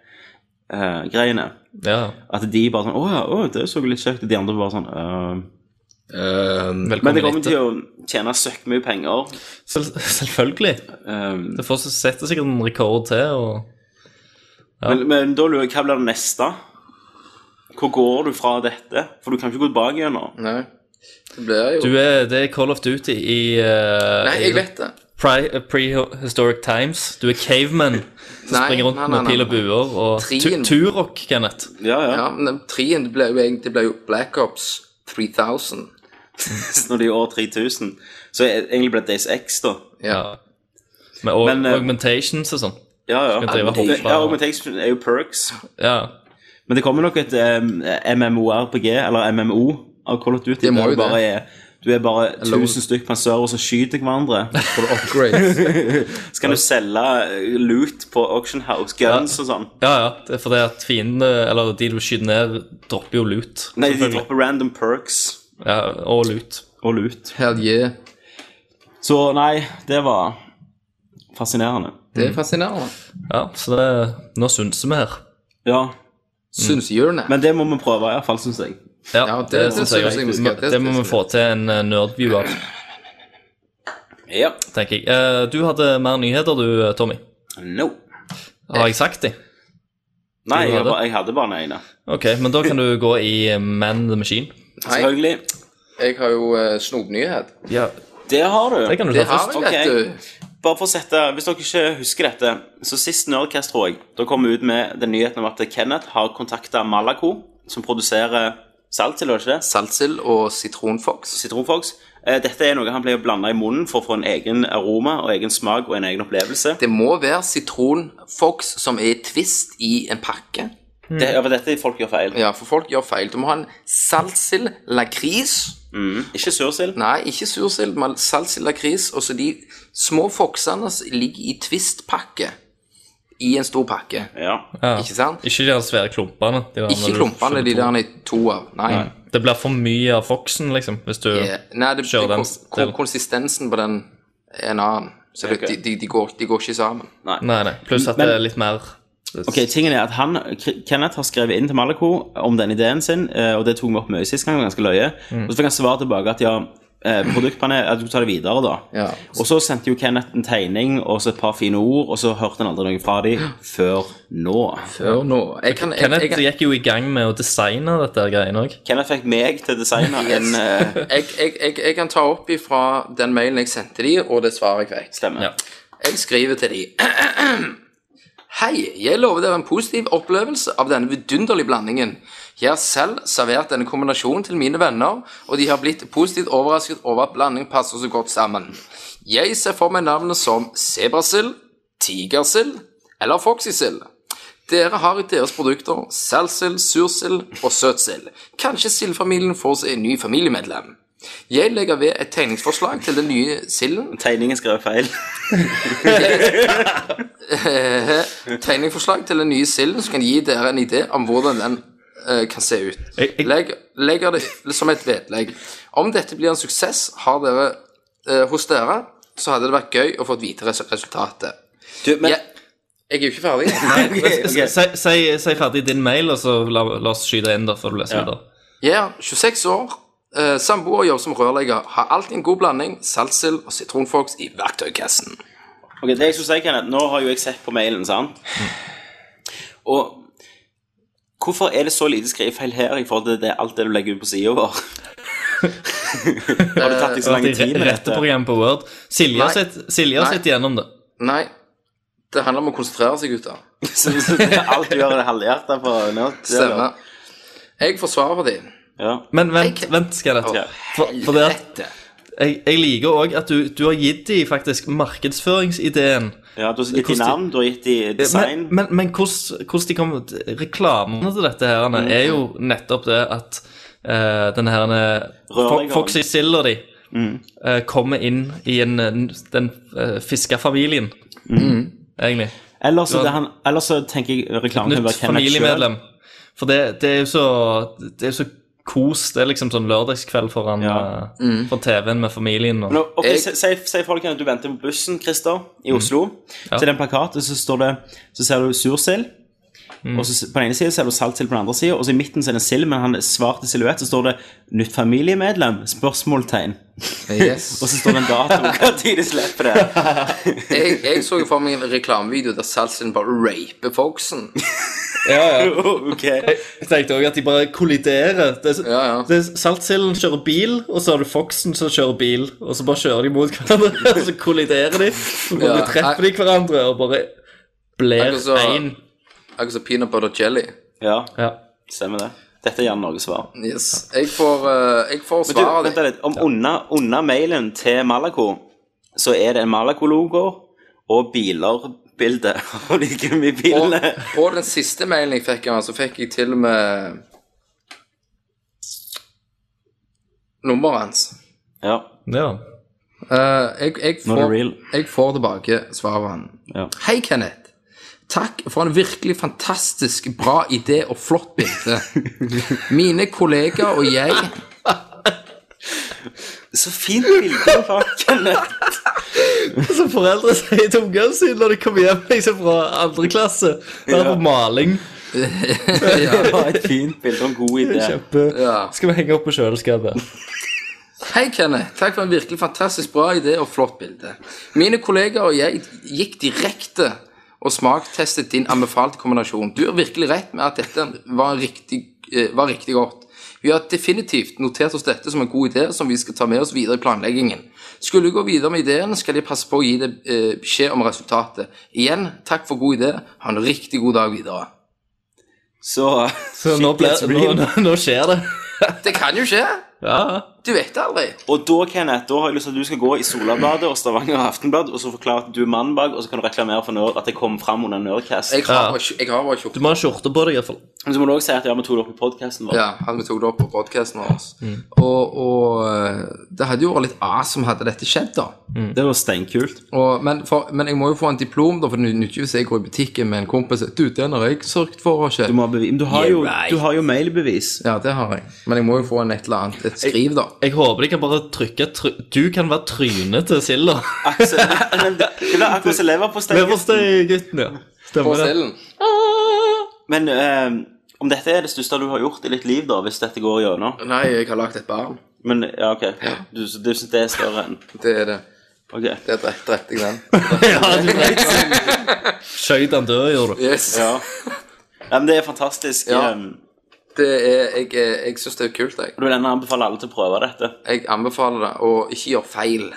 S1: eh, anime-greiene.
S2: Ja.
S1: At de bare sånn Å ja, å, det så litt kjekt ut. De andre bare sånn «Øh». Um, Men det
S2: Velkommen
S1: kommer
S2: hit.
S1: til å tjene søkk mye penger.
S2: Sel selvfølgelig.
S1: Um,
S2: Det får setter sikkert en rekord til. og...
S1: men, men da lurer jeg, hva blir det neste? Hvor går du fra dette? For du kan ikke gå tilbake igjen nå.
S3: Nei. Det blir jo
S2: Du er, det er Call of Duty i eh,
S3: Nei,
S2: i-
S3: jeg vet det.
S2: Pre- eh, Prehistoric Times. Du er caveman som
S3: Nei,
S2: springer rundt
S3: nei, nei,
S2: med pil og
S3: nei, nei.
S2: buer og tu-
S3: Trien.
S2: Turok, Kenneth.
S1: Ja, ja.
S3: Ja, men den trien det ble jo egentlig det ble jo Black Ops 3000.
S1: Når de er i år 3000. Så er- egentlig ble det Days X, da.
S3: Ja.
S2: Med og,
S1: Men, eh,
S2: augmentations og sånn.
S1: Ja, ja.
S2: Skal drive
S1: Det-
S2: hopp fra-
S1: ja Augmentation er jo perks.
S2: Ja.
S1: Men det kommer nok et um, MMORPG, eller MMO, av Call of Duty.
S3: Det må
S1: der
S3: jo
S1: du bare
S3: det.
S1: er du er bare
S3: Hello.
S1: 1000 stykk på en server som skyter hverandre.
S3: For upgrades.
S1: Så kan du selge eh, loot på Auction House, guns og sånn.
S2: ja, ja. Det er fordi at fiendene, eller de du skyter ned, dropper jo lut.
S1: Nei, de
S2: selvfølgelig.
S1: dropper random perks
S2: ja, og lut.
S1: og loot.
S3: Hell yeah.
S1: Så nei, det var fascinerende.
S3: Det er
S2: Mm.
S3: fascinerende.
S2: Ja, så det, nå synser vi her.
S1: Ja,
S3: Syns Jørn det?
S1: men det må vi prøve, iallfall, syns jeg.
S2: Ja,
S3: Ja, det- det synes
S2: synes
S3: jeg
S2: jeg
S3: vi skal-
S2: det,
S3: det-
S2: må
S3: det-
S2: vi få til en eh, nerdview av,
S1: Ja.
S2: tenker jeg. Eh, du hadde mer nyheter du, eh, Tommy.
S1: No.
S2: Har jeg sagt de?
S1: Nei,
S2: Du
S1: jeg,
S2: hadde?
S1: ba- jeg hadde bare den ene.
S2: Ok, men da kan du gå i eh, Man the Machine.
S3: Nei,
S1: Selvfølgelig.
S3: jeg har jo uh, snopnyhet.
S2: Ja,
S1: Det har du.
S2: det kan du
S3: Det
S2: ta
S3: har
S2: først.
S3: jeg,
S1: Ok.
S3: vet du.
S1: Bare for å sette, Hvis dere ikke husker dette, så sist Nerdcast, tror jeg, da kom vi ut med den nyheten om at Kenneth har kontakta Malaco, som produserer salt til, er det ikke det?
S3: Saltsild og sitronfox.
S1: Sitronfox. Eh, Dette er noe han pleier å blande i munnen for å få en egen aroma og egen smak og en egen opplevelse.
S3: Det må være sitronfox som er twist i en pakke.
S1: Det, ja, for dette er folk gjør feil.
S3: Ja, for folk gjør feil. Du må ha en saltsild lakris.
S1: Ikke sursild.
S3: Nei, ikke sursild, men salsild lakris. Og så de små foksene som ligger i twist-pakke. I en stor pakke.
S1: Ja.
S2: Ja.
S3: Ikke sant?
S2: Ikke de der svære klumpene. De der når
S3: Ikke
S2: du
S3: klumpene, de
S2: skjønner
S3: der i to av. Nei.
S2: to. Det blir for mye av Foxen, liksom, hvis du
S3: Eh, Nei, det,
S2: Kjør den
S3: kon- kon
S2: til.
S3: konsistensen på den er en annen. Så det-
S1: Ok.
S3: de, de, de, går, de går ikke sammen.
S2: Nei, nei. Pluss at
S1: Men-
S2: det er litt mer
S1: Ok, tingen er at han, K- Kenneth har skrevet inn til Malaco om den ideen sin, eh, og det tok vi opp mye sist gang, ganske løye. Og så fikk han svar tilbake at ja, eh, produktpanel, at du tar det videre da.
S3: Ja.
S1: Og så sendte jo Kenneth en tegning og så et par fine ord, og så hørte han aldri noe fra dem før nå.
S3: Før nå. Jeg kan, jeg, jeg,
S2: Kenneth
S3: jeg,
S2: gikk jo i gang med å designe dette her greiene òg.
S1: Kenneth fikk meg til å designe en eh,
S3: jeg, jeg, jeg kan ta opp ifra den mailen jeg sendte de, og det svaret jeg fikk.
S1: stemme.
S2: Ja.
S3: Jeg skriver til de Hei, jeg lover dere en positiv opplevelse av denne vidunderlige blandingen. Jeg har selv servert denne kombinasjonen til mine venner, og de har blitt positivt overrasket over at blandingen passer så godt sammen. Jeg ser for meg navnet som sebrasild, tigersild eller foxysild. Dere har i deres produkter salsild, sursild og søtsild. Kanskje sildfamilien får seg en ny familiemedlem. Jeg legger ved et tegningsforslag til den nye silden
S1: Tegningen skrev feil.
S3: tegningforslag til den nye silden som kan gi dere en idé om hvordan den eh, kan se ut.
S2: Jeg- jeg-
S3: Legg, legger det som et vedlegg. Om dette blir en suksess har dere, eh, hos dere, så hadde det vært gøy å få vite res resultatet.
S1: Du, men
S3: jeg, jeg er jo ikke ferdig. Nei,
S1: ok.
S2: Si, si, si ferdig din mail, og så la, la oss skyte inn der før du leser
S1: Ja.
S2: videre.
S3: Jeg er 26 år, eh, samboer jobber som rørlegger, har alltid en god blanding saltsild og sitronfox i verktøykassen.
S1: Ok, det jeg skulle si, Kenneth, Nå har jo jeg sett på mailen, sant? Og hvorfor er det så lite skrivefeil her i forhold til det, alt det du legger ut på sida vår? har det tatt deg så lang
S2: Det
S1: tid
S2: er
S1: med
S2: rette
S1: dette?
S2: program på Word. Silje
S3: Nei.
S2: sitter
S3: Nei.
S2: gjennom det.
S3: Nei, det handler om å konsentrere seg, gutter.
S1: Så, så alt du gjør, er det halvhjerta for nå?
S3: Stemmer. Jeg forsvarer de.
S1: Ja.
S2: Men vent, vent skal jeg
S1: Ja.
S2: dette. For, for det at jeg, jeg liker òg at du, du har gitt dem faktisk markedsføringsideen.
S1: ja, du har gitt de
S2: Hvordan-
S1: navn, du har gitt de
S2: Men,
S1: design.
S2: men, men hvordan, hvordan de kommer Reklamene til dette her
S1: Mm.
S2: Anne, er jo nettopp det at eh, denne her
S1: Rørleggeren. Mm.
S2: Foxy Silda di eh, kommer inn i en, en- den uh, fiskefamilien,
S1: Mm.
S2: egentlig.
S1: Ellers så,
S2: du har-
S1: det han, ellers så tenker jeg reklamen kan
S2: Nytt
S1: være Kenneth sjøl.
S2: familiemedlem. For det, det er jo så Det er jo så kos. Det er liksom sånn lørdagskveld foran
S1: Ja.
S2: eh, foran TV-en med familien. Og,
S1: Ok,
S3: Jeg-
S1: si- Si si folk at du venter på bussen, Christer, i Oslo.
S2: Ja.
S1: Til den plakaten så står det Så ser du sursild. Og så, på den ene siden ser du saltsild på den andre siden og så i midten så er det en sild, men han er svart i silhuett. Så står det 'nytt familiemedlem?' spørsmålstegn.
S3: Yes.
S1: Og så står det en dato når de slipper det.
S3: Jeg, jeg så jo for meg en reklamevideo der salsen bare raper foxen.
S1: Oh, ok.
S2: Jeg tenkte òg at de bare kolliderer. Det er,
S3: Ja, ja.
S2: det er Saltsilden kjører bil, og så har du Foxen som kjører bil, og så bare kjører de mot hverandre, og så kolliderer de, og bare
S3: Ja,
S2: treffer de hverandre, og bare blir
S3: Akkurat så-
S2: én.
S3: Akkurat som Altså peanut butter jelly.
S1: Ja,
S2: Ja.
S1: stemmer det. Dette er gjerne noe svar.
S3: Yes. Jeg får, eh, jeg får
S1: Men du,
S3: svaret
S1: vent
S3: ditt.
S1: litt. Om under, under mailen til Malaco, så er det en Malaco-logo og biler-bilde av de
S3: Og
S1: gummibilene.
S3: på den siste mailen jeg fikk, ja, så fikk jeg til og med nummeret hans.
S1: Ja.
S2: ja.
S3: Eh, jeg, jeg,
S1: Not
S3: får,
S1: real.
S3: jeg får tilbake svaret han.
S1: Ja.
S3: Hei, Kenneth. Takk for en virkelig fantastisk bra idé og flott bilde. Mine kollegaer og jeg
S1: Så fint bilde, faktisk.
S2: Som foreldre sier til ungene sine når de kommer hjem liksom, fra andre klasse. Det er på maling.
S1: Det var et fint bilde og en god idé.
S2: Kjempe.
S3: Ja.
S2: Skal vi henge opp på kjøleskapet?
S3: Hei, Kenneth. Takk for en virkelig fantastisk bra idé og flott bilde. Mine kollegaer og jeg gikk direkte og smaktestet din anbefalte kombinasjon. Du har virkelig rett med at dette var riktig, eh, var riktig godt. Vi har definitivt notert oss dette som en god idé som vi skal ta med oss videre i planleggingen. Skulle du gå videre med ideen, skal jeg passe på å gi deg eh, beskjed om resultatet. Igjen, takk for god idé. Ha en riktig god dag videre.
S1: Så,
S2: Så nå,
S1: Shit,
S2: ble,
S1: it's
S2: nå,
S1: real.
S2: nå, nå skjer det.
S3: Det kan jo skje.
S2: Ja.
S3: Du vet aldri.
S1: Og da, Kenneth, da har jeg lyst til at du skal gå i Solabladet og Stavanger Aftenblad og så forklare at du er mann bak, og så kan du reklamere for Nerd, at jeg kom fram under Nerdcast.
S3: Jeg har bare jeg har bare
S2: Du
S3: kjorte.
S2: må ha skjorte på deg, iallfall.
S1: Men så må du også si at ja, vi tok det opp i podkasten vår.
S3: Ja, at vi tok det opp på podcasten vår. Og, og eh, det hadde jo vært litt awesome hadde dette skjedd, da.
S1: Det var steinkult.
S3: Og, men, for, men jeg må jo få en diplom, da, for det nytter jo hvis jeg går i butikken med en kompis Du, den har jeg sørget for, ikke?
S1: Du, må ha bevis. Men du, har jo, du har jo mailbevis.
S3: Ja, det har jeg. Men jeg må jo få en et eller annet, et skriv, da.
S2: Jeg håper de kan bare trykke try Du kan være trynet til Silda.
S1: Aksel, men det det blir akkurat som leverpostei.
S2: Leverstei, gutten, ja.
S3: På
S2: Stemmer det.
S3: cellen.
S1: Men eh, om dette er det største du har gjort i ditt liv, da, hvis dette går gjennom
S3: Nei, jeg har lagt et barn.
S1: Men ja, ok. Du, du syns det er større enn
S3: Det er det.
S1: Ok.
S3: Det drepte drept jeg den.
S2: Skjøt han død, gjorde du.
S3: Yes.
S1: Ja. Nei, men det er fantastisk.
S3: Ja.
S1: eh, og
S3: Det er, jeg er- jeg syns det er kult, jeg.
S1: Du vil gjerne anbefale alle til å prøve dette.
S3: Jeg anbefaler det, og ikke gjør feil.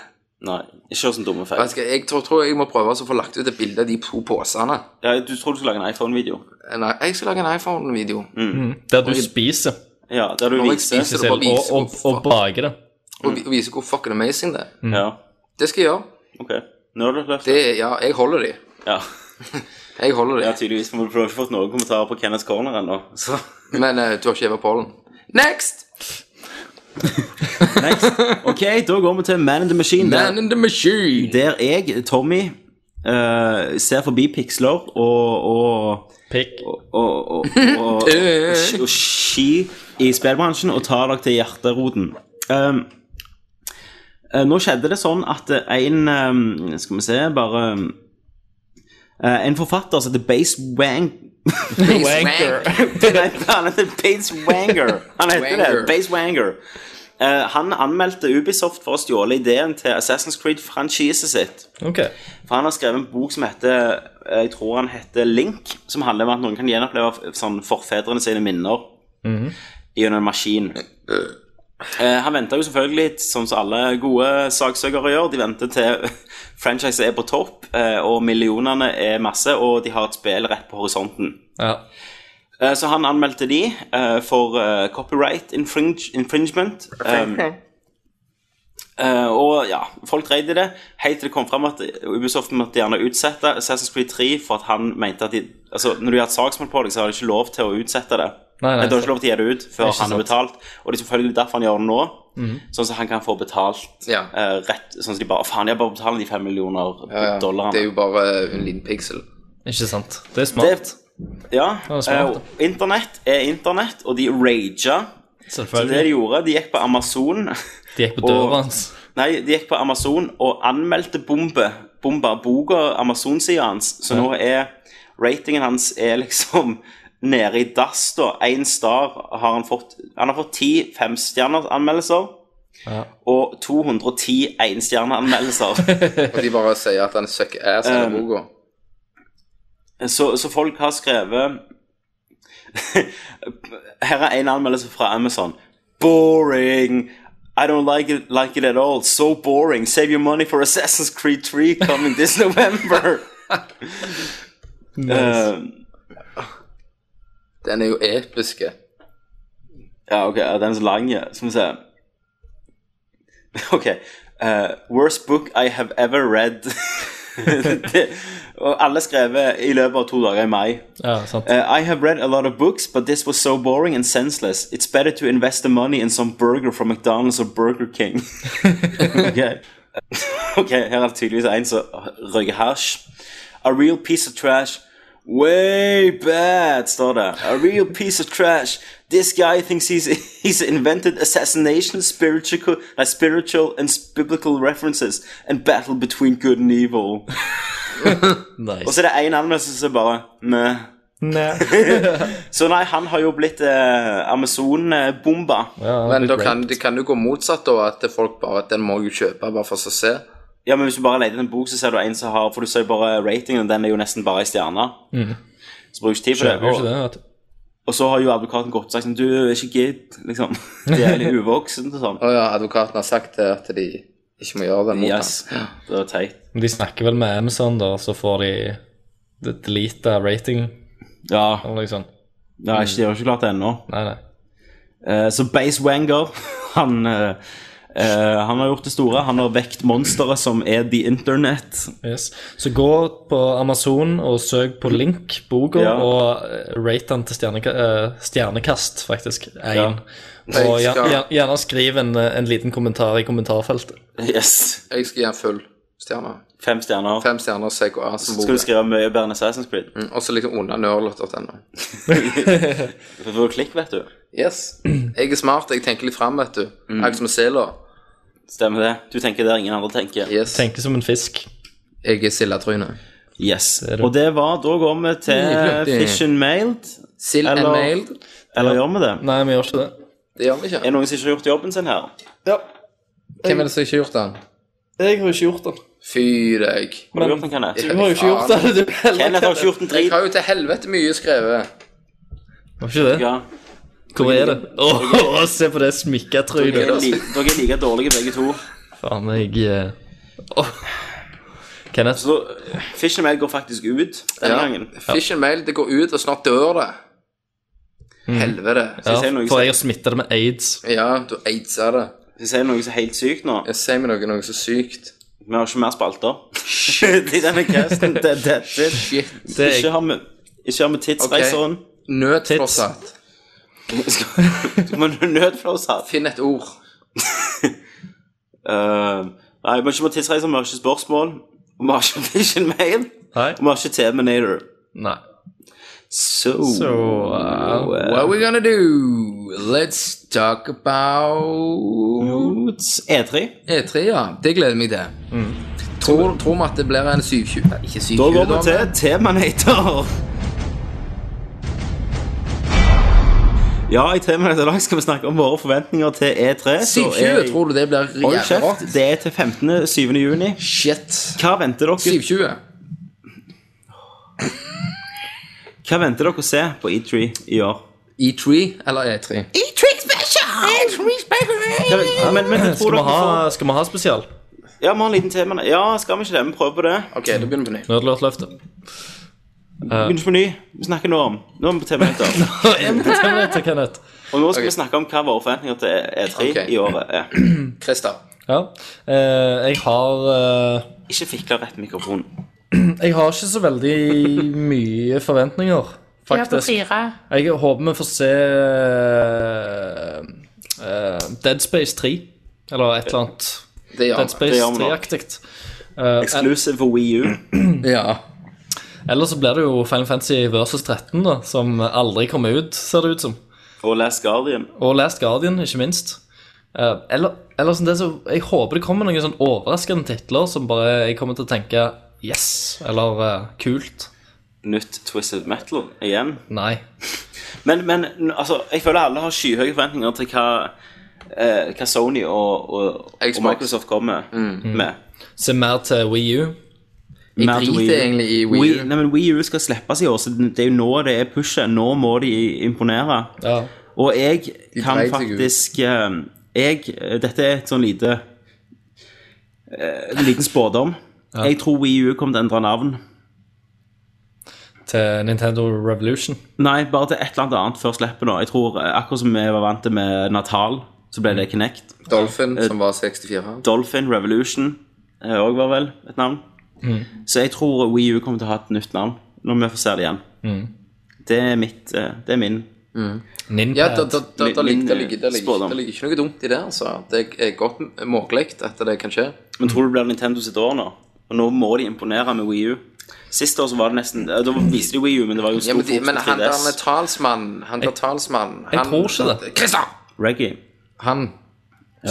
S1: Nei, ikke gjør sånne dumme feil.
S3: Jeg, skal, jeg tror, tror jeg må prøve å få lagt ut et bilde av de to posene.
S1: Ja, du tror du skal lage en iPhone-video?
S3: Nei, jeg skal lage en iPhone-video.
S2: Der du spiser
S1: Ja, der du
S3: Når jeg
S1: viser
S3: spiser- Så det
S2: selv,
S3: bare
S2: og,
S3: viser
S2: og,
S3: hvor
S2: og baker det.
S3: Og vi- og vise hvor fucking amazing det er.
S1: Ja,
S3: Det skal jeg gjøre.
S1: ok. Nerdløft.
S3: Det er, ja, jeg holder de.
S1: Ja,
S3: Jeg holder
S1: ja
S3: det.
S1: tydeligvis. For du har ikke fått noen kommentarer på Kenneth Corner ennå. Så
S3: Men eh, du har ikke hevet pollen. Next!
S1: next. Ok, da går vi til Man in the Machine.
S3: Man
S1: Der,
S3: in the machine.
S1: der jeg, Tommy, eh, ser forbi piksler og, og
S2: Pikk.
S1: og, og, og, og, sk- og ski i spillbransjen og tar dere til hjerteroten. Um, eh, nå skjedde det sånn at eh, en um, Skal vi se, bare um, eh, En forfatter som heter Base Wang...
S3: Wanker.
S1: Nei, han heter Base Wanger. Han heter
S3: Wanger.
S1: det. Base Wanger. Eh, han anmeldte Ubisoft for å stjåle ideen til Assassin's Creed-franchiset sitt.
S2: Ok.
S1: For han har skrevet en bok som heter eh, Jeg tror han heter Link, som handler om at noen kan gjenoppleve f- sånn forfedrene sine minner gjennom en maskin. Eh, han venter jo selvfølgelig, sånn som alle gode saksøkere gjør, de venter til franchiset er på topp, eh, og millionene er masse, og de har et spill rett på horisonten.
S2: Ja.
S1: Eh, Så han anmeldte de eh, for eh, copyright infringe, infringement. Um, eh, og ja, folk dreide i det, helt til det kom frem at Ubisoft måtte gjerne utsette Assassin's Creed 3 for at han mente at de Altså, når du har et saksmål på deg, så har du ikke lov til å utsette det.
S2: Nei, nei,
S1: du har ikke lov til å gi det ut før han
S2: Ikke
S1: har
S2: sant. Mhm.
S1: betalt, og det er selvfølgelig derfor han gjør det nå. Sånn at han kan få betalt
S3: Ja.
S1: eh, rett Sånn at de bare Faen, jeg bare betaler de fem millioner dollarene.
S3: Det er jo bare en liten piksel.
S2: Ikke sant. Det er smart.
S1: Ja,
S2: var smart,
S1: eh, internett er internett, og de raga. Så det de
S2: Selvfølgelig.
S1: gjorde, de gikk på Amazon
S2: De gikk på døra
S1: og-
S2: hans.
S1: Nei, de gikk på Amazon og anmeldte bombe bomba boka Amazon-sida hans. Så nå er ratingen hans er liksom nede i dass, da. Én star har han fått. Han har fått ti femstjerneanmeldelser.
S2: Ja.
S1: Og 210 enstjerneanmeldelser.
S3: Og de bare sier at han sucker
S1: Um.
S3: ass i boka.
S1: Så, så folk har skrevet Her er en anmeldelse fra Amazon. Boring! I don't like it, like it at all. So boring. Save your money for Assassin's Creed 3 coming this November. Eh,
S3: Den er jo episke.
S1: ja, ok, ja, den er så lang, ja. Skal vi se. Ok. eh, worst book I have ever read. det, og alle skrevet i løpet av to dager i mai.
S2: Ja, sant.
S1: Uh, I have read a lot of books, but this was so boring and senseless. It's better to invest the money in some burger from McDonald's or Burger King. okay. ok, her er det tydeligvis en som røyker hasj. A real piece of trash. Way bad, står det. A real piece of trash. This guy thinks he's, he's invented assassination, spiritual, nei, spiritual and biblical references, and battle between good and evil. Og
S2: Nice.
S1: så er det en anmeldelse som bare Meh.
S2: Nei.
S1: Så nei, han har jo blitt eh, Amazon-bomba.
S2: Ja,
S3: Men da
S2: litt
S3: kan,
S2: great.
S3: det kan jo gå motsatt, da. At det folk bare Den må jeg jo kjøpe, bare for å se.
S1: Ja, men hvis du bare leter etter en bok, så ser du en som har For du ser jo bare ratingen, den er jo nesten bare i stjerner. Så bruker du ikke tid på
S2: Mhm. Kjøper jo ikke
S1: det.
S2: det, vet du.
S1: Og, og så har jo advokaten gått og sagt sånn Du er ikke gidd, liksom. Det er litt uvoksent og sånn.
S3: Å ja, advokaten har sagt det, at de ikke må gjøre det mot
S1: Yes. Det var teit.
S2: Men De snakker vel med Amazon, da, så får de det delete av rating.
S1: Ja,
S2: Eller noe sånt.
S1: det er ikke, de har ikke klart det ennå.
S2: Nei, nei.
S1: Eh, så Base Wanger, han eh, eh, han har gjort det store. Han har vekt monsteret som er The Internet.
S2: Yes. Så gå på Amazon og søk på Link, boka,
S1: Ja.
S2: og eh, rate den til stjerneka eh, stjernekast, faktisk. Én.
S1: Ja.
S2: Og
S3: Jeg
S2: gjerne,
S3: skal-
S2: gjerne- gjerne skriv en, eh, en liten kommentar i kommentarfeltet.
S1: Yes.
S3: Jeg skal gi en full stjerne.
S1: Fem stjerner.
S3: Fem stjerner, CK ass i
S1: Skal du
S3: boka.
S1: skrive mye bedre enn Assassin's Creed?
S3: Og så liksom under nerdlot.no.
S1: Du får klikk, vet du.
S3: Yes. Jeg er smart, jeg tenker litt fram, vet du.
S1: Mm.
S3: Akkurat som sela.
S1: Stemmer det. Du tenker der ingen andre tenker.
S3: Yes.
S2: Tenke som en fisk.
S3: Jeg er sildatryne.
S1: Yes.
S2: er det.
S1: Og det var Da går vi
S3: Mm,
S1: til
S3: flott.
S1: Fish and Mailed.
S3: Sild and
S1: Eller-
S3: mailed.
S1: Eller gjør vi det?
S2: Nei, vi gjør ikke det.
S3: Det gjør vi
S1: Er det
S3: ikke.
S1: noen som ikke har gjort jobben sin her?
S3: Hvem er det som ikke har gjort den?
S2: Jeg har jo ikke gjort det.
S3: Fy deg.
S1: Har du gjort den, Kenneth?
S3: Du har jo ikke gjort det,
S1: Kenneth har ikke gjort en
S3: Jeg
S1: drit.
S3: har jo til helvete mye skrevet.
S2: Var ikke det?
S1: Ja.
S2: Hvor er det? Åh, se på det smykketrynet.
S1: Dere er li- dere er like dårlige begge to.
S2: Faen, jeg eh, åh. Kenneth,
S1: Så Fish and Mailed går faktisk ut denne
S3: Ja.
S1: gangen.
S3: Fish and mail, det går ut, og snart dør det.
S1: Mm.
S3: Helvete.
S2: ja,
S1: jeg si noe,
S2: for
S1: så-
S2: jeg har smittet det med aids.
S3: Ja, du aidser det.
S1: Skal jeg si noe som er helt sykt nå?
S3: Jeg sier meg noe, noe så sykt.
S1: Vi har ikke mer spalter i denne casten. Det, det, det.
S3: Shit.
S2: Det er
S1: Ikke
S2: jeg.
S1: har vi ikke har vi tidsreiseren.
S3: Nødforsatt.
S1: Men nødflåsatt.
S3: Finn et ord.
S1: Uh, nei, vi har ikke på tidsreiser, vi har ikke spørsmål. Vi har ikke Vision Mail.
S2: Nei.
S1: Og vi har ikke Terminator.
S2: Nei.
S1: Så
S2: Så
S1: eh,
S3: What are we gonna do? Let's talk about
S1: E3.
S3: E3, E ja. Det gleder jeg meg til. Tror, tror vi at det blir en 720? Nei, Ikke 720,
S1: Mm. Da går vi til
S3: men-
S1: Temanator. Ja, i Temanator i dag skal vi snakke om våre forventninger til E3. så
S3: 720,
S1: er-
S3: tror du det blir
S1: Hold
S3: jævlig
S1: kjeft,
S3: rått?
S1: det er til 15. 7. juni.
S3: Shit.
S1: Hva venter dere,
S3: 720.
S1: hva venter dere å se på E3 i år?
S3: E3 E eller E3?
S1: Hva, ja, men, men, jeg tror
S2: Skal vi
S1: dere
S2: ha,
S1: får-
S2: skal vi ha spesial?
S1: Ja, vi har en liten tema. Ja, skal vi ikke det? Vi prøver på det.
S3: Ok, da begynner vi på nytt.
S2: Nødlåtløftet.
S1: Begynner på ny. Vi snakker nå om Nå er vi på Terminator.
S2: Terminator, Kenneth.
S1: Og nå skal
S3: Ok.
S1: vi snakke om hva våre forventninger til E3
S3: Ok.
S1: i året er.
S3: Christer.
S2: Ja. Eh, jeg har eh,
S1: Ikke fikle rett mikrofon.
S2: Jeg har ikke så veldig mye forventninger,
S8: Jeg er på
S2: faktisk.
S8: fire.
S2: Jeg håper vi får se eh, Dead Space 3, eller et eller annet.
S3: Det gjør
S2: Dead
S3: vi.
S2: Space
S1: gjør vi da.
S2: 3-aktig.
S1: Exclusive for Wii U.
S3: Ja.
S2: Ellers så blir det jo Final Fantasy versus 13, da, som aldri kommer ut, ser det ut som.
S1: Og Last Guardian.
S2: Og Last Guardian, ikke minst. Eh, eller, eller sånn det så, Jeg håper det kommer noen sånn overraskende titler som bare jeg kommer til å tenke yes, eller eh, kult.
S1: Nytt Twisted Metal igjen.
S2: Nei.
S1: Men, men n- altså, jeg føler alle har skyhøye forventninger til hva, eh, hva Sony og, og, og
S3: Xbox. Mm.
S1: Microsoft kommer med.
S2: Se mer til Wii U.
S3: Jeg
S1: Mer til
S3: driter
S1: Wii U.
S3: egentlig i Wii
S1: Wii,
S3: U.
S1: nei, men Wii U skal slippes i år, så det er jo nå det er pushet. Nå må de imponere.
S2: Ja.
S1: Og jeg kan
S3: dreit seg ut.
S1: faktisk eh, jeg, Dette er et sånn lite eh, En liten spådom. Jeg tror Wii U kommer til å endre navn.
S2: til Nintendo Revolution.
S1: Nei, bare til et eller annet annet før slippet. nå. Jeg tror, eh, Akkurat som vi var vant til med Natal, så ble det Kinect.
S3: Dolphin,
S1: Eh,
S3: som var 64.
S1: Dolphin Revolution eh, også var vel et navn. Så jeg tror Wii U kommer til å ha et nytt navn når vi får se det igjen. Det er mitt eh, Det er min.
S2: Ninpad.
S3: Ja, da, da, da, da,
S1: Min-
S3: ligger- da,
S1: min,
S3: ligger- da, ligger-
S1: spådom.
S3: da ligger ikke noe dumt i det, altså. Det er godt måkelig at det kan skje.
S1: Men tror du det blir Nintendo sitt år nå? Og nå må de imponere med Wii U. Sist år så var det nesten eh, Da viste de Wii U, men det var jo
S3: Ja,
S1: stor
S3: men, de,
S1: fokus
S3: men
S1: på
S3: han der
S1: 3DS.
S3: med talsmann Han der talsmann
S2: jeg
S3: han,
S2: tror ikke det.
S3: Christer!
S1: Reggae.
S3: Han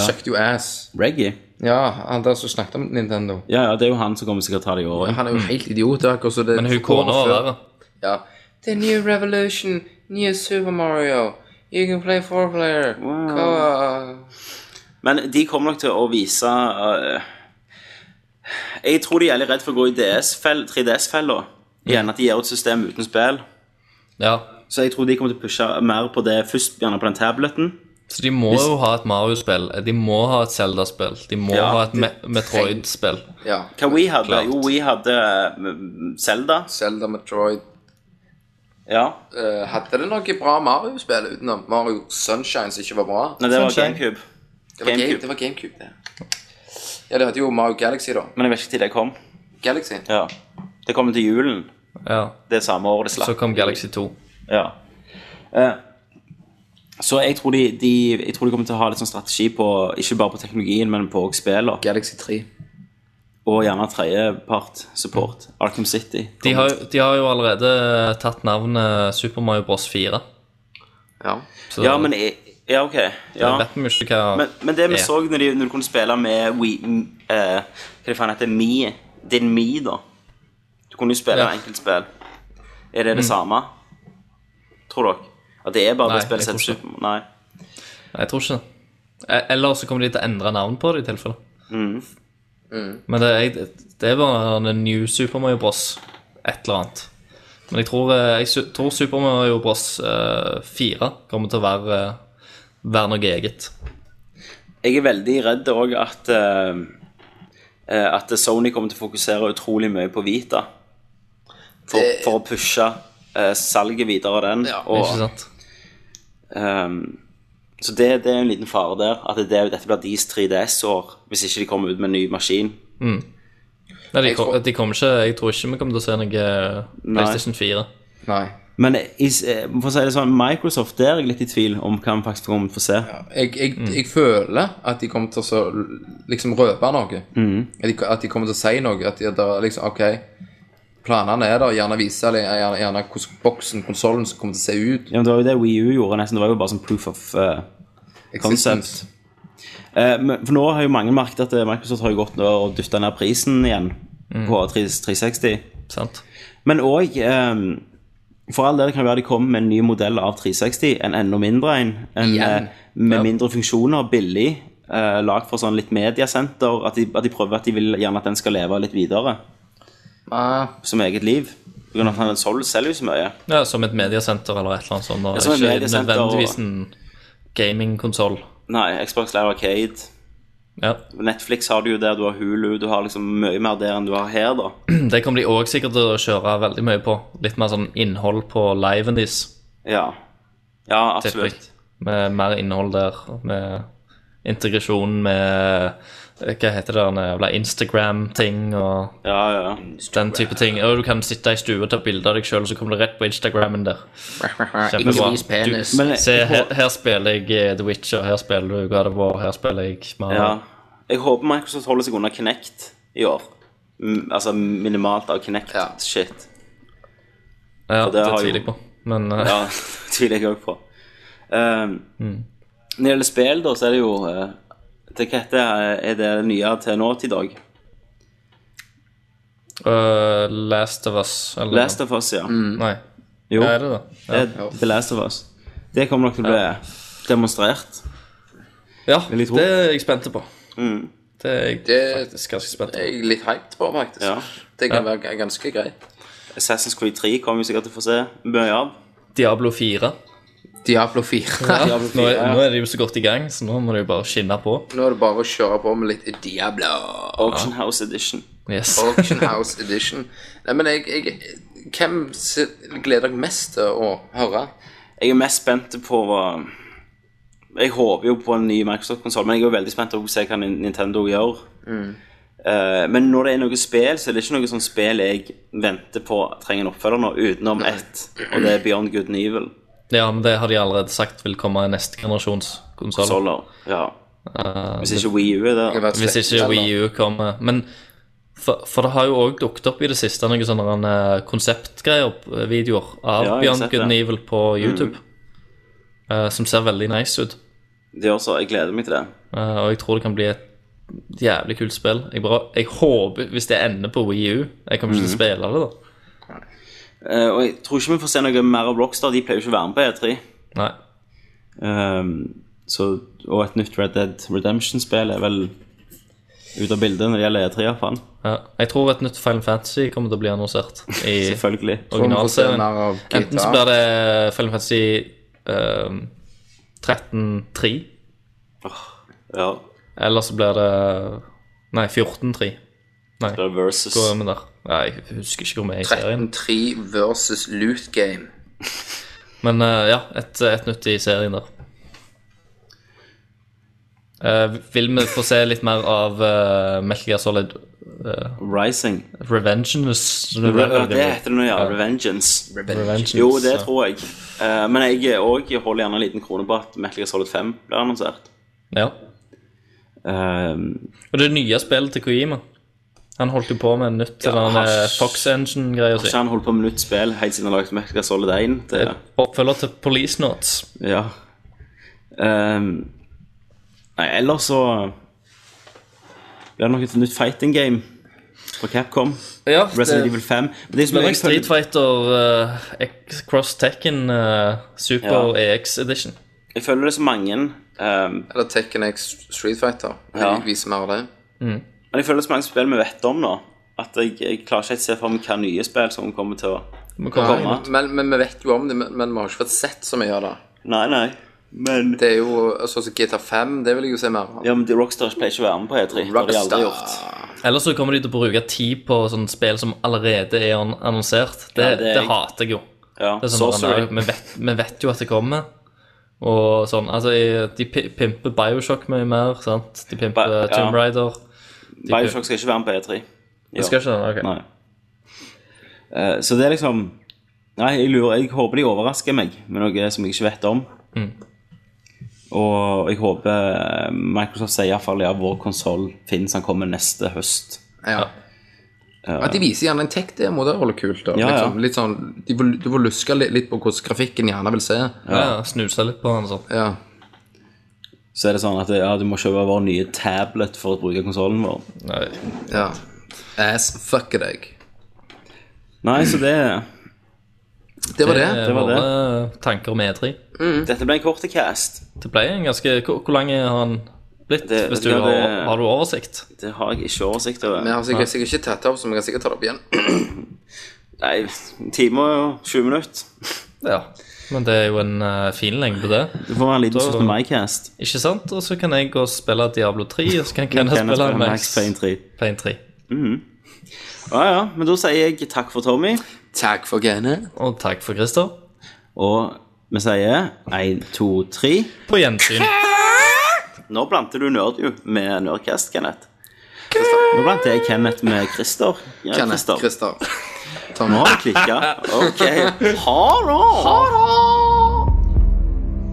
S3: sucked jo ass.
S1: Reggae?
S3: Ja, han der som snakket om Nintendo.
S1: Ja, ja, det er jo han som kommer sikkert til å ta det i år.
S3: Han er jo helt idiot. Det er akkurat som det
S2: Men hun kona var verre.
S3: Ja. The new revolution, new Super Mario. You can play four player. Wow.
S1: Men de kommer nok til å vise eh, Jeg tror de er litt redd for å gå i DS-fell- 3DS-fella. Igjen at de gir ut system uten spill.
S2: Ja.
S1: Så jeg tror de kommer til å pushe mer på det først, gjerne på den tableten.
S2: Så de må jo ha et Mario-spill, Eh, de må ha et Zelda-spill, de må
S1: Ja,
S2: ha et
S1: det-
S2: Me Metroid-spill.
S3: Ja.
S1: Hva we hadde?
S2: Klart.
S1: Jo, we hadde eh, Zelda.
S3: Zelda Metroid.
S1: Ja.
S3: Eh, hadde det noe bra Mario-spill utenom Mario Sunshine som ikke var bra?
S1: Nei, det var
S2: Sunshine.
S1: GameCube.
S3: det, var Game,
S1: GameCube.
S3: det var GameCube, det. Ja, det hadde jo Mario Galaxy, da.
S1: Men jeg vet ikke til det kom.
S3: Galaxy.
S1: Ja. Det kommer til julen.
S2: Ja.
S1: Det samme året det slapp.
S2: Så kom Galaxy 2.
S1: Ja. Eh, så jeg tror de, de, jeg tror de kommer til å ha litt sånn strategi på ikke bare på teknologien, men på også spiller.
S3: Galaxy 3.
S1: Og gjerne tredjepart support. Arkham City.
S2: De har, de har jo allerede tatt navnet Super Mario Bros 4.
S3: Ja.
S2: Så
S1: Ja, men jeg, Ja, OK.
S2: da
S1: Ja.
S2: vet vi jo ikke hva
S1: Men, men det vi
S2: Ja.
S1: så når, de, når du kunne spille med Wii, m- eh, Hva det faen heter Mi? Din Mi, da. Du kunne jo spille
S2: Ja. Mm.
S1: enkeltspill. Er det det samme? Tror dere? At det er bare
S2: Nei,
S1: det spillet
S2: jeg
S1: som heter
S2: tror ikke.
S1: Super- Nei.
S2: Nei, Jeg tror ikke det. E- Eller så kommer de til å endre navn på det, i tilfelle.
S1: Mm.
S3: Mm.
S2: Men det er, det er bare en New Super Mario Bros. et eller annet. Men jeg tror, eh, jeg su- tror Super Mario Bros. eh, 4 kommer til å være, eh, være noe eget.
S1: Jeg er veldig redd òg at eh, eh, At Sony kommer til å fokusere utrolig mye på Vita. For,
S3: Det-
S1: for å pushe eh, salget videre av den.
S3: Ja,
S1: og,
S2: Ikke sant?
S1: ehm, så det, det er en liten fare der. At det, dette blir deres 3DS-år hvis ikke de kommer ut med en ny maskin.
S2: Nei, de,
S3: Jeg tror-
S2: kom, de kommer ikke Jeg tror ikke vi kommer til å se noe eh, PlayStation 4.
S3: Nei.
S1: Men is, eh, for å si det sånn, Microsoft, der er jeg litt i tvil om hva vi faktisk kommer til å få se.
S3: Jeg, jeg,
S2: Mm.
S3: jeg føler at de kommer til å så- liksom røpe noe. At, de, at de kommer til å si noe. At de, at det er liksom, ok, planene er der. Gjerne vise eller gjerne, gjerne hvordan boksen, konsollen, kommer til å se ut.
S1: Ja, men det var jo det Wii U gjorde nesten. Det var jo bare sånn proof of eh,
S3: Existence.
S1: Eh, men, for nå har jo mange merket at eh, Microsoft har jo gått nå og dytta ned prisen igjen
S3: Mm.
S1: på 3- 360.
S2: Sant?
S1: Men òg For all del kan det være de kommer med en ny modell av 360. En enda mindre en. en
S3: Igjen.
S1: eh, med
S3: Ja.
S1: mindre funksjoner, billig. Uh, lagd for sånn litt mediesenter. At de, at de prøver at de vil gjerne at den skal leve litt videre
S3: Ah,
S1: som eget liv. På grunn av at han sol- selger jo så mye.
S2: Ja, som et mediesenter eller et eller annet sånt. Og
S1: Ja, som et
S2: ikke
S1: mediesenter og-
S2: nødvendigvis en gamingkonsoll.
S1: Nei, Xbox Live Arcade.
S2: Ja.
S1: Netflix har du jo der, du har Hulu. Du har liksom mye mer der enn du har her, da.
S2: Det kommer de òg sikkert til å kjøre veldig mye på. Litt mer sånn innhold på liven deres.
S1: Ja, ja
S2: tipper jeg.
S1: absolutt.
S2: Med mer innhold der. Med integrasjon med eh, Hva heter det der jævla Instagram-ting og
S1: Ja, ja, ja.
S2: den type ting. Og du kan sitte i stue og ta bilde av deg sjøl, og så kommer du rett på Instagrammen der.
S3: ikke
S2: Kjempebra.
S3: vis penis.
S1: Men eh, jeg,
S2: Se,
S1: jeg,
S2: her, her spiller jeg eh, The Witcher, her spiller du God of War, her spiller jeg Mario.
S1: ja. jeg håper Microsoft holder seg unna Kinect i år. Mm, altså minimalt av
S3: Ja.
S1: Kinect-shit.
S2: Ja,
S1: det
S2: det
S1: har
S2: tviler
S1: jo-
S2: jeg på. Men eh,
S1: Ja, det tviler jeg òg på. Um, Når det gjelder spill, da, så er det jo eh, det, Hva heter det, eh, er det nye til nå til i dag?
S2: eh, Last of Us eller,
S1: Last of Us, ja.
S2: Nei.
S1: Mm. Jo,
S2: Ja, er det det?
S1: det er The Last of Us. Det kommer nok til å bli demonstrert.
S2: Ja,
S1: er litt
S2: det er jeg spente på.
S1: Mm.
S2: Det er jeg
S3: Det-
S2: faktisk ganske spent på.
S3: Jeg er litt hyped på, faktisk.
S1: Ja.
S3: Det kan være g- ganske greit.
S1: Assassin's Creed 3 kommer vi sikkert til å få se mye av.
S2: Diablo 4.
S3: Diablo 4.
S2: Ja,
S1: Diablo 4,
S2: nå, er,
S1: ja.
S2: nå er de jo så godt i gang, så nå må de jo bare skinne på.
S3: Nå er det bare å kjøre på med litt Diablo.
S1: Auction House Edition.
S2: Yes.
S3: Auction House Edition. Nei, men jeg, jeg Hvem si- gleder dere mest til å høre?
S1: Jeg er mest spent på hva- Jeg håper jo på en ny Microsoft-konsoll, men jeg er jo veldig spent på å se hva Nin- Nintendo gjør. Eh, men når det er noe spill, så er det ikke noe sånn spill jeg venter på trenger en oppfølger nå, utenom ett, og det er Beyond Good and Evil.
S2: Ja, men det har de allerede sagt vil komme i neste generasjons konsoll.
S1: Konsoller. Ja. Hvis ikke Wii U er
S3: Det
S1: der.
S3: har vært
S2: Hvis
S3: slett-
S2: ikke Wii U kommer. Men for, for det har jo òg dukket opp i det siste noen sånne eh, konseptgreier, eh, videoer, av
S1: Ja, jeg har
S2: Beyond
S1: sett
S2: Good
S1: det. Mm.
S2: and Evil på YouTube. eh, som ser veldig nice ut.
S1: Det gjør så. Jeg gleder meg til det.
S2: Eh, og jeg tror det kan bli et jævlig kult spill. Jeg, bare, jeg håper, hvis det ender på Wii U Jeg kommer ikke
S3: Mhm.
S2: til å spille det, da.
S1: Eh, og jeg tror ikke vi får se noe mer av Rockstar. De pleier jo ikke å være med på E3.
S2: Nei.
S1: Ehm, så, og et nytt Red Dead Redemption-spill er vel ut av bildet når det gjelder E3, iallfall.
S2: Ja. Jeg tror et nytt Final Fantasy kommer til å bli annonsert i
S1: Selvfølgelig.
S3: Om vi får se mer
S2: originalserien.
S3: av
S2: Enten så
S3: GTA.
S2: blir det Final Fantasy ehm, 13-3,
S1: Ja.
S2: eller så blir det Nei, 14-3.
S1: Det er versus.
S2: Hvor er vi der? Nei, jeg husker ikke hvor vi er i serien.
S3: 13-3 versus Loot Game.
S2: Men eh, ja, et, et nytt i serien der. Eh, vil vi få se litt mer av uh, Metal Gear Solid
S1: Rising.
S2: Revengeous?
S1: Ja, det heter det nå, ja. Revengeance.
S2: Revengeance.
S1: Jo, det tror jeg. Eh, men jeg er òg holder gjerne en liten krone på at Metal Gear Solid 5 blir annonsert.
S2: Ja.
S1: Ehm,
S2: Og det nye spillet til Kojima. Han holdt jo på med nytt til
S1: Ja,
S2: den
S1: han-
S2: eh, Fox Engine-greia si.
S1: ikke han holdt på med nytt spill helt siden han lagde Metal Gear Solid 1. Det,
S2: Oppfølger til Police Notes.
S1: ja. Ehm, nei, ellers så eh, blir det nok et nytt fighting game fra Capcom.
S2: Ja,
S1: Resident Evil 5. Men det som
S2: Men
S1: jeg
S2: jeg Street
S1: føler,
S2: Fighter eh, X- Cross Tekken eh, Super EX Edition.
S1: jeg føler det er så mange ehm,
S3: Eller Tekken X Street Fighter.
S1: Ja.
S3: Jeg viser mer av det.
S1: Men jeg føler det er så mange spill vi vet om nå. At jeg, jeg klarer ikke helt se for meg hva nye spill som kommer til å
S2: Må komme.
S1: Nei.
S3: Men, men vi vet jo om det, men, men vi har ikke fått sett så mye av det.
S1: Nei, nei. Men
S3: Det er jo sånn som GTA 5, det vil jeg jo se mer av.
S1: Ja, men de Rockstar pleier ikke å være med på E3. Det har de aldri gjort.
S2: Ellers så kommer de til å bruke tid på sånne spill som allerede er an- annonsert. Det,
S1: Ja, det
S2: det,
S1: er jeg-
S2: hater jeg jo.
S1: Ja,
S2: Det er sånn,
S1: Sorcerer.
S2: nei, vi, vet, vi vet jo at det kommer. Og sånn, altså, jeg- De pi- pimper Bioshock mye mer. sant? De pimper
S1: Bi- ja.
S2: Tomb Rider.
S1: Bioshock skal ikke være med på E3.
S2: Jeg skal ikke det? Ok.
S1: Nei. Eh, så det er liksom Nei, jeg lurer Jeg håper de overrasker meg med noe som jeg ikke vet om.
S2: Mm.
S1: Og jeg håper Microsoft sier iallfall at ja, vår konsoll finnes, han kommer neste høst.
S3: Ja. At de viser gjerne en tech-demo, det holder kult. da.
S1: Ja, ja.
S3: Liksom, litt sånn, de får, du får luske litt, litt på hvordan grafikken gjerne vil se.
S2: Ja, ja, Snusa litt på han og sånn.
S3: Ja.
S1: Så er det sånn at ja, du må kjøpe vår nye tablet for å bruke konsollen vår.
S2: Nei.
S3: ja. Ass fucker deg.
S1: Nei, så det
S3: Det var det.
S2: er
S1: det var det.
S2: våre tanker om E3.
S1: Dette ble en kort cast.
S2: Det ble en ganske Hvor, hvor lang har han blitt?
S1: Det-
S2: hvis du
S1: ja, det-
S2: har, har du oversikt?
S1: Det har jeg ikke oversikt
S3: Vi
S1: over.
S3: har sikkert, sikkert ikke tatt det opp, så vi kan sikkert ta det opp igjen.
S1: Nei, en time og 20 minutter.
S2: Ja. Men det er jo en eh, fin lengde på det.
S1: Det får være en liten
S2: Da-
S1: 17. mai-cast.
S2: Ikke sant? Og så kan jeg gå og spille Diablo 3, og så kan Kenneth
S1: Kenneth
S2: spille
S1: og Max
S2: Max
S1: Payne 3.
S2: Payne 3.
S1: Ja, ja, men da sier jeg takk for Tommy,
S3: Takk for genet.
S2: Og takk for Christer.
S1: og vi sier 1, 2, 3.
S2: På gjensyn.
S1: Nå blandet du Nerd jo med Nerdcast, Kenneth. Nå blandet jeg Kenneth med Christer. Ja,
S3: Kenneth.
S1: Christer.
S3: Christer. Tom.
S1: Nå har det klikka. OK. Ha det! Ha det!